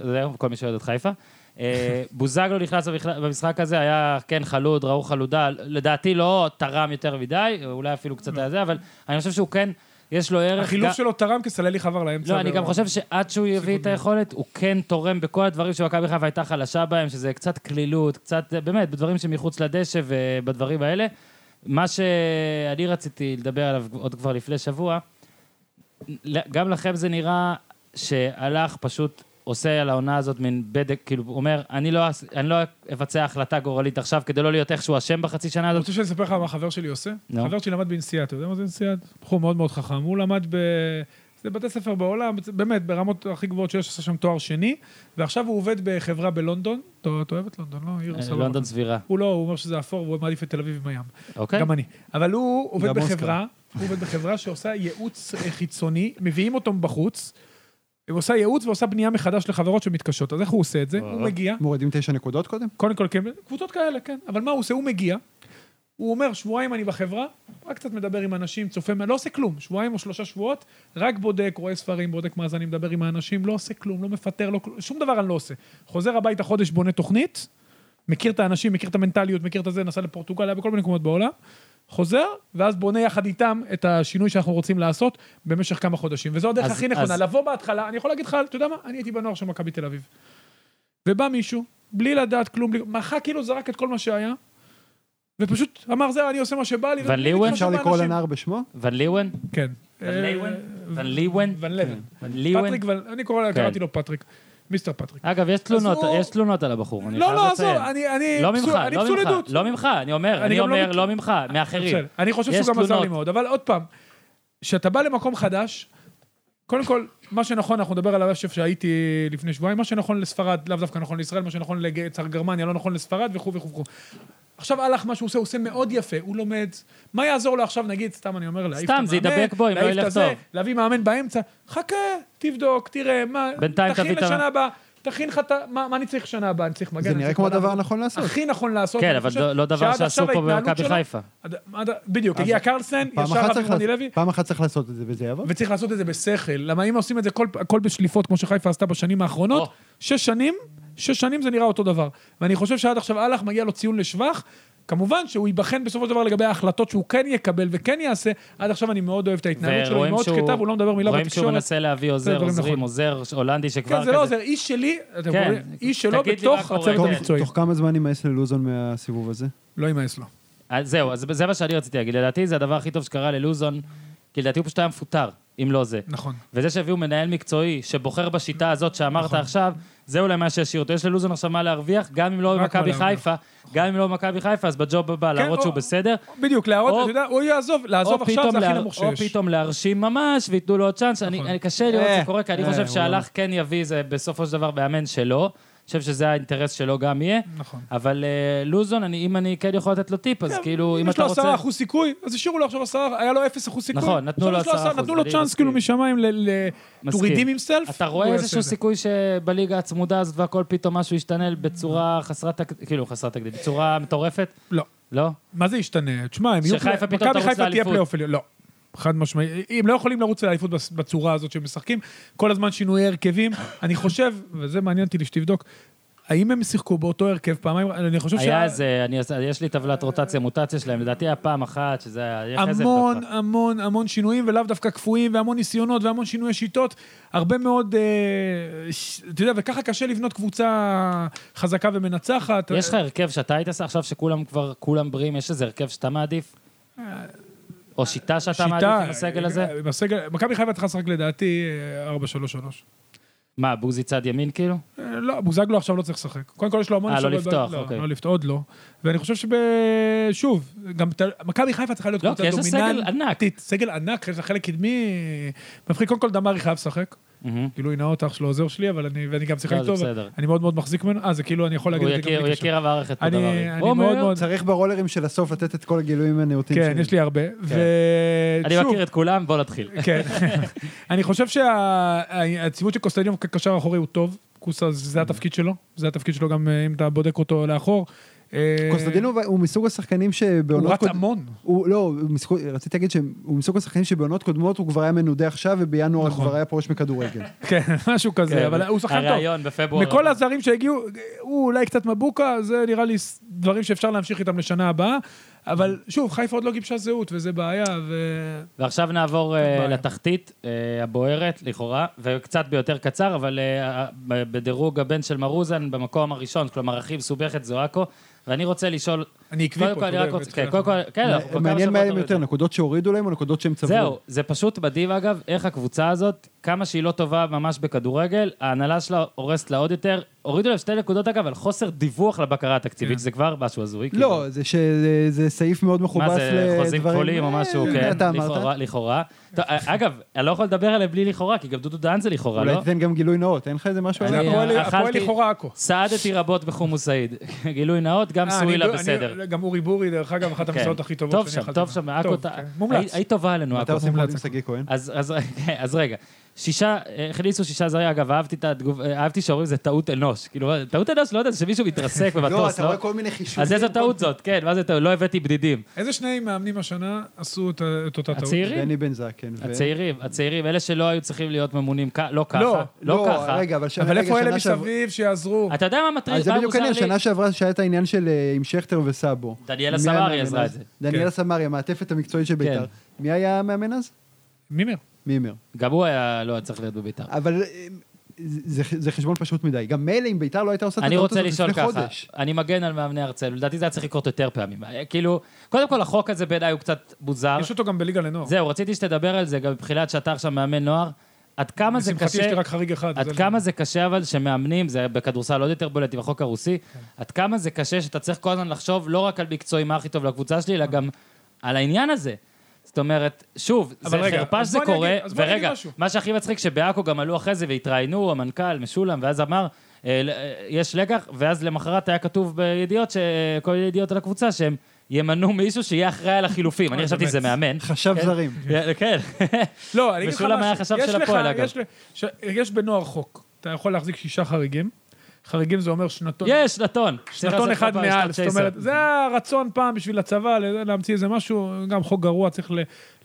[SPEAKER 1] זהו, כל מי שאוהד את חיפה.
[SPEAKER 3] [laughs]
[SPEAKER 1] אה, בוזגלו נכנס במכל- במשחק הזה, היה כן חלוד, ראו חלודה, לדעתי לא תרם יותר מדי, אולי אפילו קצת היה זה, אבל אני חושב שהוא כן, יש לו ערך... גם-
[SPEAKER 3] לא. החילוף שלו תרם כי סללי חבר לאמצע.
[SPEAKER 1] לא, אני גם
[SPEAKER 3] ו-
[SPEAKER 1] חושב שעד שהוא יביא את היכולת, הוא כן תורם בכל הדברים שמכבי חיפה הייתה חלשה בהם, שזה קצת קלילות, קצת, באמת, בדברים שמחוץ לדשא ובדברים האלה. מה שאני רציתי לדבר עליו עוד כבר לפני שבוע, גם לכם זה נראה שהלך פשוט עושה על העונה הזאת מין בדק, כאילו, הוא אומר, אני לא, אעש- אני לא אבצע החלטה גורלית עכשיו כדי לא להיות איכשהו אשם בחצי שנה
[SPEAKER 3] אתה
[SPEAKER 1] הזאת.
[SPEAKER 3] רוצה שאני אספר לך מה חבר שלי עושה?
[SPEAKER 1] נו.
[SPEAKER 3] חבר שלי למד בנסיעה, אתה יודע מה זה נסיעה? בחור מאוד מאוד חכם. הוא למד ב... זה בתי ספר בעולם, באמת, ברמות הכי גבוהות שיש, עשה שם תואר שני, ועכשיו הוא עובד בחברה בלונדון. אתה אתה אוהב את לונדון, לא? עיר
[SPEAKER 1] אה,
[SPEAKER 3] סבבה.
[SPEAKER 1] לונדון סבירה,
[SPEAKER 3] הוא לא, הוא אומר שזה אפור, והוא מעדיף את תל אביב עם הים.
[SPEAKER 1] אוקיי?
[SPEAKER 3] גם אני. אבל הוא עובד
[SPEAKER 2] גם אוסקר.
[SPEAKER 3] בחברה, הוא עובד בחברה שעושה ייעוץ אה, חיצוני, מביאים אותו מבחוץ, ועושה ייעוץ ועושה בנייה מחדש לחברות שמתקשות. אז איך הוא עושה את
[SPEAKER 1] אה.
[SPEAKER 3] זה? הוא מגיע,
[SPEAKER 2] מורידים תשע נקודות קודם?
[SPEAKER 3] קודם כל, כן, קבוצות כאלה, כן. אבל מה הוא עושה? הוא מגיע, הוא אומר, שבועיים אני בחברה, רק קצת מדבר עם אנשים, צופה, מה- לא עושה כלום. שבועיים או שלושה שבועות, רק בודק, רואה ספרים, בודק מאזנים, מדבר עם האנשים, לא עושה כלום, לא מפטר, לא, כלום, שום דבר אני לא עושה. חוזר הביתה חודש, בונה תוכנית, מכיר את האנשים, מכיר את המנטליות, מכיר את הזה, נסע לפורטוגל, היה בכל מיני מקומות בעולם. חוזר, ואז בונה יחד איתם את השינוי שאנחנו רוצים לעשות במשך כמה חודשים. וזו הדרך
[SPEAKER 1] אז-
[SPEAKER 3] הכי נכונה,
[SPEAKER 1] אז-
[SPEAKER 3] לבוא בהתחלה, אני יכול להגיד לך, אתה יודע מה? אני הייתי בנוער של מכבי תל אביב. ובא מישהו, בלי לדעת כלום, בלי- מחה כאילו זרק את כל מה שהיה, ופשוט אמר, זהו, אני עושה מה שבא לי.
[SPEAKER 1] ון
[SPEAKER 3] ובלי
[SPEAKER 1] ליוון?
[SPEAKER 3] להתחשב
[SPEAKER 2] אפשר לקרוא
[SPEAKER 3] באנשים."
[SPEAKER 2] לנער בשמו?
[SPEAKER 1] ון ליוון?
[SPEAKER 3] כן.
[SPEAKER 1] ון ליוון?
[SPEAKER 3] אה,
[SPEAKER 1] ון ליוון?
[SPEAKER 3] ון לבן.
[SPEAKER 1] ון ליוון?
[SPEAKER 3] פטריק ון... אני קורא,
[SPEAKER 1] כן.
[SPEAKER 3] קראתי לו פטריק. מיסטר פטריק.
[SPEAKER 1] אגב, יש תלונות,
[SPEAKER 3] הוא-
[SPEAKER 1] יש תלונות על הבחור, אני
[SPEAKER 3] לא,
[SPEAKER 1] חייב
[SPEAKER 3] לא, עזוב,
[SPEAKER 1] לציין.
[SPEAKER 3] אני... אני
[SPEAKER 1] לא
[SPEAKER 3] פסול-
[SPEAKER 1] ממך,
[SPEAKER 3] אני
[SPEAKER 1] לא
[SPEAKER 3] פסול
[SPEAKER 1] ממך,
[SPEAKER 3] עדות.
[SPEAKER 1] לא ממך, אני אומר,
[SPEAKER 3] אני
[SPEAKER 1] אני
[SPEAKER 3] גם לא
[SPEAKER 1] אומר,
[SPEAKER 3] מכיר.
[SPEAKER 1] לא ממך, מאחרים.
[SPEAKER 3] בסדר. אני חושב
[SPEAKER 1] יש
[SPEAKER 3] שהוא גם עזר לי
[SPEAKER 1] תלונות.
[SPEAKER 3] מאוד, אבל עוד פעם, כשאתה בא למקום חדש, קודם כל, מה שנכון, אנחנו נדבר עליו איפה שהייתי לפני שבועיים, מה שנכון לספרד, לאו דווקא נכון לישראל, מה שנכון לצר גרמניה, לא נכון לספרד וכו' וכו' וכו'. עכשיו הלך מה שהוא עושה, הוא עושה מאוד יפה, הוא לומד. מה יעזור לו עכשיו, נגיד, סתם אני אומר, להעיף את
[SPEAKER 1] סתם,
[SPEAKER 3] המאמן,
[SPEAKER 1] זה ידבק בו, אם לא
[SPEAKER 3] להעיף את
[SPEAKER 1] ילך
[SPEAKER 3] הזה,
[SPEAKER 1] טוב.
[SPEAKER 3] להביא מאמן באמצע, חכה, תבדוק, תראה, מה...
[SPEAKER 1] בינתיים
[SPEAKER 3] תכין
[SPEAKER 1] תביא את ה-
[SPEAKER 3] לשנה הבאה, תכין לך את ה... מה מה אני צריך שנה הבאה? אני צריך מגן?
[SPEAKER 2] זה
[SPEAKER 3] אני
[SPEAKER 2] נראה
[SPEAKER 3] צריך
[SPEAKER 2] כמו
[SPEAKER 3] בלם.
[SPEAKER 2] הדבר הנכון לעשות.
[SPEAKER 3] הכי נכון לעשות.
[SPEAKER 1] כן,
[SPEAKER 3] אני
[SPEAKER 1] אבל
[SPEAKER 3] חושב
[SPEAKER 1] לא- לא דבר
[SPEAKER 3] שעד
[SPEAKER 1] שעשו
[SPEAKER 3] עכשיו
[SPEAKER 1] פה
[SPEAKER 3] ההתנהלות
[SPEAKER 1] במכבי
[SPEAKER 3] שלו-
[SPEAKER 1] חיפה.
[SPEAKER 3] עד- עד- בדיוק, הגיע קרסן,
[SPEAKER 2] פעם
[SPEAKER 3] ישר
[SPEAKER 2] אחת
[SPEAKER 3] רבי
[SPEAKER 2] צריך
[SPEAKER 3] רוני
[SPEAKER 2] לעשות-
[SPEAKER 3] לוי,
[SPEAKER 2] פעם אחת צריך לעשות את זה וזה יעבור.
[SPEAKER 3] וצריך לעשות את זה בשכל. למה אם עושים את זה כל- הכל בשליפות, כמו שחיפה עשתה בשנים האחרונות,
[SPEAKER 1] או.
[SPEAKER 3] שש שנים, שש שנים זה נראה אותו דבר. ואני חושב שעד עכשיו אהלך מגיע לו ציון לשבח. כמובן שהוא ייבחן בסופו של דבר לגבי ההחלטות שהוא כן יקבל וכן יעשה. עד עכשיו אני מאוד אוהב את ההתנהלות שלו, היא
[SPEAKER 1] ורואים
[SPEAKER 3] מאוד
[SPEAKER 1] שהוא-
[SPEAKER 3] שקטה, והוא לא מדבר מילה
[SPEAKER 1] רואים שהוא
[SPEAKER 3] בתקשורת.
[SPEAKER 1] מנסה להביא עוזר,
[SPEAKER 3] דברים
[SPEAKER 1] עוזרים,
[SPEAKER 3] נכון.
[SPEAKER 1] עוזר הולנדי שכבר
[SPEAKER 3] כן, זה לא
[SPEAKER 1] כזה...
[SPEAKER 3] עוזר, איש שלי, אתם
[SPEAKER 1] כן.
[SPEAKER 3] אומרים, איש שלו
[SPEAKER 1] תגיד לי מה
[SPEAKER 3] בתוך
[SPEAKER 1] קורה,
[SPEAKER 3] הצוות
[SPEAKER 1] כן.
[SPEAKER 3] המקצועי.
[SPEAKER 2] תוך כמה זמן יימאס ללוזון מהסיבוב הזה?
[SPEAKER 3] לא יימאס לו.
[SPEAKER 1] אז אה, זהו, אז זה מה שאני רציתי להגיד. לדעתי זה הדבר הכי טוב שקרה ללוזון, כי לדעתי הוא פשוט היה מפוטר, אם לא זה.
[SPEAKER 3] נכון.
[SPEAKER 1] וזה שהביאו מנהל מקצועי שבוחר בשיטה הזאת שאמרת
[SPEAKER 3] נכון.
[SPEAKER 1] עכשיו, זה אולי מה שישאיר אותו. יש ללוזון עכשיו מה להרוויח, גם אם לא
[SPEAKER 3] רק מה
[SPEAKER 1] במכבי
[SPEAKER 3] להרוויח. כן,
[SPEAKER 1] חיפה, גם אם לא במכבי חיפה, אז בג'וב הבא, להראות
[SPEAKER 3] או-
[SPEAKER 1] שהוא בסדר.
[SPEAKER 3] בדיוק, להראות,
[SPEAKER 1] או-
[SPEAKER 3] אתה יודע, הוא יעזוב, לעזוב
[SPEAKER 1] או
[SPEAKER 3] עכשיו
[SPEAKER 1] פתאום
[SPEAKER 3] זה הכי
[SPEAKER 1] להר-
[SPEAKER 3] נמוך
[SPEAKER 1] או
[SPEAKER 3] שיש.
[SPEAKER 1] פתאום להרשים ממש, וייתנו לו עוד צ'אנס. אני,
[SPEAKER 3] נכון.
[SPEAKER 1] אני קשה לראות
[SPEAKER 2] אה,
[SPEAKER 1] זה קורה, כי אני
[SPEAKER 2] אה,
[SPEAKER 1] חושב
[SPEAKER 2] הוא-
[SPEAKER 1] שהלך כן יביא זה בסופו של דבר מאמן שלו. אני חושב שזה האינטרס שלו גם יהיה.
[SPEAKER 3] נכון.
[SPEAKER 1] אבל אה, לוזון, אני- אם אני כן יכול לתת לו טיפ, אז
[SPEAKER 3] כן,
[SPEAKER 1] כאילו, אם
[SPEAKER 3] יש
[SPEAKER 1] אתה
[SPEAKER 3] לו
[SPEAKER 1] רוצה...
[SPEAKER 3] עשרה אחוז סיכוי, אז השאירו לו עכשיו עשרה, היה לו אפס אחוז סיכוי.
[SPEAKER 1] נכון, נתנו
[SPEAKER 3] עכשיו
[SPEAKER 1] לו
[SPEAKER 3] יש עשרה,
[SPEAKER 1] 10%,
[SPEAKER 3] נתנו לו
[SPEAKER 1] אני
[SPEAKER 3] צ'אנס
[SPEAKER 1] מסכים.
[SPEAKER 3] כאילו משמיים ל... ל- to
[SPEAKER 1] מסכים.
[SPEAKER 3] redeem himself.
[SPEAKER 1] אתה רואה
[SPEAKER 3] הוא יעשה
[SPEAKER 1] איזשהו
[SPEAKER 3] את זה.
[SPEAKER 1] סיכוי שבליגה הצמודה הזאת והכל פתאום משהו ישתנה בצורה חסרת, תק- כאילו חסרת תקדים, בצורה מטורפת?
[SPEAKER 3] לא.
[SPEAKER 1] לא?
[SPEAKER 3] מה זה ישתנה? תשמע, הם יהיו...
[SPEAKER 1] שחיפה פתאום
[SPEAKER 3] מכבי
[SPEAKER 1] תרוץ
[SPEAKER 3] חיפה תהיה
[SPEAKER 1] לאליפות.
[SPEAKER 3] פלייאוף עליון. לא. חד משמעי. הם לא יכולים לרוץ לאליפות בס- בצורה הזאת שהם משחקים. כל הזמן שינויי הרכבים. אני חושב, וזה מעניין אותי שתבדוק, האם הם שיחקו באותו הרכב פעמיים? אני חושב
[SPEAKER 1] היה איזה, אני- יש לי טבלת רוטציה, מוטציה שלהם, לדעתי היה פעם אחת, שזה היה... היה חזר
[SPEAKER 3] המון
[SPEAKER 1] דווקא.
[SPEAKER 3] המון המון שינויים, ולאו דווקא קפואים, והמון ניסיונות, והמון שינויי שיטות. הרבה מאוד, אה, ש- אתה יודע, וככה קשה לבנות קבוצה חזקה ומנצחת.
[SPEAKER 1] יש לך הרכב שאתה היית עושה עכשיו שכולם כבר, כולם בריאים, יש איזה הרכב שאתה מעדיף?
[SPEAKER 3] אה,
[SPEAKER 1] או שיטה שאתה מעדיף עם הסגל הזה?
[SPEAKER 3] עם הסגל- מכבי חיפה צריכה לשחק לדעתי אה, 4-3-3.
[SPEAKER 1] מה, בוזי צד ימין כאילו?
[SPEAKER 3] אה, לא, בוזגלו עכשיו לא צריך לשחק. קודם כל יש לו המון...
[SPEAKER 1] אה, לא
[SPEAKER 3] אפשרויות ב-
[SPEAKER 1] לפתוח,
[SPEAKER 3] לא,
[SPEAKER 1] אוקיי.
[SPEAKER 3] לא לפתוח, עוד לא. ואני חושב שב... שוב, גם... ת- מכבי חיפה צריכה להיות
[SPEAKER 1] לא, כי יש לה סגל ענק.
[SPEAKER 3] ענק. סגל ענק, יש לה חלק קדמי מפחיד. קודם כל דמרי חייב לשחק.
[SPEAKER 1] מהמם.
[SPEAKER 3] גילוי נאות, כאילו, אח שלו עוזר שלי, אבל אני, ואני גם שיחקתי
[SPEAKER 1] לא, זה
[SPEAKER 3] איתו,
[SPEAKER 1] בסדר.
[SPEAKER 3] אני מאוד מאוד מחזיק ממנו, אה, זה כאילו, אני יכול להגיד
[SPEAKER 1] הוא
[SPEAKER 3] את זה גם
[SPEAKER 1] יכיר- הוא
[SPEAKER 3] בלי קשר.
[SPEAKER 1] יכיר המערכת
[SPEAKER 3] אני-
[SPEAKER 1] בדבר.
[SPEAKER 3] אני
[SPEAKER 1] הוא
[SPEAKER 3] מאוד
[SPEAKER 1] אומר,
[SPEAKER 3] מאוד
[SPEAKER 2] צריך ברולרים של הסוף לתת את כל הגילויים הנאותים
[SPEAKER 3] כן, יש לי הרבה,
[SPEAKER 1] אני
[SPEAKER 3] ושוב,
[SPEAKER 1] מכיר את כולם, בוא נתחיל.
[SPEAKER 3] כן, [laughs] אני חושב שהציוות של קוסטדיום כקשר אחורי הוא טוב, קוסה זה התפקיד שלו, זה התפקיד שלו גם אה, אם אתה בודק אותו לאחור. אה,
[SPEAKER 2] קוסטדינוב הוא מסוג השחקנים
[SPEAKER 3] הוא
[SPEAKER 2] שבעונות
[SPEAKER 3] רץ
[SPEAKER 2] קודמות...
[SPEAKER 3] המון.
[SPEAKER 2] הוא לא, הוא מסוג- רציתי להגיד שהוא מסוג השחקנים שבעונות קודמות הוא כבר היה מנודה עכשיו ובינואר
[SPEAKER 3] נכון.
[SPEAKER 2] כבר היה פורש מכדורגל.
[SPEAKER 3] [laughs] כן, משהו
[SPEAKER 1] כן,
[SPEAKER 3] כזה, אבל הוא שחקן טוב.
[SPEAKER 1] הראיון בפברואר.
[SPEAKER 3] מכל הזרים שהגיעו, הוא אולי קצת מבוקה, זה נראה לי ס- דברים שאפשר להמשיך איתם לשנה הבאה, אבל שוב, חיפה עוד לא גיבשה זהות, וזה בעיה, ו...
[SPEAKER 1] ועכשיו נעבור אה,
[SPEAKER 3] בעיה.
[SPEAKER 1] לתחתית אה, הבוערת, לכאורה, וקצת ביותר קצר, אבל אה, ה- ב- בדירוג הבן של מרוזן במקום הראשון, כלומר, הכי מסובכת זו עכו, ואני רוצה לשאול...
[SPEAKER 3] אני עקבי
[SPEAKER 1] קודם
[SPEAKER 3] פה,
[SPEAKER 1] כל,
[SPEAKER 3] אתה
[SPEAKER 1] אני
[SPEAKER 3] יודע,
[SPEAKER 1] רק רוצה... כן,
[SPEAKER 3] בתחילת
[SPEAKER 1] קודם כל... [laughs] כן, אנחנו כבר כמה
[SPEAKER 2] מעניין מה
[SPEAKER 1] שבועות
[SPEAKER 2] היה
[SPEAKER 1] אומרים את
[SPEAKER 2] יותר,
[SPEAKER 1] זה.
[SPEAKER 2] נקודות שהורידו להם או נקודות שהם צברו?
[SPEAKER 1] זהו, זה פשוט מדהים אגב, איך הקבוצה הזאת, כמה שהיא לא טובה ממש בכדורגל, ההנהלה שלה הורסת לה עוד יותר. הורידו להם שתי נקודות אגב על חוסר דיווח לבקרה התקציבית,
[SPEAKER 3] כן.
[SPEAKER 1] שזה כבר משהו הזוי. כאילו.
[SPEAKER 2] לא, זה שזה זה סעיף מאוד מכובס
[SPEAKER 1] מה
[SPEAKER 2] לדברים...
[SPEAKER 1] זה, חוזים כפולים או
[SPEAKER 2] אה,
[SPEAKER 1] משהו,
[SPEAKER 2] אתה
[SPEAKER 1] כן,
[SPEAKER 2] אמרת.
[SPEAKER 1] לכאורה, לכאורה. טוב, אגב, אני לא יכול לדבר עליהם בלי לכאורה, כי גם דודו דהן זה לכאורה,
[SPEAKER 2] אולי
[SPEAKER 1] לא?
[SPEAKER 2] תיתן גם גילוי נאות, אין לך איזה משהו?
[SPEAKER 1] אני-
[SPEAKER 2] עליו?
[SPEAKER 3] הפועל- הפועל
[SPEAKER 1] אכלתי-
[SPEAKER 3] לכאורה עכו.
[SPEAKER 1] סעדתי רבות בחומוס סעיד. [laughs] גילוי נאות, גם
[SPEAKER 3] אה, אני
[SPEAKER 1] סווילה
[SPEAKER 3] לא- אני-
[SPEAKER 1] בסדר.
[SPEAKER 3] גם אורי בורי, דרך אגב, אחת
[SPEAKER 1] כן.
[SPEAKER 3] המסעות הכי טובות
[SPEAKER 1] טוב
[SPEAKER 3] שאני
[SPEAKER 1] שם,
[SPEAKER 3] אכלתי.
[SPEAKER 1] טוב שם, עכו,
[SPEAKER 3] טוב,
[SPEAKER 1] אתה-
[SPEAKER 3] כן. מומלץ.
[SPEAKER 1] היית- היית טובה עלינו, עכו.
[SPEAKER 2] אתה עושה
[SPEAKER 3] מומלץ.
[SPEAKER 2] מולד עם שגיא כהן?
[SPEAKER 1] אז, אז, [laughs] כן, אז רגע, שישה, אה, הכניסו שישה זרים, אגב, אהבתי את התגוב... אה, אהבתי שאומרים זה טעות אנוש. כאילו, טעות אנוש, לא יודע, זה שמישהו
[SPEAKER 2] [laughs]
[SPEAKER 1] מתרסק במטוס, לא?
[SPEAKER 2] כל מיני חישובים.
[SPEAKER 1] אז איזו טעות זאת, כן, מה זה טעות? לא הבאתי בדידים.
[SPEAKER 3] איזה שני מאמנים השנה עשו את ה- את אותה טעות?
[SPEAKER 1] הצעירים?
[SPEAKER 2] דני בן זקן. ו-
[SPEAKER 1] הצעירים, הצעירים, אלה שלא היו צריכים להיות ממונים, כ- לא ככה,
[SPEAKER 3] לא,
[SPEAKER 1] לא ככה.
[SPEAKER 2] רגע, אבל ש-
[SPEAKER 3] אבל
[SPEAKER 2] רגע,
[SPEAKER 3] איפה אלה
[SPEAKER 2] שנה שעברה-
[SPEAKER 3] מסביב שיעזרו?
[SPEAKER 1] אתה יודע מה מטריד?
[SPEAKER 2] אז זה
[SPEAKER 1] מה
[SPEAKER 2] בדיוק
[SPEAKER 1] מוזר
[SPEAKER 2] העניין,
[SPEAKER 1] לי?
[SPEAKER 2] שנה שעברה שהיה את העניין של אה, עם שכטר וסאבו.
[SPEAKER 1] דניאלה
[SPEAKER 2] מי
[SPEAKER 1] סמארי
[SPEAKER 2] המאמן
[SPEAKER 1] עזרה
[SPEAKER 2] אז?
[SPEAKER 1] את זה. כן.
[SPEAKER 2] דניאלה סמארי, המעטפת המקצועית של בית"ר. מי היה המאמן אז?
[SPEAKER 3] מימר.
[SPEAKER 2] מימר.
[SPEAKER 1] גם הוא היה, לא היה צריך להיות בביתר.
[SPEAKER 2] אבל אה, זה- זה- זה חשבון פשוט מדי. גם מילא אם בית"ר לא הייתה עושה את
[SPEAKER 1] אני
[SPEAKER 2] הטעות
[SPEAKER 1] רוצה
[SPEAKER 2] הזאת
[SPEAKER 1] לשאול
[SPEAKER 2] לפני
[SPEAKER 1] ככה,
[SPEAKER 2] חודש.
[SPEAKER 1] אני מגן על מאמני ארצנו, לדעתי זה היה צריך לקרות יותר פעמים. כאילו, קודם כל החוק הזה בעיניי הוא קצת מוזר.
[SPEAKER 3] יש אותו גם בליגה לנוער.
[SPEAKER 1] זהו, רציתי שתדבר על זה גם מבחינת שאתה עכשיו מאמן נוער. עד כמה זה
[SPEAKER 3] לשמחתי
[SPEAKER 1] קשה,
[SPEAKER 3] יש לי רק חריג אחד.
[SPEAKER 1] עד
[SPEAKER 3] אז
[SPEAKER 1] כמה זה קשה אבל שמאמנים, זה בכדורסל עוד יותר בולט עם החוק הרוסי,
[SPEAKER 3] כן.
[SPEAKER 1] עד כמה זה קשה שאתה צריך כל הזמן לחשוב לא רק על מקצועי מה הכי טוב לקבוצה שלי, אלא
[SPEAKER 3] אה.
[SPEAKER 1] גם על העניין הזה. זאת אומרת, שוב,
[SPEAKER 3] אבל
[SPEAKER 1] זה
[SPEAKER 3] רגע,
[SPEAKER 1] חרפה
[SPEAKER 3] אז
[SPEAKER 1] שזה
[SPEAKER 3] בוא אני
[SPEAKER 1] קורה,
[SPEAKER 3] אגיד- אז בוא אני אגיד
[SPEAKER 1] ורגע,
[SPEAKER 3] משהו.
[SPEAKER 1] מה שהכי מצחיק שבעכו גם עלו אחרי זה והתראיינו, המנכ"ל, משולם, ואז אמר, אה, ל- אה, יש לקח, ואז למחרת היה כתוב בידיעות, ש- כל ידיעות על הקבוצה, שהם ימנו מישהו שיהיה אחראי על החילופים. אני
[SPEAKER 3] אוי,
[SPEAKER 1] חשבתי
[SPEAKER 3] באמת.
[SPEAKER 1] שזה מאמן.
[SPEAKER 2] חשב
[SPEAKER 1] כן.
[SPEAKER 2] זרים.
[SPEAKER 1] כן.
[SPEAKER 3] לא, אני אגיד לך משהו.
[SPEAKER 1] משולם היה חשב
[SPEAKER 3] יש
[SPEAKER 1] של
[SPEAKER 3] לך-
[SPEAKER 1] הפועל, אגב.
[SPEAKER 3] יש ל- ש- יש בנוער חוק, אתה יכול להחזיק שישה חריגים. חריגים זה אומר שנתון.
[SPEAKER 1] [laughs] יש, שנתון. צריך
[SPEAKER 3] שנתון
[SPEAKER 1] לעשות כל
[SPEAKER 3] אחד
[SPEAKER 1] פעם
[SPEAKER 3] מעל,
[SPEAKER 1] שנת
[SPEAKER 3] זאת
[SPEAKER 1] צ'ייסר.
[SPEAKER 3] אומרת, זה הרצון פעם בשביל הצבא, ל- להמציא איזה משהו, גם חוק גרוע, צריך ל-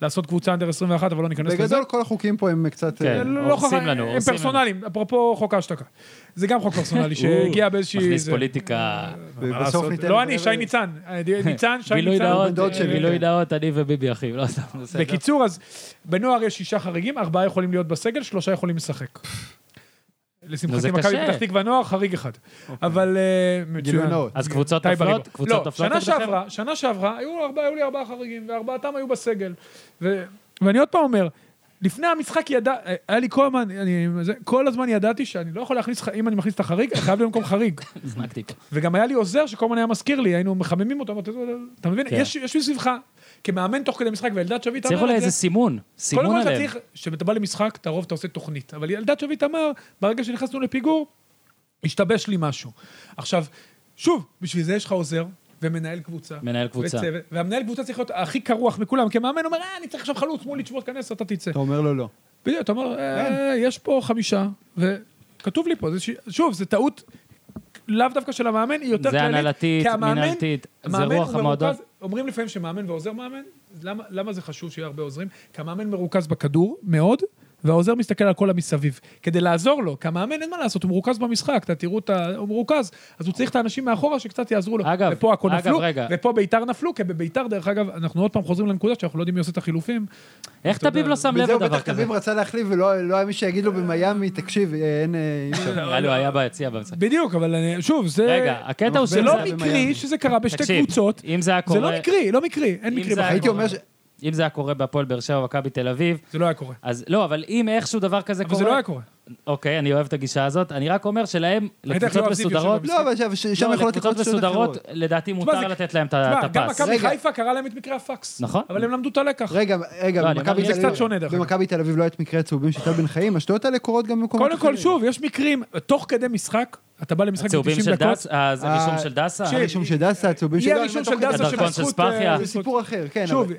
[SPEAKER 3] לעשות קבוצה אנדר 21, אבל לא ניכנס לזה.
[SPEAKER 2] בגדול כל החוקים פה הם קצת...
[SPEAKER 1] כן.
[SPEAKER 2] אה,
[SPEAKER 3] זה לא
[SPEAKER 1] הורסים
[SPEAKER 3] חכם,
[SPEAKER 1] לנו,
[SPEAKER 3] הם
[SPEAKER 1] הורסים
[SPEAKER 3] פרסונליים, אפרופו חוק ההשתקה. זה גם חוק
[SPEAKER 1] [laughs]
[SPEAKER 3] פרסונלי
[SPEAKER 1] או,
[SPEAKER 3] שהגיע באיזושהי...
[SPEAKER 1] מכניס
[SPEAKER 3] זה-
[SPEAKER 1] פוליטיקה.
[SPEAKER 3] מה
[SPEAKER 2] ובסוף
[SPEAKER 3] לעשות?
[SPEAKER 2] ניתן
[SPEAKER 3] לא
[SPEAKER 2] לזה
[SPEAKER 3] אני,
[SPEAKER 2] ל-
[SPEAKER 3] שי
[SPEAKER 1] [laughs]
[SPEAKER 3] ניצן. אה, ניצן, שי
[SPEAKER 1] גילוי
[SPEAKER 3] ניצן.
[SPEAKER 1] דעות,
[SPEAKER 2] דוד שלי,
[SPEAKER 1] גילוי
[SPEAKER 2] כן.
[SPEAKER 1] דעות, אני וביבי אחי, לא סתם. בסדר.
[SPEAKER 3] בקיצור, אז בנוער יש שישה חריגים, ארבעה יכולים להיות בסגל, שלושה יכולים לשחק.
[SPEAKER 1] נו, לא, זה
[SPEAKER 3] לשמחתי, מכבי
[SPEAKER 1] קשה. אוקיי.
[SPEAKER 3] פתח תקווה נוער, חריג אחד. אבל אה,
[SPEAKER 2] גילוי
[SPEAKER 3] מצוין.
[SPEAKER 2] נאות.
[SPEAKER 1] אז קבוצות
[SPEAKER 3] טייב
[SPEAKER 1] נופלות?
[SPEAKER 3] הריבו.
[SPEAKER 1] קבוצות
[SPEAKER 3] לא,
[SPEAKER 1] נופלות?
[SPEAKER 3] שנה
[SPEAKER 1] נגדכם?
[SPEAKER 3] שעברה, שנה שעברה, היו ארבעה- היו לי ארבעה חריגים, וארבעתם היו בסגל. ו- ואני עוד פעם אומר, לפני המשחק ידע, אה, היה לי כל הזמן, אני, זה, כל הזמן ידעתי שאני לא יכול להכניס, ח- אם אני מכניס את החריג, אני חייב להיות במקום חריג.
[SPEAKER 1] נחנקתי פה.
[SPEAKER 3] וגם היה לי עוזר שכל הזמן היה מזכיר לי, היינו מחממים אותו, אמרתי, אתה מבין,
[SPEAKER 1] כן.
[SPEAKER 3] יש יש מסביבך, כמאמן תוך כדי משחק, ואלדד שביט
[SPEAKER 1] צריך
[SPEAKER 3] אמר
[SPEAKER 1] אולי
[SPEAKER 3] את זה.
[SPEAKER 1] איזה סימון, סימון
[SPEAKER 3] קודם כל אתה
[SPEAKER 1] עליהם.
[SPEAKER 3] צריך, כשאתה בא למשחק, אתה רוב אתה עושה תוכנית. אבל אלדד שביט אמר, ברגע שנכנסנו לפיגור, השתבש לי משהו. עכשיו, שוב, בשביל זה יש לך עוזר ומנהל קבוצה.
[SPEAKER 1] מנהל קבוצה.
[SPEAKER 3] וצוות, והמנהל קבוצה צריך להיות הכי קרוח מכולם, כי מאמן אומר, אה, אני צריך עכשיו חלוץ מולי, תשמור, תיכנס, אתה תצא.
[SPEAKER 2] אתה אומר לו לא.
[SPEAKER 3] בדיוק, אתה אומר,
[SPEAKER 1] כן.
[SPEAKER 3] אה, יש פה חמישה, וכתוב לי פה, זה ש- שוב, זה טעות לאו דווקא של המאמן, היא יותר
[SPEAKER 1] זה
[SPEAKER 3] כללית.
[SPEAKER 1] הנהלתית,
[SPEAKER 3] כי המאמן-
[SPEAKER 1] מנהלתית, זה
[SPEAKER 3] מאמן
[SPEAKER 1] רוח
[SPEAKER 3] הוא
[SPEAKER 1] המועדון.
[SPEAKER 3] מרוכז- אומרים לפעמים שמאמן ועוזר מאמן, למה, למה זה חשוב שיהיה הרבה עוזרים? כי המאמן מרוכז בכדור מאוד, והעוזר מסתכל על כל המסביב. כדי לעזור לו, כי המאמן אין מה לעשות, הוא מרוכז במשחק, אתה תראו את ה... הוא מרוכז, אז הוא צריך את האנשים מאחורה שקצת יעזרו לו.
[SPEAKER 1] אגב,
[SPEAKER 3] ופה הכל
[SPEAKER 1] אגב,
[SPEAKER 3] נפלו,
[SPEAKER 1] רגע.
[SPEAKER 3] ופה ביתר נפלו, כי בביתר, דרך אגב, אנחנו עוד פעם חוזרים לנקודה שאנחנו לא יודעים מי עושה את החילופים.
[SPEAKER 1] איך
[SPEAKER 3] אתה
[SPEAKER 1] תביב
[SPEAKER 3] יודע,
[SPEAKER 1] לא שם לב
[SPEAKER 2] וזהו,
[SPEAKER 1] לדבר
[SPEAKER 2] בטח
[SPEAKER 1] כזה?
[SPEAKER 2] תביב רצה להחליף, ולא לא היה מי שיגיד לו במיאמי, תקשיב, אה, אין... אה, אי
[SPEAKER 3] [laughs]
[SPEAKER 2] אפשר."
[SPEAKER 1] נראה לי הוא היה ביציע במשחק.
[SPEAKER 3] בדיוק, אבל אני- שוב, זה...
[SPEAKER 1] לא- רגע, הקטע הוא
[SPEAKER 2] אבל
[SPEAKER 1] שזה...
[SPEAKER 3] זה לא
[SPEAKER 2] היה
[SPEAKER 3] מקרי
[SPEAKER 2] במיאמי.
[SPEAKER 3] שזה קרה בשתי
[SPEAKER 1] תקשיב,
[SPEAKER 3] קבוצות.
[SPEAKER 1] אם זה היה
[SPEAKER 3] זה
[SPEAKER 1] קורה...
[SPEAKER 3] לא מקרי, לא מקרי, אין
[SPEAKER 1] אם
[SPEAKER 3] מקרי
[SPEAKER 1] זה היה
[SPEAKER 3] בחיים.
[SPEAKER 2] הייתי אומר, ש-
[SPEAKER 1] אם זה היה קורה בהפועל באר שבע, מכבי תל אביב,
[SPEAKER 3] זה לא היה קורה.
[SPEAKER 1] אז לא, אבל אם איכשהו דבר כזה
[SPEAKER 3] אבל
[SPEAKER 1] קורה...
[SPEAKER 3] זה לא היה קורה.
[SPEAKER 1] אוקיי, אני אוהב את הגישה הזאת. אני רק אומר שלהם,
[SPEAKER 3] איך
[SPEAKER 1] לקבוצות
[SPEAKER 3] יואב זיו יושב
[SPEAKER 1] מסודרות...
[SPEAKER 3] במשחק?
[SPEAKER 2] לא, אבל ש- ש- שם
[SPEAKER 1] לא,
[SPEAKER 2] יכולות לקרות
[SPEAKER 1] לקבוצות
[SPEAKER 2] שטויות
[SPEAKER 1] מסודרות,
[SPEAKER 2] אחרות.
[SPEAKER 1] לדעתי
[SPEAKER 3] זה-
[SPEAKER 1] מותר לתת להם את ה-
[SPEAKER 3] תשמע,
[SPEAKER 1] את
[SPEAKER 3] גם
[SPEAKER 1] הפס.
[SPEAKER 3] מכבי
[SPEAKER 2] רגע.
[SPEAKER 3] חיפה קרה להם את מקרה הפקס.
[SPEAKER 1] נכון.
[SPEAKER 3] אבל הם למדו את הלקח.
[SPEAKER 2] רגע,
[SPEAKER 1] לא,
[SPEAKER 2] רגע,
[SPEAKER 1] אני
[SPEAKER 2] במכבי
[SPEAKER 1] אומר, זה
[SPEAKER 2] תל
[SPEAKER 3] קצת
[SPEAKER 2] אביב-
[SPEAKER 3] שונה, דרך אגב.
[SPEAKER 2] במכבי תל אביב לא היה את מקרה הצהובים של טל בן חיים, השטויות האלה קורות גם במקומות
[SPEAKER 3] קודם כל, שוב, יש מקרים, תוך כדי משחק, אתה בא למשחק
[SPEAKER 1] הצהובים
[SPEAKER 3] ב-90
[SPEAKER 1] של
[SPEAKER 3] דקות,
[SPEAKER 1] דסה, אז
[SPEAKER 2] אה,
[SPEAKER 1] הרישום של דסה?
[SPEAKER 3] ש-
[SPEAKER 2] הרישום של לא, דסה, הצהובים
[SPEAKER 3] יהיה
[SPEAKER 2] שלו,
[SPEAKER 3] הראשון
[SPEAKER 2] הם
[SPEAKER 3] של
[SPEAKER 2] בתוך
[SPEAKER 3] דסה
[SPEAKER 1] הדרכון של
[SPEAKER 3] שבזכות...
[SPEAKER 1] ספאחיה.
[SPEAKER 3] אה,
[SPEAKER 2] זה סיפור אחר, כן.
[SPEAKER 3] שוב,
[SPEAKER 2] אבל-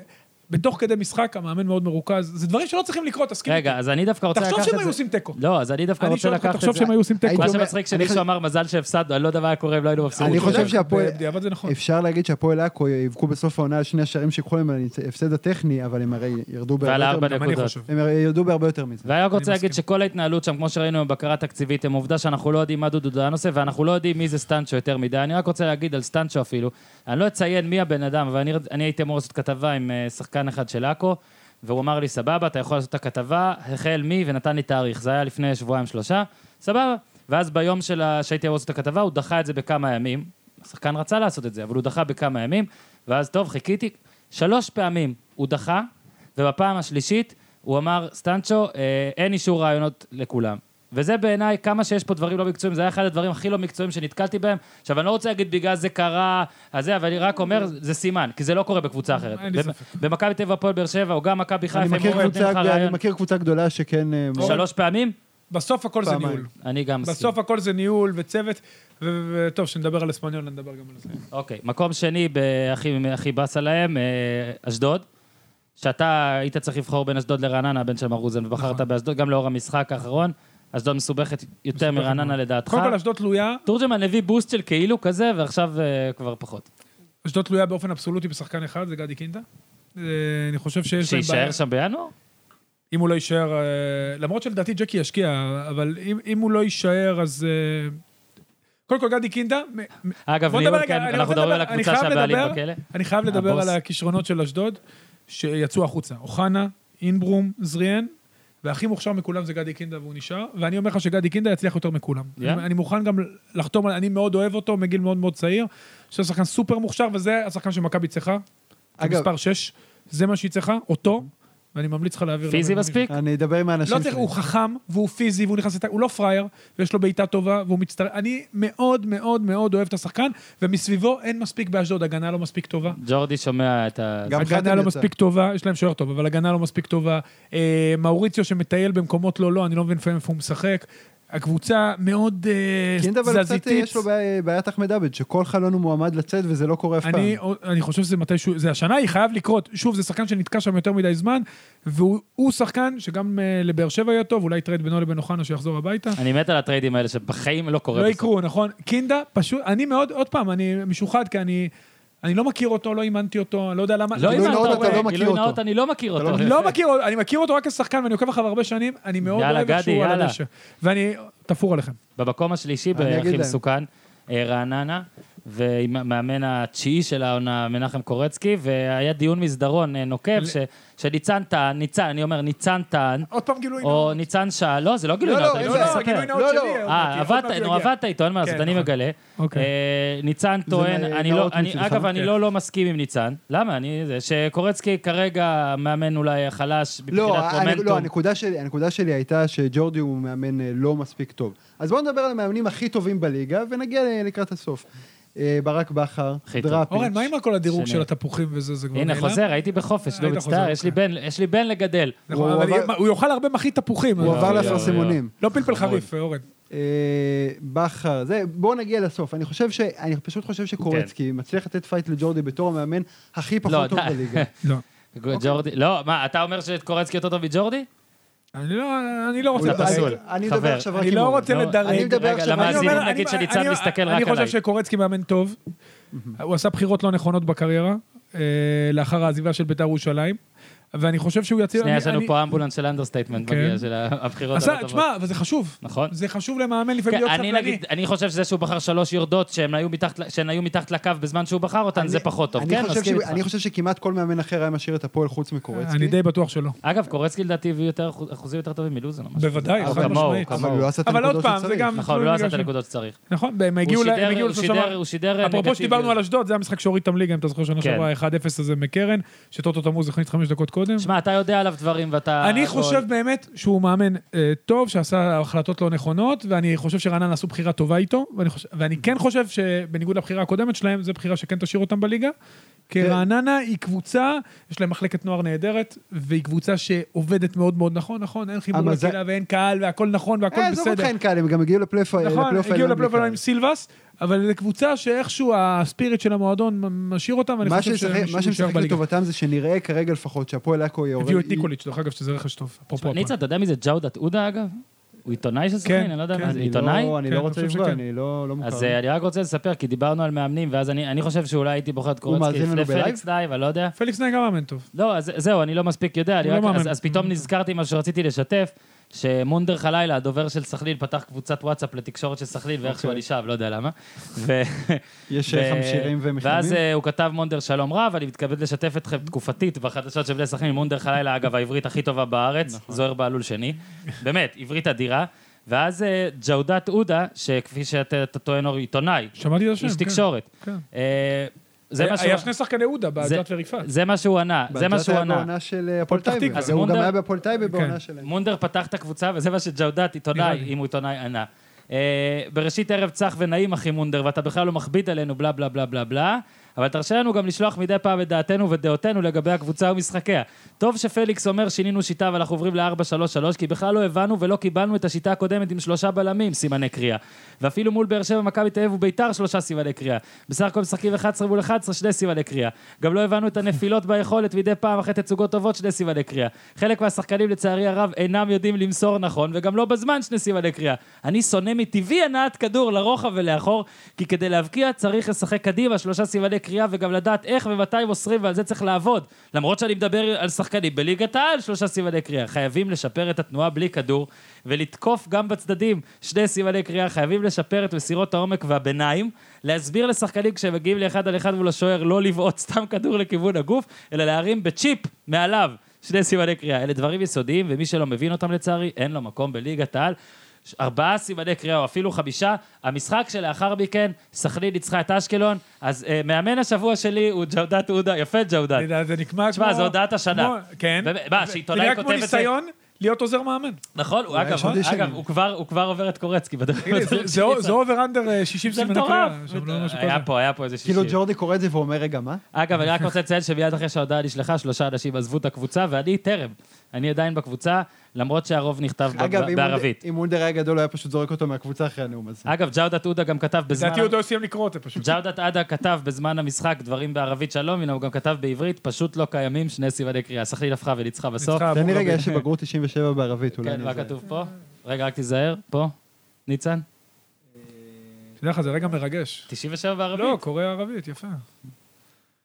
[SPEAKER 3] בתוך כדי משחק, המאמן מאוד מרוכז, זה דברים שלא צריכים לקרות, תסכים.
[SPEAKER 1] רגע,
[SPEAKER 3] איתי.
[SPEAKER 1] אז אני דווקא רוצה לקחת את זה...
[SPEAKER 3] כן, תחשוב שהם היו עושים תיקו.
[SPEAKER 1] לא, אז אני דווקא
[SPEAKER 3] אני
[SPEAKER 1] רוצה
[SPEAKER 3] שואל אותך,
[SPEAKER 1] לקחת את
[SPEAKER 3] תחשוב
[SPEAKER 1] זה.
[SPEAKER 3] שהם היו עושים תיקו.
[SPEAKER 1] מה
[SPEAKER 2] הייתי אומר-
[SPEAKER 1] שמצחיק
[SPEAKER 2] אני
[SPEAKER 1] שמישהו
[SPEAKER 2] חושב-
[SPEAKER 1] אמר מזל שהפסדנו, אני לא יודע מה היה קורה אם לא היינו מפסידים.
[SPEAKER 2] אני
[SPEAKER 1] את זה.
[SPEAKER 2] חושב שהפועל-
[SPEAKER 3] בדיעבד זה נכון.
[SPEAKER 2] אפשר להגיד שהפועל עכו יבכו בסוף העונה על שני השערים שיקחו להם על ההפסד הטכני, אבל הם הרי ירדו
[SPEAKER 1] ועל
[SPEAKER 2] בהרבה
[SPEAKER 1] הארבע
[SPEAKER 2] יותר-
[SPEAKER 3] גם אני
[SPEAKER 1] נקודות.
[SPEAKER 3] חושב.
[SPEAKER 2] הם הרי ירדו בהרבה יותר מזה.
[SPEAKER 1] ואני רק רוצה
[SPEAKER 3] מסכים.
[SPEAKER 1] להגיד שכל ההתנהלות שם, כמו שראינו בבקרה תקציבית, הם עובדה שאנחנו לא יודעים מה דודו דהן עושה, ואנחנו לא יודעים מי זה סטנצ'ו יותר מדי. אני רק רוצה להגיד על סטנצ'ו אפילו, אני לא אציין מי הבן אדם, אבל אני, אני הייתי אמור לעשות כתבה עם אה, שחקן אחד של עכו, והוא אמר לי, סבבה, אתה יכול לעשות את הכתבה, החל מי, ונתן לי תאריך. זה היה לפני שבועיים-שלושה, סבבה. ואז ביום של ה- שהייתי אמור לעשות את הכתבה, הוא דחה את זה בכמה ימים. השחקן רצה לעשות את זה, אבל הוא דחה בכמה ימים, ואז טוב, חיכיתי. שלוש פעמים הוא דחה, ובפעם השלישית הוא אמר, סטנצ'ו, אה, אין אישור רעיונות לכולם. וזה בעיניי, כמה שיש פה דברים לא מקצועיים, זה היה אחד הדברים הכי לא מקצועיים שנתקלתי בהם. עכשיו, אני לא רוצה להגיד בגלל זה קרה, אז זה, אבל אני רק אומר, זה סימן, כי זה לא קורה בקבוצה אחרת.
[SPEAKER 3] אין לי
[SPEAKER 1] במ-
[SPEAKER 3] ספק.
[SPEAKER 1] במכבי תל אביב, הפועל באר שבע, או גם מכבי חיפה,
[SPEAKER 2] אני
[SPEAKER 1] אם
[SPEAKER 2] מכיר
[SPEAKER 1] אורן נותן
[SPEAKER 2] קבוצה-
[SPEAKER 1] לך
[SPEAKER 2] אני
[SPEAKER 1] רעיון
[SPEAKER 2] מכיר קבוצה גדולה שכן... אה,
[SPEAKER 1] שלוש פעמים,
[SPEAKER 3] בסוף הכל זה
[SPEAKER 2] פעמיים.
[SPEAKER 3] ניהול.
[SPEAKER 1] אני גם מסכים.
[SPEAKER 3] בסוף הכל זה ניהול וצוות, וטוב, כשנדבר על אספניון, נדבר גם על זה.
[SPEAKER 1] אוקיי, מקום שני בהכי הכי באסה להם, אה, אשדוד. שאתה היית צריך לבחור בין אשדוד לרעננה, הבן של מרוזן, ובחרת
[SPEAKER 3] נכון.
[SPEAKER 1] באשדוד, גם לאור המשחק האחרון. אשדוד מסובכת יותר
[SPEAKER 3] מסובכת
[SPEAKER 1] מרעננה
[SPEAKER 3] מאוד.
[SPEAKER 1] לדעתך.
[SPEAKER 3] קודם כל, אשדוד תלויה,
[SPEAKER 1] תורג'מן הביא בוסט של כאילו כזה, ועכשיו אה, כבר פחות.
[SPEAKER 3] אשדוד תלויה באופן אבסולוטי בשחקן אחד, זה גדי קינדה. אה, אני חושב שיש להם בעיה.
[SPEAKER 1] שיישאר שם בינואר?
[SPEAKER 3] אם הוא לא יישאר, אה, למרות שלדעתי ג'קי ישקיע, אבל אם, אם הוא לא יישאר, אז... אה, קודם כל, גדי קינדה, מ- מ-
[SPEAKER 1] אגב,
[SPEAKER 3] בוא נדבר
[SPEAKER 1] ניהול,
[SPEAKER 3] רגע,
[SPEAKER 1] כן,
[SPEAKER 3] אני
[SPEAKER 1] אנחנו
[SPEAKER 3] רוצה
[SPEAKER 1] מדברים על
[SPEAKER 3] לדבר- אני
[SPEAKER 1] הקבוצה
[SPEAKER 3] חייב
[SPEAKER 1] שהבעלים
[SPEAKER 3] לדבר. כן,
[SPEAKER 1] בכלא.
[SPEAKER 3] אני חייב לדבר
[SPEAKER 1] הבוס.
[SPEAKER 3] על הכישרונות של אשדוד, שיצאו החוצה. אוחנה, אינברום, זריאן, והכי מוכשר מכולם זה גדי קינדה והוא נשאר, ואני אומר לך שגדי קינדה יצליח יותר מכולם.
[SPEAKER 1] Yeah.
[SPEAKER 3] אני, אני מוכן גם לחתום, על- אני מאוד אוהב אותו, מגיל מאוד מאוד צעיר. אני חושב שחקן סופר מוכשר, וזה השחקן שמכבי צריכה,
[SPEAKER 2] אגב-
[SPEAKER 3] מספר 6, זה מה שהיא צריכה, אותו, ואני ממליץ לך להעביר...
[SPEAKER 1] פיזי
[SPEAKER 3] למאמן.
[SPEAKER 1] מספיק?
[SPEAKER 2] אני אדבר עם האנשים
[SPEAKER 3] לא צריך, הוא חכם, והוא פיזי, והוא נכנס לתא, הוא לא פראייר, ויש לו בעיטה טובה, והוא מצטרף. אני מאוד מאוד מאוד אוהב את השחקן, ומסביבו אין מספיק באשדוד, הגנה לא מספיק טובה.
[SPEAKER 1] ג'ורדי שומע את ה...
[SPEAKER 2] גם
[SPEAKER 3] הגנה
[SPEAKER 2] חתם
[SPEAKER 3] לא
[SPEAKER 2] יצא.
[SPEAKER 3] מספיק טובה, יש להם שוער טוב, אבל הגנה לא מספיק טובה. אה, מאוריציו שמטייל במקומות לא לא, אני לא מבין לפעמים איפה הוא משחק. הקבוצה מאוד אה,
[SPEAKER 2] כן, אבל קצת אה,
[SPEAKER 3] תזזיתית.
[SPEAKER 2] יש לו בעיה- בעיית אחמד עבד, שכל חלון הוא מועמד לצאת וזה לא קורה אף פעם.
[SPEAKER 3] אני, אני חושב שזה מתישהו, זה השנה, היא חייב לקרות. שוב, זה שחקן שנתקע שם יותר מדי זמן, והוא הוא שחקן שגם אה, לבאר שבע יהיה טוב, אולי טרייד בינו לבין אוחנה שיחזור הביתה.
[SPEAKER 1] אני מת על הטריידים האלה שבחיים לא קורה.
[SPEAKER 3] לא
[SPEAKER 1] בסוף.
[SPEAKER 3] יקרו, נכון? קינדה, פשוט, אני מאוד, עוד פעם, אני משוחד, כי אני, אני לא מכיר אותו, לא אימנתי אותו, אני לא יודע למה.
[SPEAKER 1] לא
[SPEAKER 2] גילוי
[SPEAKER 1] הבנת
[SPEAKER 2] נאות, אתה לא
[SPEAKER 1] אותו,
[SPEAKER 2] מכיר
[SPEAKER 1] גילוי
[SPEAKER 2] אותו.
[SPEAKER 1] נאות, אני לא מכיר
[SPEAKER 2] אתה לא
[SPEAKER 1] אותו.
[SPEAKER 3] אני לא מכיר אותו, אני מכיר אותו רק כשחקן, ואני עוקב אחריו הרבה שנים, אני מאוד
[SPEAKER 1] יאללה,
[SPEAKER 3] אוהב איך
[SPEAKER 1] גדי,
[SPEAKER 3] שהוא על
[SPEAKER 1] יאללה.
[SPEAKER 3] הדשא. ואני תפור עליכם.
[SPEAKER 1] במקום השלישי,
[SPEAKER 2] אני אגיד
[SPEAKER 1] הכי
[SPEAKER 2] להם.
[SPEAKER 1] מסוכן, אה, רעננה, ועם המאמן התשיעי של העונה, מנחם קורצקי, והיה דיון מסדרון אה, נוקב,
[SPEAKER 3] ל-
[SPEAKER 1] ש- שניצן טען, ניצן, אני אומר ניצן טען,
[SPEAKER 3] עוד פעם גילוי נאות.
[SPEAKER 1] או ניצן שאל, לא, זה לא גילוי
[SPEAKER 2] לא,
[SPEAKER 1] נאות,
[SPEAKER 2] לא,
[SPEAKER 1] אני
[SPEAKER 2] אין
[SPEAKER 1] לא
[SPEAKER 2] בעיה,
[SPEAKER 1] מספר.
[SPEAKER 2] זה גילוי
[SPEAKER 3] נאות
[SPEAKER 2] לא,
[SPEAKER 3] שלי,
[SPEAKER 2] לא.
[SPEAKER 3] עוד מעט
[SPEAKER 1] אה,
[SPEAKER 3] יגיע, עוד
[SPEAKER 1] עבדת,
[SPEAKER 3] מעט
[SPEAKER 1] נו,
[SPEAKER 3] יגיע.
[SPEAKER 1] עבדת איתו, אין מה לעשות,
[SPEAKER 3] כן,
[SPEAKER 1] אני
[SPEAKER 3] נכון.
[SPEAKER 1] מגלה.
[SPEAKER 3] אוקיי.
[SPEAKER 1] אה, ניצן טוען,
[SPEAKER 2] נא-
[SPEAKER 1] אני לא,
[SPEAKER 2] נאות
[SPEAKER 1] אני-
[SPEAKER 2] מצדך,
[SPEAKER 1] אגב, אני
[SPEAKER 3] כן.
[SPEAKER 1] לא לא מסכים עם ניצן. למה? אני, זה שקורצקי כרגע המאנן אולי החלש
[SPEAKER 2] לא,
[SPEAKER 1] מבחינת
[SPEAKER 2] הנק- לא,
[SPEAKER 1] מומנטום.
[SPEAKER 2] הנקודה שלי, הנקודה שלי הייתה שג'ורדי הוא מאמן אה, לא מספיק טוב. אז בואו נדבר על המאמנים הכי טובים בליגה, ונגיע ל- לקראת הסוף. אה, ברק בכר,
[SPEAKER 1] הכי טוב.
[SPEAKER 2] דראפיץ'.
[SPEAKER 3] אורן, מה עם כל הדירוג
[SPEAKER 1] שני.
[SPEAKER 3] של התפוחים וזה, זה כבר
[SPEAKER 1] הנה,
[SPEAKER 3] נעלם?
[SPEAKER 1] חוזר, הייתי בחופש, לא
[SPEAKER 3] היית
[SPEAKER 1] מצטער,
[SPEAKER 3] חוזר,
[SPEAKER 1] יש לי
[SPEAKER 3] אוקיי.
[SPEAKER 1] בן- יש לי בן לגדל.
[SPEAKER 3] נכון,
[SPEAKER 2] הוא
[SPEAKER 3] אבל
[SPEAKER 2] עבר-
[SPEAKER 3] יהיה- הוא יאכל הרבה מחית תפוחים.
[SPEAKER 2] הוא
[SPEAKER 3] אז-
[SPEAKER 2] עבר
[SPEAKER 1] לא,
[SPEAKER 2] לאפרסמונים.
[SPEAKER 3] לא פלפל
[SPEAKER 1] נכון.
[SPEAKER 3] חריף, אורן.
[SPEAKER 2] אה, בכר, זה, בואו נגיע לסוף. אני חושב ש... אני פשוט חושב שקורצקי מצליח לתת פייט לג'ורדי בתור המאמן הכי
[SPEAKER 1] כן. לא,
[SPEAKER 2] פחות טוב
[SPEAKER 1] די. [laughs]
[SPEAKER 2] בליגה.
[SPEAKER 3] לא.
[SPEAKER 1] ג'ורדי, לא, מה, אתה אומר שקורצקי יותר טוב מג'ורדי?
[SPEAKER 3] אני לא, אני לא רוצה
[SPEAKER 1] אתה
[SPEAKER 3] לדרג.
[SPEAKER 1] פסול.
[SPEAKER 2] אני
[SPEAKER 1] חבר.
[SPEAKER 2] מדבר עכשיו רק
[SPEAKER 3] אני
[SPEAKER 2] עם
[SPEAKER 3] לא
[SPEAKER 2] אורן.
[SPEAKER 3] רוצה
[SPEAKER 1] לא,
[SPEAKER 3] לדרג.
[SPEAKER 2] אני מדבר
[SPEAKER 1] רגע,
[SPEAKER 2] עכשיו רק עם
[SPEAKER 1] למאזינים
[SPEAKER 3] אני אומר,
[SPEAKER 1] נגיד
[SPEAKER 3] אני-
[SPEAKER 1] שניצן
[SPEAKER 3] אני-
[SPEAKER 1] מסתכל רק
[SPEAKER 3] אני
[SPEAKER 1] עליי.
[SPEAKER 3] חושב שקורצקי מאמן טוב, הוא עשה בחירות לא נכונות בקריירה, אה, לאחר העזיבה של בית"ר ירושלים, ואני חושב שהוא יציב...
[SPEAKER 1] שנייה,
[SPEAKER 3] אני-
[SPEAKER 1] יש לנו
[SPEAKER 3] אני-
[SPEAKER 1] פה אמבולנס של אנדרסטייטמנט
[SPEAKER 3] כן.
[SPEAKER 1] מגיע, של הבחירות
[SPEAKER 3] עשה-
[SPEAKER 1] הלא טובות.
[SPEAKER 3] תשמע, אבל זה חשוב.
[SPEAKER 1] נכון.
[SPEAKER 3] זה חשוב למאמן לפעמים
[SPEAKER 1] כן,
[SPEAKER 3] להיות
[SPEAKER 1] אני
[SPEAKER 3] סבלני.
[SPEAKER 1] נגיד, אני חושב שזה שהוא בחר שלוש יורדות שהן היו מתחת ל- שהן היו מתחת לקו בזמן שהוא בחר אותן, זה
[SPEAKER 2] אני-
[SPEAKER 1] פחות טוב.
[SPEAKER 2] אני
[SPEAKER 1] כן,
[SPEAKER 2] חושב
[SPEAKER 1] מסכים
[SPEAKER 2] ש-
[SPEAKER 1] איתך.
[SPEAKER 2] אני חושב שכמעט כל מאמן אחר היה משאיר את הפועל חוץ מקורצקי.
[SPEAKER 3] אני די בטוח שלא.
[SPEAKER 1] אגב, קורצקי לדעתי הביא יותר אחוז- אחוזים יותר טובים מלוזון. או משהו.
[SPEAKER 3] בוודאי,
[SPEAKER 2] אבל
[SPEAKER 3] חד
[SPEAKER 1] כמוהו,
[SPEAKER 3] משמעית.
[SPEAKER 1] כמוהו.
[SPEAKER 2] אבל הוא לא עשה את
[SPEAKER 3] אבל עוד
[SPEAKER 2] הנקודות
[SPEAKER 3] פעם, זה
[SPEAKER 2] שצריך.
[SPEAKER 3] גם...
[SPEAKER 1] נכון,
[SPEAKER 3] תלוי
[SPEAKER 1] הוא לא עשה את
[SPEAKER 3] מגרשים.
[SPEAKER 1] הנקודות שצריך.
[SPEAKER 3] נכון, הם
[SPEAKER 1] הוא
[SPEAKER 3] הגיעו ל- הם
[SPEAKER 1] שידר-
[SPEAKER 3] הגיעו
[SPEAKER 1] הוא
[SPEAKER 3] לשלושה
[SPEAKER 1] שידר, הוא שידר נגטיבי.
[SPEAKER 3] אפרופו שדיברנו על אשדוד, זה המשחק שהוריד את המליגה, אם אתה זוכר, שנה
[SPEAKER 1] כן.
[SPEAKER 3] שעברה 1-0 הזה מקרן, שטוטו תמוז הכניס חמש דקות קודם.
[SPEAKER 1] שמע, אתה יודע עליו דברים ואתה...
[SPEAKER 3] אני
[SPEAKER 1] גול.
[SPEAKER 3] חושב באמת שהוא מאמן אה, טוב, שעשה החלטות לא נכונות, ואני חושב שרעננה עשו בחירה טובה איתו, ואני חושב- ואני כן חושב שבניגוד לבחירה הקודמת שלהם, זו בחירה שכן תשאיר אותם בליגה. כי
[SPEAKER 2] כן.
[SPEAKER 3] רעננה היא קבוצה, יש להם מחלקת נוער נהדרת, והיא קבוצה שעובדת מאוד מאוד נכון, נכון, אין חיבור
[SPEAKER 2] המזל-
[SPEAKER 3] לקהילה ואין קהל והכל נכון והכל
[SPEAKER 2] אה, עזוב
[SPEAKER 3] בסדר.
[SPEAKER 2] אותך אין קהל, הם גם הגיעו לפלייאוף
[SPEAKER 3] נכון,
[SPEAKER 2] לפלייאוף
[SPEAKER 3] הגיעו לפלייאוף העליון
[SPEAKER 2] העליון.
[SPEAKER 3] עם סילבס, אבל זו קבוצה שאיכשהו הספיריט של המועדון משאיר אותם, ואני
[SPEAKER 2] מה
[SPEAKER 3] חושב שהם
[SPEAKER 2] ששחק- מה
[SPEAKER 3] נשאר
[SPEAKER 2] שמשחק
[SPEAKER 3] בליגה.
[SPEAKER 2] לטובתם זה שנראה כרגע לפחות שהפועל עכו יורד.
[SPEAKER 3] הביאו את ניקוליץ', דרך אגב, שזה רכש טוב, אפרופו.
[SPEAKER 1] תשמע,
[SPEAKER 3] הפועל.
[SPEAKER 1] ניצה, אתה יודע מי זה ג'אודה עודה, אגב? הוא עיתונאי של סכנין?
[SPEAKER 3] כן,
[SPEAKER 1] אני לא יודע
[SPEAKER 3] כן.
[SPEAKER 1] מה זה.
[SPEAKER 2] אני
[SPEAKER 1] עיתונאי?
[SPEAKER 2] לא- אני
[SPEAKER 3] כן,
[SPEAKER 2] לא רוצה
[SPEAKER 3] אני חושב
[SPEAKER 2] לפגוע,
[SPEAKER 3] שכן.
[SPEAKER 2] אני לא לא מוכר.
[SPEAKER 1] אז אה, אני רק רוצה לספר, כי דיברנו על מאמנים, ואז אני אני חושב שאולי הייתי בוחר את קורצקי
[SPEAKER 2] מאזין לנו
[SPEAKER 1] לפני
[SPEAKER 2] בלייב?
[SPEAKER 1] פליקס דייב, אני לא יודע.
[SPEAKER 3] פליקס נגה מאמן טוב.
[SPEAKER 1] לא, אז זהו, אני לא מספיק יודע, אני
[SPEAKER 3] הוא
[SPEAKER 1] רק-
[SPEAKER 3] לא
[SPEAKER 1] אז-
[SPEAKER 3] מאמן.
[SPEAKER 1] אז
[SPEAKER 2] Mm.
[SPEAKER 1] פתאום נזכרתי מה שרציתי לשתף, שמונדר חלילה, הדובר של סכלין, פתח קבוצת וואטסאפ לתקשורת של סכלין, ואיכשהו
[SPEAKER 2] אוקיי.
[SPEAKER 1] אני שם, לא יודע למה. ו-
[SPEAKER 2] יש
[SPEAKER 1] ו-
[SPEAKER 2] אה, חמשירים
[SPEAKER 1] ואז
[SPEAKER 2] ומכלמים.
[SPEAKER 1] אה, הוא כתב מונדר שלום רב, אני מתכבד לשתף אתכם תקופתית בחדשות של בני סכנין, מונדר חלילה, אגב, העברית הכי טובה בארץ,
[SPEAKER 3] נכון.
[SPEAKER 1] זוהר בהלול שני. באמת, עברית אדירה. ואז אה, ג'אודת עודה, שכפי שאתה אתה טוען, הוא עיתונאי,
[SPEAKER 3] שמעתי את השם,
[SPEAKER 1] איש
[SPEAKER 3] כן.
[SPEAKER 1] תקשורת.
[SPEAKER 3] כן.
[SPEAKER 1] אה, זה מה
[SPEAKER 3] היה
[SPEAKER 1] שהוא-
[SPEAKER 3] היה שני שחקני עודה, בעדת וריקפת.
[SPEAKER 1] זה מה שהוא ענה, זה מה שהוא
[SPEAKER 2] בהתחלה היה
[SPEAKER 1] ענה.
[SPEAKER 2] בעונה של אה, הפועל
[SPEAKER 3] פתח
[SPEAKER 2] טייבה.
[SPEAKER 3] תקווה.
[SPEAKER 1] אז
[SPEAKER 2] הוא גם
[SPEAKER 1] מונדר-
[SPEAKER 2] היה בהפועל טייבה
[SPEAKER 3] כן.
[SPEAKER 2] בעונה שלהם.
[SPEAKER 1] מונדר פתח את הקבוצה, וזה מה שג'אודת,
[SPEAKER 3] נראה
[SPEAKER 1] עיתונאי,
[SPEAKER 3] לי.
[SPEAKER 1] אם הוא עיתונאי, ענה. אה, בראשית ערב צח ונעים, אחי מונדר, ואתה בכלל לא מכביד עלינו, בלה בלה בלה בלה בלה, אבל תרשה לנו גם לשלוח מדי פעם את דעתנו ודעותינו לגבי הקבוצה ומשחקיה. טוב שפליקס אומר שינינו שיטה ואנחנו עוברים ל-4-3-3, כי בכלל לא הבנו ולא קיבלנו את השיטה הקודמת עם שלושה בלמים, סימני קריאה. ואפילו מול באר שבע, מכבי תל אביב וביתר, שלושה סימני קריאה. בסך הכל משחקים 11 מול 11, שני סימני קריאה. גם לא הבנו את הנפילות ביכולת מדי פעם אחרי תצוגות טובות, שני סימני קריאה. חלק מהשחקנים, לצערי הרב, אינם יודעים למסור נכון, וגם לא בזמן שני סימני קריאה. אני שונא מטבעי הנעת כדור לרוחב ולאחור, כי כדי להבקיע צריך לשחק קדימה, שלושה סימני קריאה, וגם לדעת איך ומתי מוסרים, ועל זה צריך לעבוד. למרות שאני מדבר על שחקנים בליגת העל, שלושה סימני קריאה. חייבים לשפר את התנועה בלי כדור, ולתקוף גם בצדדים שני סימני קריאה, חייבים לשפר את מסירות העומק והביניים, להסביר לשחקנים כשהם מגיעים לאחד על אחד מול השוער לא לבעוט סתם כדור לכיוון הגוף, אלא להרים בצ'יפ מעליו שני סימני קריאה. אלה דברים יסודיים, ומי שלא מבין אותם לצערי, אין לו מקום בליגת העל. ש- ארבעה סימני קריאה או אפילו חמישה, המשחק שלאחר מכן, סכנין ניצחה את אשקלון, אז אה, מאמן השבוע שלי הוא ג'אודת עודה, יפה ג'אודת.
[SPEAKER 3] לדעת, זה נקבע כמו...
[SPEAKER 1] תשמע, זו הודעת השנה.
[SPEAKER 3] כמו- כן.
[SPEAKER 1] באמת, מה, שעיתונאי
[SPEAKER 3] זה נראה
[SPEAKER 1] כותב
[SPEAKER 3] כמו
[SPEAKER 1] את זה?
[SPEAKER 3] ניסיון להיות עוזר מאמן.
[SPEAKER 1] [laughs] נכון, הוא- אגב,
[SPEAKER 2] יש עוד ישנים.
[SPEAKER 1] אגב, הוא כבר- הוא כבר עובר את קורצקי בדברים
[SPEAKER 3] הנה, זה-
[SPEAKER 1] בדברים
[SPEAKER 3] זה
[SPEAKER 1] שלי.
[SPEAKER 3] זה אה, אובר אנדר 60
[SPEAKER 1] זה
[SPEAKER 3] סימני
[SPEAKER 1] מטורף.
[SPEAKER 3] קריאה. שם לא משהו
[SPEAKER 1] היה
[SPEAKER 3] כזה.
[SPEAKER 1] פה, היה פה איזה
[SPEAKER 2] כאילו
[SPEAKER 1] שישי.
[SPEAKER 2] ג'ורדי קורא את זה ואומר, רגע, מה?
[SPEAKER 1] אגב, אני רק רוצה לציין שמיד אחרי שההודעה נשלחה, שלושה אנשים עזבו את הקבוצה, ואני טרם. אני עדיין בקבוצה, למרות שהרוב נכתב ב-
[SPEAKER 2] אגב, אם
[SPEAKER 1] בערבית.
[SPEAKER 2] אונדר- אם אונדר היה גדול, הוא היה פשוט זורק אותו מהקבוצה אחרי הנאום הזה.
[SPEAKER 1] אגב, ג'אודת עודה גם כתב בזמן...
[SPEAKER 3] לדעתי הוא עוד לא סיים לקרוא אותה פשוט.
[SPEAKER 1] ג'אודת עדה כתב בזמן המשחק דברים בערבית שלום, הנה הוא גם כתב בעברית, פשוט לא קיימים שני סימני קריאה. סחליל הפכה וניצחה בסוף.
[SPEAKER 3] ניצחה.
[SPEAKER 2] תן לי
[SPEAKER 3] אבו
[SPEAKER 2] רגע,
[SPEAKER 3] דאבי.
[SPEAKER 2] יש לי בגרות 97 בערבית, אולי
[SPEAKER 1] כן,
[SPEAKER 2] אני
[SPEAKER 1] מה
[SPEAKER 2] אזהה.
[SPEAKER 1] כתוב פה? רגע, רק תיזהר, פה. ניצן?
[SPEAKER 3] תדע לך, זה רגע מרגש.
[SPEAKER 1] 97 בערבית?
[SPEAKER 3] לא, קורא ערבית, יפה.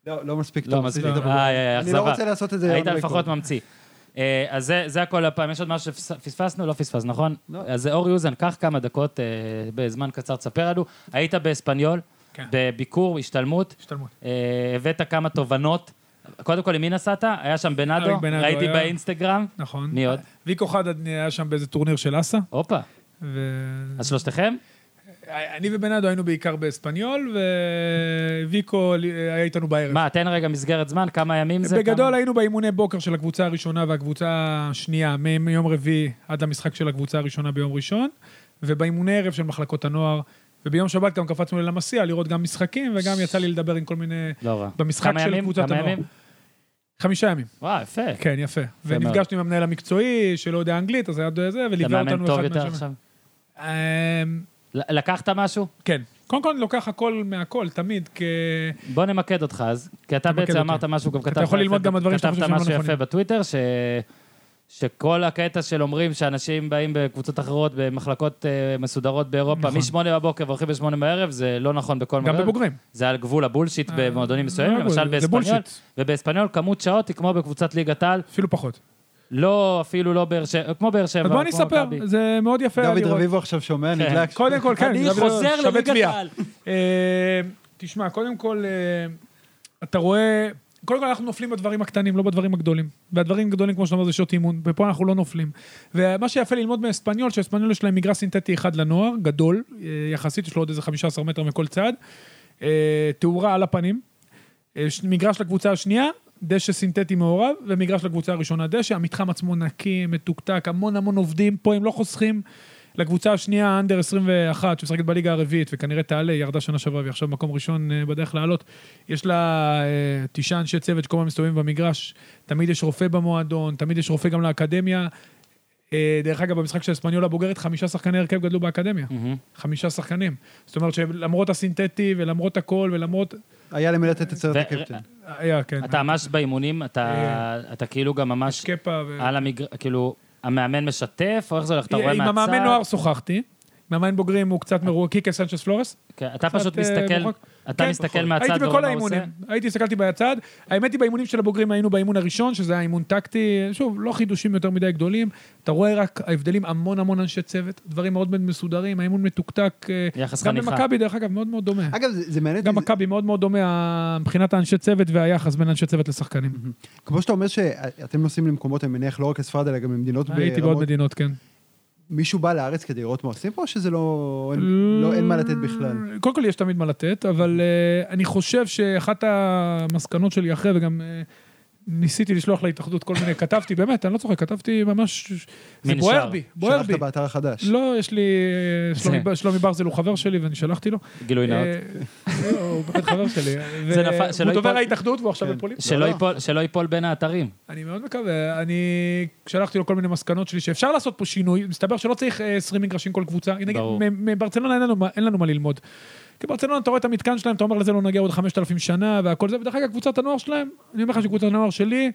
[SPEAKER 2] לא, לא מספיק
[SPEAKER 1] לא,
[SPEAKER 2] טוב.
[SPEAKER 1] מספיק.
[SPEAKER 2] עשיתי את הבגרות.
[SPEAKER 1] איי, איי,
[SPEAKER 2] אני לא
[SPEAKER 1] אכזבה.
[SPEAKER 2] רוצה לעשות את זה.
[SPEAKER 1] היית
[SPEAKER 2] on record.
[SPEAKER 1] לפחות ממציא. אה, אז זה- זה הכל הפעם. יש עוד משהו שפספסנו? לא פספס, נכון?
[SPEAKER 2] לא.
[SPEAKER 1] אז זה אורי אוזן, קח כמה דקות אה, בזמן קצר, תספר לנו. היית באספניול,
[SPEAKER 3] כן.
[SPEAKER 1] בביקור, השתלמות,
[SPEAKER 3] השתלמות.
[SPEAKER 1] אה, הבאת כמה תובנות. קודם כל, עם מי נסעת? היה שם בנאדו,
[SPEAKER 3] אריק בנאדו
[SPEAKER 1] ראיתי
[SPEAKER 3] היה.
[SPEAKER 1] באינסטגרם.
[SPEAKER 3] נכון.
[SPEAKER 1] מי עוד?
[SPEAKER 3] ויקו חדד היה שם באיזה טורניר של אסה,
[SPEAKER 1] הופה,
[SPEAKER 3] ו-
[SPEAKER 1] אז שלושתכם?
[SPEAKER 3] אני ובנאדו היינו בעיקר באספניול, וויקו היה איתנו בערב.
[SPEAKER 1] מה, תן רגע מסגרת זמן, כמה ימים זה?
[SPEAKER 3] בגדול
[SPEAKER 1] כמה-
[SPEAKER 3] היינו באימוני בוקר של הקבוצה הראשונה והקבוצה השנייה, מ- מיום רביעי עד המשחק של הקבוצה הראשונה ביום ראשון, ובאימוני ערב של מחלקות הנוער, וביום שבת גם קפצנו למסיע לראות גם משחקים, וגם יצא לי לדבר עם כל מיני...
[SPEAKER 1] לא רע.
[SPEAKER 3] במשחק
[SPEAKER 1] כמה
[SPEAKER 3] של
[SPEAKER 1] ימים?
[SPEAKER 3] קבוצת
[SPEAKER 1] כמה
[SPEAKER 3] הנוער.
[SPEAKER 1] ימים?
[SPEAKER 3] חמישה ימים,
[SPEAKER 1] וואו, יפה.
[SPEAKER 3] כן, יפה.
[SPEAKER 1] מאוד.
[SPEAKER 3] ונפגשנו עם המנהל המקצועי, שלא יודע אנגלית, אז היה זה,
[SPEAKER 1] אתה
[SPEAKER 3] וליווה
[SPEAKER 1] מאמן
[SPEAKER 3] אותנו
[SPEAKER 1] טוב
[SPEAKER 3] אחד
[SPEAKER 1] יותר
[SPEAKER 3] מהשאר.
[SPEAKER 1] עכשיו?
[SPEAKER 3] אמ,
[SPEAKER 1] ל- לקחת משהו?
[SPEAKER 3] כן. קודם כל אני לוקח הכל מהכל, תמיד, כ...
[SPEAKER 1] בוא נמקד אותך אז, כי אתה
[SPEAKER 3] תמקד
[SPEAKER 1] בעצם
[SPEAKER 3] אותי.
[SPEAKER 1] אמרת משהו, גם כתבת...
[SPEAKER 3] יכול
[SPEAKER 1] יפה-
[SPEAKER 3] ללמוד גם מהדברים שאתה חושב שהם לא
[SPEAKER 1] כתבת משהו
[SPEAKER 3] נכונים.
[SPEAKER 1] יפה בטוויטר, ש... שכל הקטע של אומרים שאנשים באים בקבוצות אחרות, במחלקות אה, מסודרות באירופה,
[SPEAKER 3] נכון.
[SPEAKER 1] משמונה בבוקר והולכים בשמונה בערב, זה לא נכון בכל
[SPEAKER 3] גם
[SPEAKER 1] מקום.
[SPEAKER 3] בבוגרים.
[SPEAKER 1] זה על גבול הבולשיט במועדונים מסוימים,
[SPEAKER 3] אה,
[SPEAKER 1] למשל
[SPEAKER 3] זה
[SPEAKER 1] באספניול.
[SPEAKER 3] בולשיט,
[SPEAKER 1] ובאספניול כמות שעות היא כמו בקבוצת ליגת העל,
[SPEAKER 3] אפילו פחות.
[SPEAKER 1] לא אפילו לא באר שבע, כמו באר שבע,
[SPEAKER 3] אז בוא אני
[SPEAKER 1] כן, כמו
[SPEAKER 3] אספר,
[SPEAKER 1] מכבי.
[SPEAKER 3] זה מאוד יפה היה
[SPEAKER 2] דוד
[SPEAKER 3] לראות.
[SPEAKER 2] רביבו עכשיו שומע,
[SPEAKER 1] כן.
[SPEAKER 2] נדלק.
[SPEAKER 3] קודם כל, כן.
[SPEAKER 1] אני
[SPEAKER 3] זה
[SPEAKER 1] חוזר
[SPEAKER 3] שווה
[SPEAKER 1] לליגת
[SPEAKER 3] תביעה.
[SPEAKER 1] העל.
[SPEAKER 3] אה, תשמע, קודם כל, אה, אתה רואה... קודם כל אנחנו נופלים בדברים הקטנים, לא בדברים הגדולים. והדברים הגדולים, כמו שאתה אומר, זה שעות אימון, ופה אנחנו לא נופלים. ומה שיפה ללמוד מאספניול, שאספניול יש להם מגרש סינתטי אחד לנוער, גדול, אה, יחסית, יש לו עוד איזה 15 מטר מכל צד. אה, תאורה על הפנים, אה, ש- מגרש לקבוצה השנייה, דשא סינתטי מעורב, ומגרש לקבוצה הראשונה דשא. המתחם עצמו נקי, מתוקתק, המון המון עובדים, פה הם לא חוסכים. לקבוצה השנייה, האנדר 21, שמשחקת בליגה הרביעית, וכנראה תעלה, היא ירדה שנה שעברה, והיא עכשיו מקום ראשון אה, בדרך לעלות. יש לה אה, תשעה אנשי צוות שכל הזמן מסתובבים במגרש. תמיד יש רופא במועדון, תמיד יש רופא גם לאקדמיה. אה, דרך אגב, במשחק של אספניולה הבוגרת, חמישה שחקני הרכב גדלו באקדמיה.
[SPEAKER 1] מהמם.
[SPEAKER 3] חמישה שחקנים. זאת אומרת שלמרות הסינתטי ולמרות הכל ולמרות...
[SPEAKER 2] היה למי לתת את סרט
[SPEAKER 1] ו-
[SPEAKER 2] הקפטן.
[SPEAKER 3] היה, כן.
[SPEAKER 1] אתה ממש באימונים, אתה
[SPEAKER 3] אה.
[SPEAKER 1] אתה כאילו גם ממש
[SPEAKER 3] קפה ו...
[SPEAKER 1] על המגר... כאילו, המאמן משתף, או איך זה הולך? אתה רואה
[SPEAKER 3] עם
[SPEAKER 1] מהצד?
[SPEAKER 3] המאמן נוער שוחחתי. עם המאמן בוגרים הוא קצת מרוע, קיקה סנצ'ס פלורס.
[SPEAKER 1] כן, אתה
[SPEAKER 3] קצת,
[SPEAKER 1] פשוט
[SPEAKER 3] אה,
[SPEAKER 1] מסתכל,
[SPEAKER 3] מרוחק.
[SPEAKER 1] אתה
[SPEAKER 3] כן,
[SPEAKER 1] מסתכל
[SPEAKER 3] נכון.
[SPEAKER 1] מהצד
[SPEAKER 3] הייתי
[SPEAKER 1] ורואה
[SPEAKER 3] בכל
[SPEAKER 1] מה הוא עושה?
[SPEAKER 3] האימונים, הייתי, הסתכלתי מהצד. האמת היא, באימונים של הבוגרים היינו באימון הראשון, שזה היה אימון טקטי, שוב, לא חידושים יותר מדי גדולים. אתה רואה רק ההבדלים, המון המון אנשי צוות, דברים מאוד מאוד מסודרים, האימון מתוקתק. אה,
[SPEAKER 1] יחס
[SPEAKER 3] גם
[SPEAKER 1] חניכה.
[SPEAKER 3] במכבי, דרך אגב, מאוד מאוד דומה.
[SPEAKER 2] אגב, זה זה מעניין,
[SPEAKER 3] גם
[SPEAKER 2] אותי,
[SPEAKER 3] מכבי מאוד מאוד דומה אה, מבחינת האנשי צוות והיחס בין אנשי צוות לשחקנים.
[SPEAKER 2] זה- כמו שאתה אומר שאתם נוסעים למקומות, אני מניח, לא רק לספרד, אלא גם למדינות
[SPEAKER 3] הייתי בעוד
[SPEAKER 2] ברמות.
[SPEAKER 3] מדינות, כן.
[SPEAKER 2] מישהו בא לארץ כדי לראות מה עושים פה, או שזה לא... אין-
[SPEAKER 3] אה,
[SPEAKER 2] לא, אין מה לתת בכלל.
[SPEAKER 3] קודם כל יש תמיד מה לתת, אבל אה, אני חושב שאחת המסקנות שלי אחרי, וגם אה, ניסיתי לשלוח להתאחדות כל מיני, כתבתי, באמת, אני לא צוחק, כתבתי ממש, זה
[SPEAKER 1] מין
[SPEAKER 3] בוער
[SPEAKER 1] שער.
[SPEAKER 3] בי, בוער בי.
[SPEAKER 2] שלחת באתר החדש.
[SPEAKER 3] לא, יש לי, אה, שלומי
[SPEAKER 1] זה.
[SPEAKER 3] בר- שלומי ברזל הוא חבר שלי ואני שלחתי לו.
[SPEAKER 1] גילוי נאות.
[SPEAKER 3] אה, [laughs] לא, הוא באמת חבר שלי.
[SPEAKER 1] זה
[SPEAKER 3] ו-
[SPEAKER 1] נפל- שלא
[SPEAKER 3] הוא דובר
[SPEAKER 1] ייפול-
[SPEAKER 3] ההתאחדות והוא עכשיו
[SPEAKER 2] כן.
[SPEAKER 3] בפולין.
[SPEAKER 1] שלא
[SPEAKER 2] לא.
[SPEAKER 1] ייפול- שלא ייפול בין האתרים.
[SPEAKER 3] אני מאוד מקווה, אני שלחתי לו כל מיני מסקנות שלי שאפשר לעשות פה שינוי, מסתבר שלא צריך אה, 20 מגרשים כל קבוצה, הנה, נגיד,
[SPEAKER 1] ברור.
[SPEAKER 3] מ- מברצלונה אין לנו, מה- אין לנו מה ללמוד. כי ברצלונה אתה רואה את המתקן שלהם, אתה אומר לזה לא נגיע עוד 5,000 שנה והכל זה, ודרך אגב קבוצת הנוער שלהם, אני אומר לך שקבוצת הנוער שלי,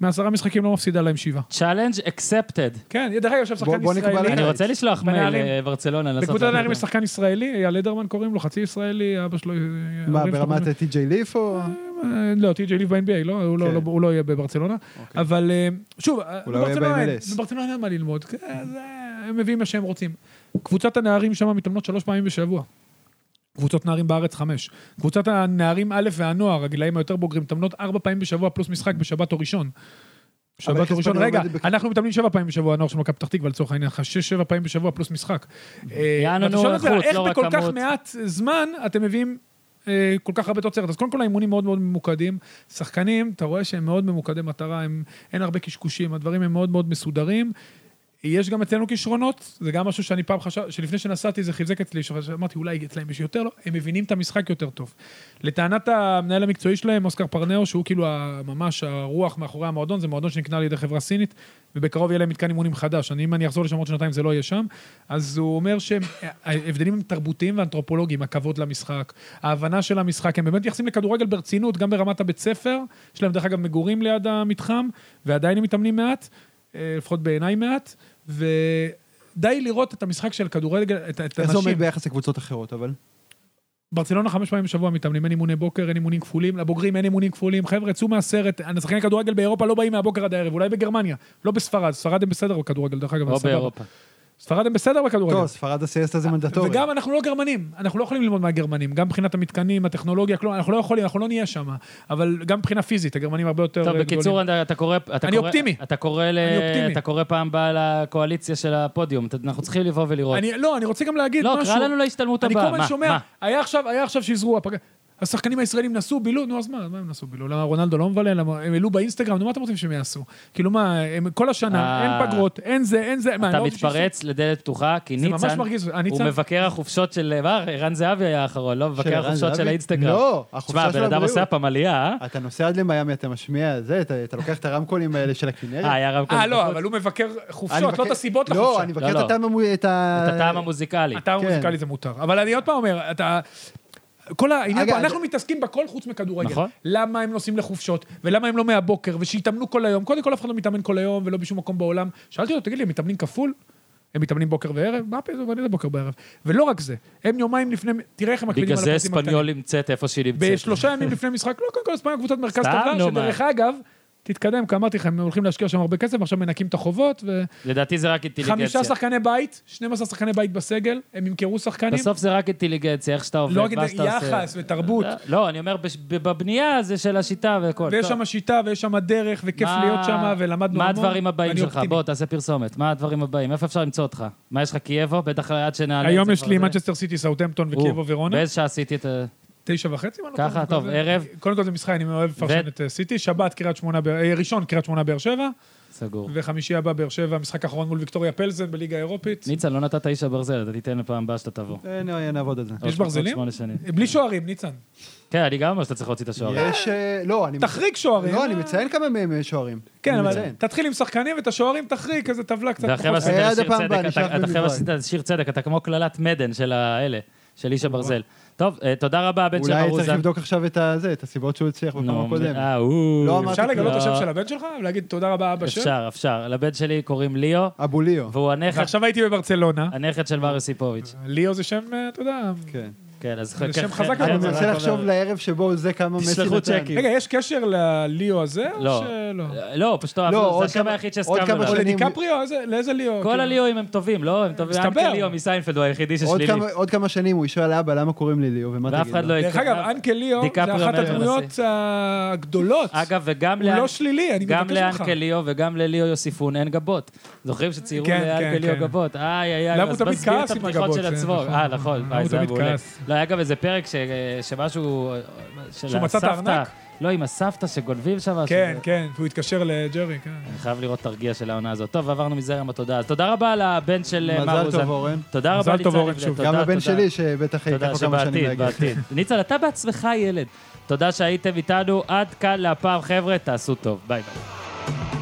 [SPEAKER 3] מעשרה משחקים לא מפסידה להם שבעה.
[SPEAKER 1] Challenge accepted.
[SPEAKER 3] כן, דרך אגב עכשיו
[SPEAKER 2] בוא-
[SPEAKER 3] שחקן
[SPEAKER 2] בוא נקבע
[SPEAKER 3] ישראלי,
[SPEAKER 2] להם.
[SPEAKER 1] אני רוצה לשלוח מייל
[SPEAKER 3] בנעלים.
[SPEAKER 1] לברצלונה. לעשות
[SPEAKER 3] בקבוצת
[SPEAKER 1] לנו
[SPEAKER 3] הנערים יש
[SPEAKER 1] את זה.
[SPEAKER 3] שחקן ישראלי, אייל אדרמן קוראים לו, חצי ישראלי, אבא שלו... אה,
[SPEAKER 2] מה,
[SPEAKER 3] ההורים שלו
[SPEAKER 2] ברמת טי.ג'יי ליף או...
[SPEAKER 3] אה, לא, טי.ג'יי ליב ב-NBA, לא, הוא לא-
[SPEAKER 2] כן.
[SPEAKER 3] לא- הוא לא יהיה בברצלונה.
[SPEAKER 2] אוקיי.
[SPEAKER 3] אבל אה, שוב,
[SPEAKER 2] אולי הוא לא יהיה
[SPEAKER 3] בברצלונה אין-
[SPEAKER 2] ב-MLS.
[SPEAKER 3] בברצלונה אין מה ללמוד. אה, זה- הם מביאים מה שהם רוצים. קבוצת הנערים שם מתאמנות שלוש פעמים בשבוע. קבוצות נערים בארץ חמש. קבוצת הנערים א' והנוער, הגילאים היותר בוגרים, מתאמנות ארבע פעמים בשבוע פלוס משחק בשבת או ראשון.
[SPEAKER 2] אבל
[SPEAKER 3] שבת
[SPEAKER 2] איך
[SPEAKER 3] או ראשון,
[SPEAKER 2] הספרדים
[SPEAKER 3] רגע,
[SPEAKER 2] עובדת בכ-
[SPEAKER 3] אנחנו מתאמנים שבע פעמים בשבוע, הנוער של מכבי פתח תקווה לצורך העניין, לך שש, שבע פעמים בשבוע פלוס משחק.
[SPEAKER 2] אוקיי.
[SPEAKER 3] אה,
[SPEAKER 1] יענו,
[SPEAKER 3] ואתה
[SPEAKER 1] נו,
[SPEAKER 3] שואל את זה,
[SPEAKER 1] איכות,
[SPEAKER 3] איך
[SPEAKER 1] לא רק
[SPEAKER 3] בכל כך
[SPEAKER 1] כמות.
[SPEAKER 3] מעט זמן אתם מביאים אה, כל כך הרבה תוצרת. אז קודם כל האימונים מאוד מאוד ממוקדים. שחקנים, אתה רואה שהם מאוד ממוקדי מטרה, הם, אין הרבה קשקושים, הדברים הם מאוד מאוד מסודרים. אה, יש גם אצלנו כישרונות, זה גם משהו שאני פעם חשב, שלפני שנסעתי זה חיזק אצלי, שאמרתי אולי אצלם יש יותר, לא, הם מבינים את המשחק יותר טוב. לטענת המנהל המקצועי שלהם, אוסקר פרנאו, שהוא כאילו ה- ממש הרוח מאחורי המועדון, זה מועדון שנקנה על ידי חברה סינית, ובקרוב יהיה להם מתקן אימונים חדש. אני, אם אני אחזור לשם עוד שנתיים זה לא יהיה שם. אז הוא אומר שההבדלים הם תרבותיים ואנתרופולוגיים, הכבוד למשחק, ההבנה של המשחק, הם באמת מתייחסים לכדורגל ברצינות, גם ברמת הבית ספר, יש להם דרך אגב מגורים ליד המתחם, ועדיין הם מתאמנים מעט, אה, לפחות בעיניי מעט, ודי לראות את המשחק של כדורגל, את, את
[SPEAKER 2] איך זה
[SPEAKER 3] הנשים.
[SPEAKER 2] עומד ביחס לקבוצות אחרות, אבל?
[SPEAKER 3] ברצלונה חמש פעמים בשבוע מתאמנים, אין אימוני בוקר, אין אימונים כפולים, לבוגרים אין אימונים כפולים, חבר'ה, צאו מהסרט, שחקני כדורגל באירופה לא באים מהבוקר עד הערב, אולי בגרמניה, לא בספרד, ספרד הם בסדר בכדורגל, דרך אגב,
[SPEAKER 1] או
[SPEAKER 3] סבבה.
[SPEAKER 1] לא באירופה.
[SPEAKER 3] ספרד הם בסדר בכדורגל.
[SPEAKER 2] טוב, ספרד הסיאסטה זה מנדטורי.
[SPEAKER 3] לא וגם אנחנו לא גרמנים, אנחנו לא יכולים ללמוד מהגרמנים, גם מבחינת המתקנים, הטכנולוגיה, כלום, אנחנו לא יכולים, אנחנו לא נהיה שם, אבל גם מבחינה פיזית, הגרמנים הרבה יותר
[SPEAKER 1] טוב,
[SPEAKER 3] גדולים.
[SPEAKER 1] בקיצור, אתה- אתה קורא... אתה
[SPEAKER 3] אני
[SPEAKER 1] קורא-
[SPEAKER 3] אופטימי.
[SPEAKER 1] אתה קורא ל-
[SPEAKER 3] אני אופטימי.
[SPEAKER 1] אתה קורא פעם באה לקואליציה של הפודיום, אתה- אנחנו צריכים לבוא ולראות.
[SPEAKER 3] אני, לא, אני רוצה גם להגיד
[SPEAKER 1] לא,
[SPEAKER 3] משהו.
[SPEAKER 1] קרא לנו להשתלמות
[SPEAKER 3] אני כל
[SPEAKER 1] הבאה.
[SPEAKER 3] הזמן
[SPEAKER 1] מה?
[SPEAKER 3] שומע,
[SPEAKER 1] מה?
[SPEAKER 3] היה עכשיו, היה עכשיו שיזרו, הפג... השחקנים הישראלים נסעו, בילו, נו אז מה, אז מה הם נסעו בילו? למה רונלדו לא מבלה? למה הם העלו באינסטגרם, נו מה אתם רוצים שהם יעשו? כאילו מה, הם כל השנה,
[SPEAKER 1] אה.
[SPEAKER 3] אין פגרות, אין זה, אין זה, מה,
[SPEAKER 1] אתה
[SPEAKER 3] לא רוצים
[SPEAKER 1] מתפרץ לדלת פתוחה, כי
[SPEAKER 3] שיעשו? זה ממש
[SPEAKER 1] ניצן,
[SPEAKER 3] מרגיז, אה,
[SPEAKER 1] הוא
[SPEAKER 3] ניצן,
[SPEAKER 1] מבקר החופשות של... מה, ערן זהבי היה האחרון, לא מבקר
[SPEAKER 2] ערן
[SPEAKER 1] החופשות של
[SPEAKER 2] זהבי?
[SPEAKER 1] האינסטגרם.
[SPEAKER 2] לא,
[SPEAKER 1] תשמע,
[SPEAKER 2] החופשה של
[SPEAKER 1] הבן אדם
[SPEAKER 2] הבריאות.
[SPEAKER 1] עושה הפעם עלייה, אה?
[SPEAKER 2] אתה נוסע עד למיאמי, אתה משמיע זה, אתה אתה לוקח את הרמקולים האלה של הכנרת.
[SPEAKER 1] אה, היה רב כזה.
[SPEAKER 3] אה לא,
[SPEAKER 1] בחוץ.
[SPEAKER 3] אבל הוא מבקר
[SPEAKER 2] אני
[SPEAKER 3] חופשות, לא
[SPEAKER 2] מבקר-
[SPEAKER 3] את הסיבות
[SPEAKER 2] לא,
[SPEAKER 3] לחופשה.
[SPEAKER 2] אני
[SPEAKER 1] לא,
[SPEAKER 2] מבקר
[SPEAKER 1] לא.
[SPEAKER 2] את הטעם המוזיקלי. את
[SPEAKER 1] את הטעם המוזיקלי.
[SPEAKER 3] הטעם
[SPEAKER 2] כן.
[SPEAKER 3] המוזיקלי זה מותר. אבל אני עוד פעם אומר, אתה... כל העניין
[SPEAKER 2] אגב,
[SPEAKER 3] פה,
[SPEAKER 2] אני-
[SPEAKER 3] אנחנו מתעסקים בכל חוץ מכדורגל.
[SPEAKER 1] נכון.
[SPEAKER 3] למה הם נוסעים לחופשות, ולמה הם לא מהבוקר, ושיתאמנו כל היום. קודם כל, אף אחד לא מתאמן כל היום, ולא בשום מקום בעולם. שאלתי אותו, תגיד לי, הם מתאמנים כפול? הם מתאמנים בוקר וערב? מה פתאום, אני לא בוקר וערב. ולא רק זה, הם יומיים לפני, תראה איך הם מקפידים
[SPEAKER 1] בגלל
[SPEAKER 3] על
[SPEAKER 1] זה
[SPEAKER 3] הפרטים הקטנים.
[SPEAKER 1] אספניול נמצאת איפה שהיא נמצאת.
[SPEAKER 3] בשלושה ימים לפני משחק, לא, קודם כל אספניה קבוצת מרכז
[SPEAKER 1] סתם,
[SPEAKER 3] טובה,
[SPEAKER 1] נו,
[SPEAKER 3] שדרך אגב, תתקדם, כי אמרתי לך, הם הולכים להשקיע שם הרבה כסף, עכשיו מנקים את החובות, ו...
[SPEAKER 1] לדעתי זה רק אינטליגנציה.
[SPEAKER 3] חמישה שחקני בית, 12 שחקני בית בסגל, הם ימכרו שחקנים.
[SPEAKER 1] בסוף זה רק אינטליגנציה, איך שאתה עובד,
[SPEAKER 3] לא רק
[SPEAKER 1] מה שאתה עושה.
[SPEAKER 3] יחס ותרבות.
[SPEAKER 1] לא, אני אומר, בש- בבנייה זה של השיטה והכל.
[SPEAKER 3] ויש
[SPEAKER 1] טוב.
[SPEAKER 3] שם שיטה, ויש שם דרך, וכיף
[SPEAKER 1] מה-
[SPEAKER 3] להיות שם, ולמדנו
[SPEAKER 1] מה
[SPEAKER 3] המון.
[SPEAKER 1] הדברים הבאים
[SPEAKER 3] ואני
[SPEAKER 1] שלך?
[SPEAKER 3] אופטימי.
[SPEAKER 1] בוא, תעשה פרסומת. מה הדברים הבאים? איפה אפשר למצוא אותך? מה יש לך, קייבו? בטח עד שנעלה את
[SPEAKER 3] היום
[SPEAKER 1] זה
[SPEAKER 3] יש
[SPEAKER 1] כבר
[SPEAKER 3] לי
[SPEAKER 1] זה.
[SPEAKER 3] מנצ'סטר סיטי, סאוטהמפטון
[SPEAKER 1] או,
[SPEAKER 3] וקייבו ורונה.
[SPEAKER 1] באיזה שעה עשיתי את ה...
[SPEAKER 3] תשע וחצי, מה לא
[SPEAKER 1] ככה,
[SPEAKER 3] קודם כל
[SPEAKER 1] טוב,
[SPEAKER 3] זה-
[SPEAKER 1] ערב.
[SPEAKER 3] קודם כל זה משחק, אני אוהב לפרשן
[SPEAKER 1] ו-
[SPEAKER 3] את אה, סיטי. שבת, קריית שמונה, באר- אה, ראשון, קריית שמונה, באר שבע.
[SPEAKER 1] סגור.
[SPEAKER 3] וחמישי הבא, באר שבע, משחק האחרון מול ויקטוריה פלזן בליגה האירופית.
[SPEAKER 1] ניצן, לא נתת איש הברזל, אתה תיתן לפעם הבאה שאתה תבוא.
[SPEAKER 2] אה, נו, נעבוד על זה.
[SPEAKER 1] עוד
[SPEAKER 3] ברזלים?
[SPEAKER 1] שמונה שנים.
[SPEAKER 3] בלי שוערים, ניצן.
[SPEAKER 1] כן, אני גם אומר שאתה צריך להוציא את השוער.
[SPEAKER 2] יש... אה, לא, אני...
[SPEAKER 3] תחריג שוערים.
[SPEAKER 2] לא, אני מציין כמה מהם אה, שוערים.
[SPEAKER 3] כן,
[SPEAKER 2] אני
[SPEAKER 3] אבל
[SPEAKER 2] מציין.
[SPEAKER 3] תתחיל עם שחקנים, ואת השוערים תחריג, איזה טבלה קצת
[SPEAKER 1] ואחרי מה
[SPEAKER 3] פחות.
[SPEAKER 1] שעשית
[SPEAKER 2] היה עד
[SPEAKER 1] לשיר
[SPEAKER 2] הפעם
[SPEAKER 1] צדק,
[SPEAKER 2] הבאה, נשלח
[SPEAKER 1] אתה- אתה- אחרי מה
[SPEAKER 2] במיוחד.
[SPEAKER 1] שעשית לשיר צדק, אתה כמו קללת מדן של האלה, של איש הברזל. טוב, אה, תודה רבה, בן של
[SPEAKER 2] אולי צריך
[SPEAKER 1] ארוזה.
[SPEAKER 2] לבדוק עכשיו את הזה, את הסיבות שהוא הצליח בפעם הקודמת.
[SPEAKER 1] אה, הוא.
[SPEAKER 2] לא אמרתי
[SPEAKER 3] אפשר לגלות את השם
[SPEAKER 1] לא.
[SPEAKER 3] של הבן שלך ולהגיד תודה רבה אבא שם?
[SPEAKER 1] אפשר, אפשר. לבן שלי קוראים ליאו,
[SPEAKER 2] אבו ליאו.
[SPEAKER 1] והוא הנכד-
[SPEAKER 3] ועכשיו הייתי בברצלונה.
[SPEAKER 1] הנכד של מריו סיפוביץ'.
[SPEAKER 3] ליאו זה שם, אה, אתה יודע...
[SPEAKER 2] כן.
[SPEAKER 1] כן, אז...
[SPEAKER 3] זה
[SPEAKER 1] כן,
[SPEAKER 3] שם
[SPEAKER 1] כן,
[SPEAKER 3] חזק,
[SPEAKER 1] כן,
[SPEAKER 3] אבל
[SPEAKER 2] אני
[SPEAKER 1] זה
[SPEAKER 2] מנסה
[SPEAKER 1] רק
[SPEAKER 2] לחשוב
[SPEAKER 1] אומר-
[SPEAKER 2] לערב שבו זה כמה מסי נתן.
[SPEAKER 1] תשלחו צ'קים.
[SPEAKER 3] רגע, יש קשר לליאו הזה? או
[SPEAKER 1] כאילו. לא.
[SPEAKER 3] שלא?
[SPEAKER 1] לא, פשוט אהבנו,
[SPEAKER 2] עוד
[SPEAKER 1] זה השם
[SPEAKER 2] כמה-
[SPEAKER 1] היחיד
[SPEAKER 2] עוד
[SPEAKER 1] שהסכמנו
[SPEAKER 2] כמה
[SPEAKER 1] עליו.
[SPEAKER 3] או
[SPEAKER 2] שנים-
[SPEAKER 3] לדיקפריו? איזה- לאיזה ליאו?
[SPEAKER 1] כל
[SPEAKER 3] כאילו?
[SPEAKER 1] הליאוים הם טובים, לא? הם טובים.
[SPEAKER 3] מסתבר.
[SPEAKER 1] אנקל ליאו מסיינפלד הוא היחידי
[SPEAKER 2] עוד
[SPEAKER 1] ששלילי.
[SPEAKER 2] כמה- עוד כמה שנים הוא ישאל אבא, למה קוראים לי ליאו, ומה
[SPEAKER 1] ואף
[SPEAKER 2] תגיד
[SPEAKER 1] אחד
[SPEAKER 2] לו?
[SPEAKER 1] לא
[SPEAKER 3] דרך אגב, אנקל ליאו
[SPEAKER 1] דיקפריו
[SPEAKER 3] זה אחת
[SPEAKER 1] אומר
[SPEAKER 3] הדמויות
[SPEAKER 1] מנסה.
[SPEAKER 3] הגדולות.
[SPEAKER 1] אגב, וגם
[SPEAKER 3] הוא
[SPEAKER 1] לאן-
[SPEAKER 3] לא שלילי, אני
[SPEAKER 1] גם
[SPEAKER 3] מבקש ממך.
[SPEAKER 1] לאנקליו וגם לליאו יוסיפון אין גבות. זוכרים שציירו
[SPEAKER 3] כן,
[SPEAKER 1] לאנקליו
[SPEAKER 3] כן, כן.
[SPEAKER 1] גבות? איי, איי, איי.
[SPEAKER 3] למה הוא
[SPEAKER 1] אז
[SPEAKER 3] תמיד
[SPEAKER 1] מסביר את
[SPEAKER 3] כעס עם
[SPEAKER 1] הבדיחות
[SPEAKER 3] הגבות?
[SPEAKER 1] של
[SPEAKER 3] זה
[SPEAKER 1] עצמו.
[SPEAKER 3] נכון.
[SPEAKER 1] אה, נכון.
[SPEAKER 3] למה
[SPEAKER 1] וואי,
[SPEAKER 3] הוא
[SPEAKER 1] זה היה
[SPEAKER 3] תמיד
[SPEAKER 1] מעולה.
[SPEAKER 3] כעס?
[SPEAKER 1] לא, היה גם איזה פרק ש- שמשהו... אה, של
[SPEAKER 3] שהוא מצא את
[SPEAKER 1] הסבתא.
[SPEAKER 3] הארנק?
[SPEAKER 1] לא, עם הסבתא שגונבים שם.
[SPEAKER 3] כן,
[SPEAKER 1] שזה-
[SPEAKER 3] כן, והוא התקשר לג'רי, כן.
[SPEAKER 1] אני חייב לראות תרגיע של העונה הזאת. טוב, עברנו מזרם התודה. אז תודה רבה לבן של אה, מר
[SPEAKER 2] מזל
[SPEAKER 1] אוזן.
[SPEAKER 2] טוב, אורן.
[SPEAKER 1] תודה רבה,
[SPEAKER 3] מזל
[SPEAKER 1] ניצן
[SPEAKER 3] טוב, אורן,
[SPEAKER 1] לבני.
[SPEAKER 3] שוב.
[SPEAKER 1] תודה,
[SPEAKER 2] גם הבן
[SPEAKER 1] תודה.
[SPEAKER 2] שלי, שבטח ייקח
[SPEAKER 1] תודה
[SPEAKER 2] לו כמה שנים
[SPEAKER 1] שבעתיד,
[SPEAKER 2] להגיד. [laughs]
[SPEAKER 1] בעתיד. ניצן, אתה בעצמך ילד. תודה שהייתם איתנו. עד כאן להפעם, חבר'ה, תעשו טוב. ביי ביי.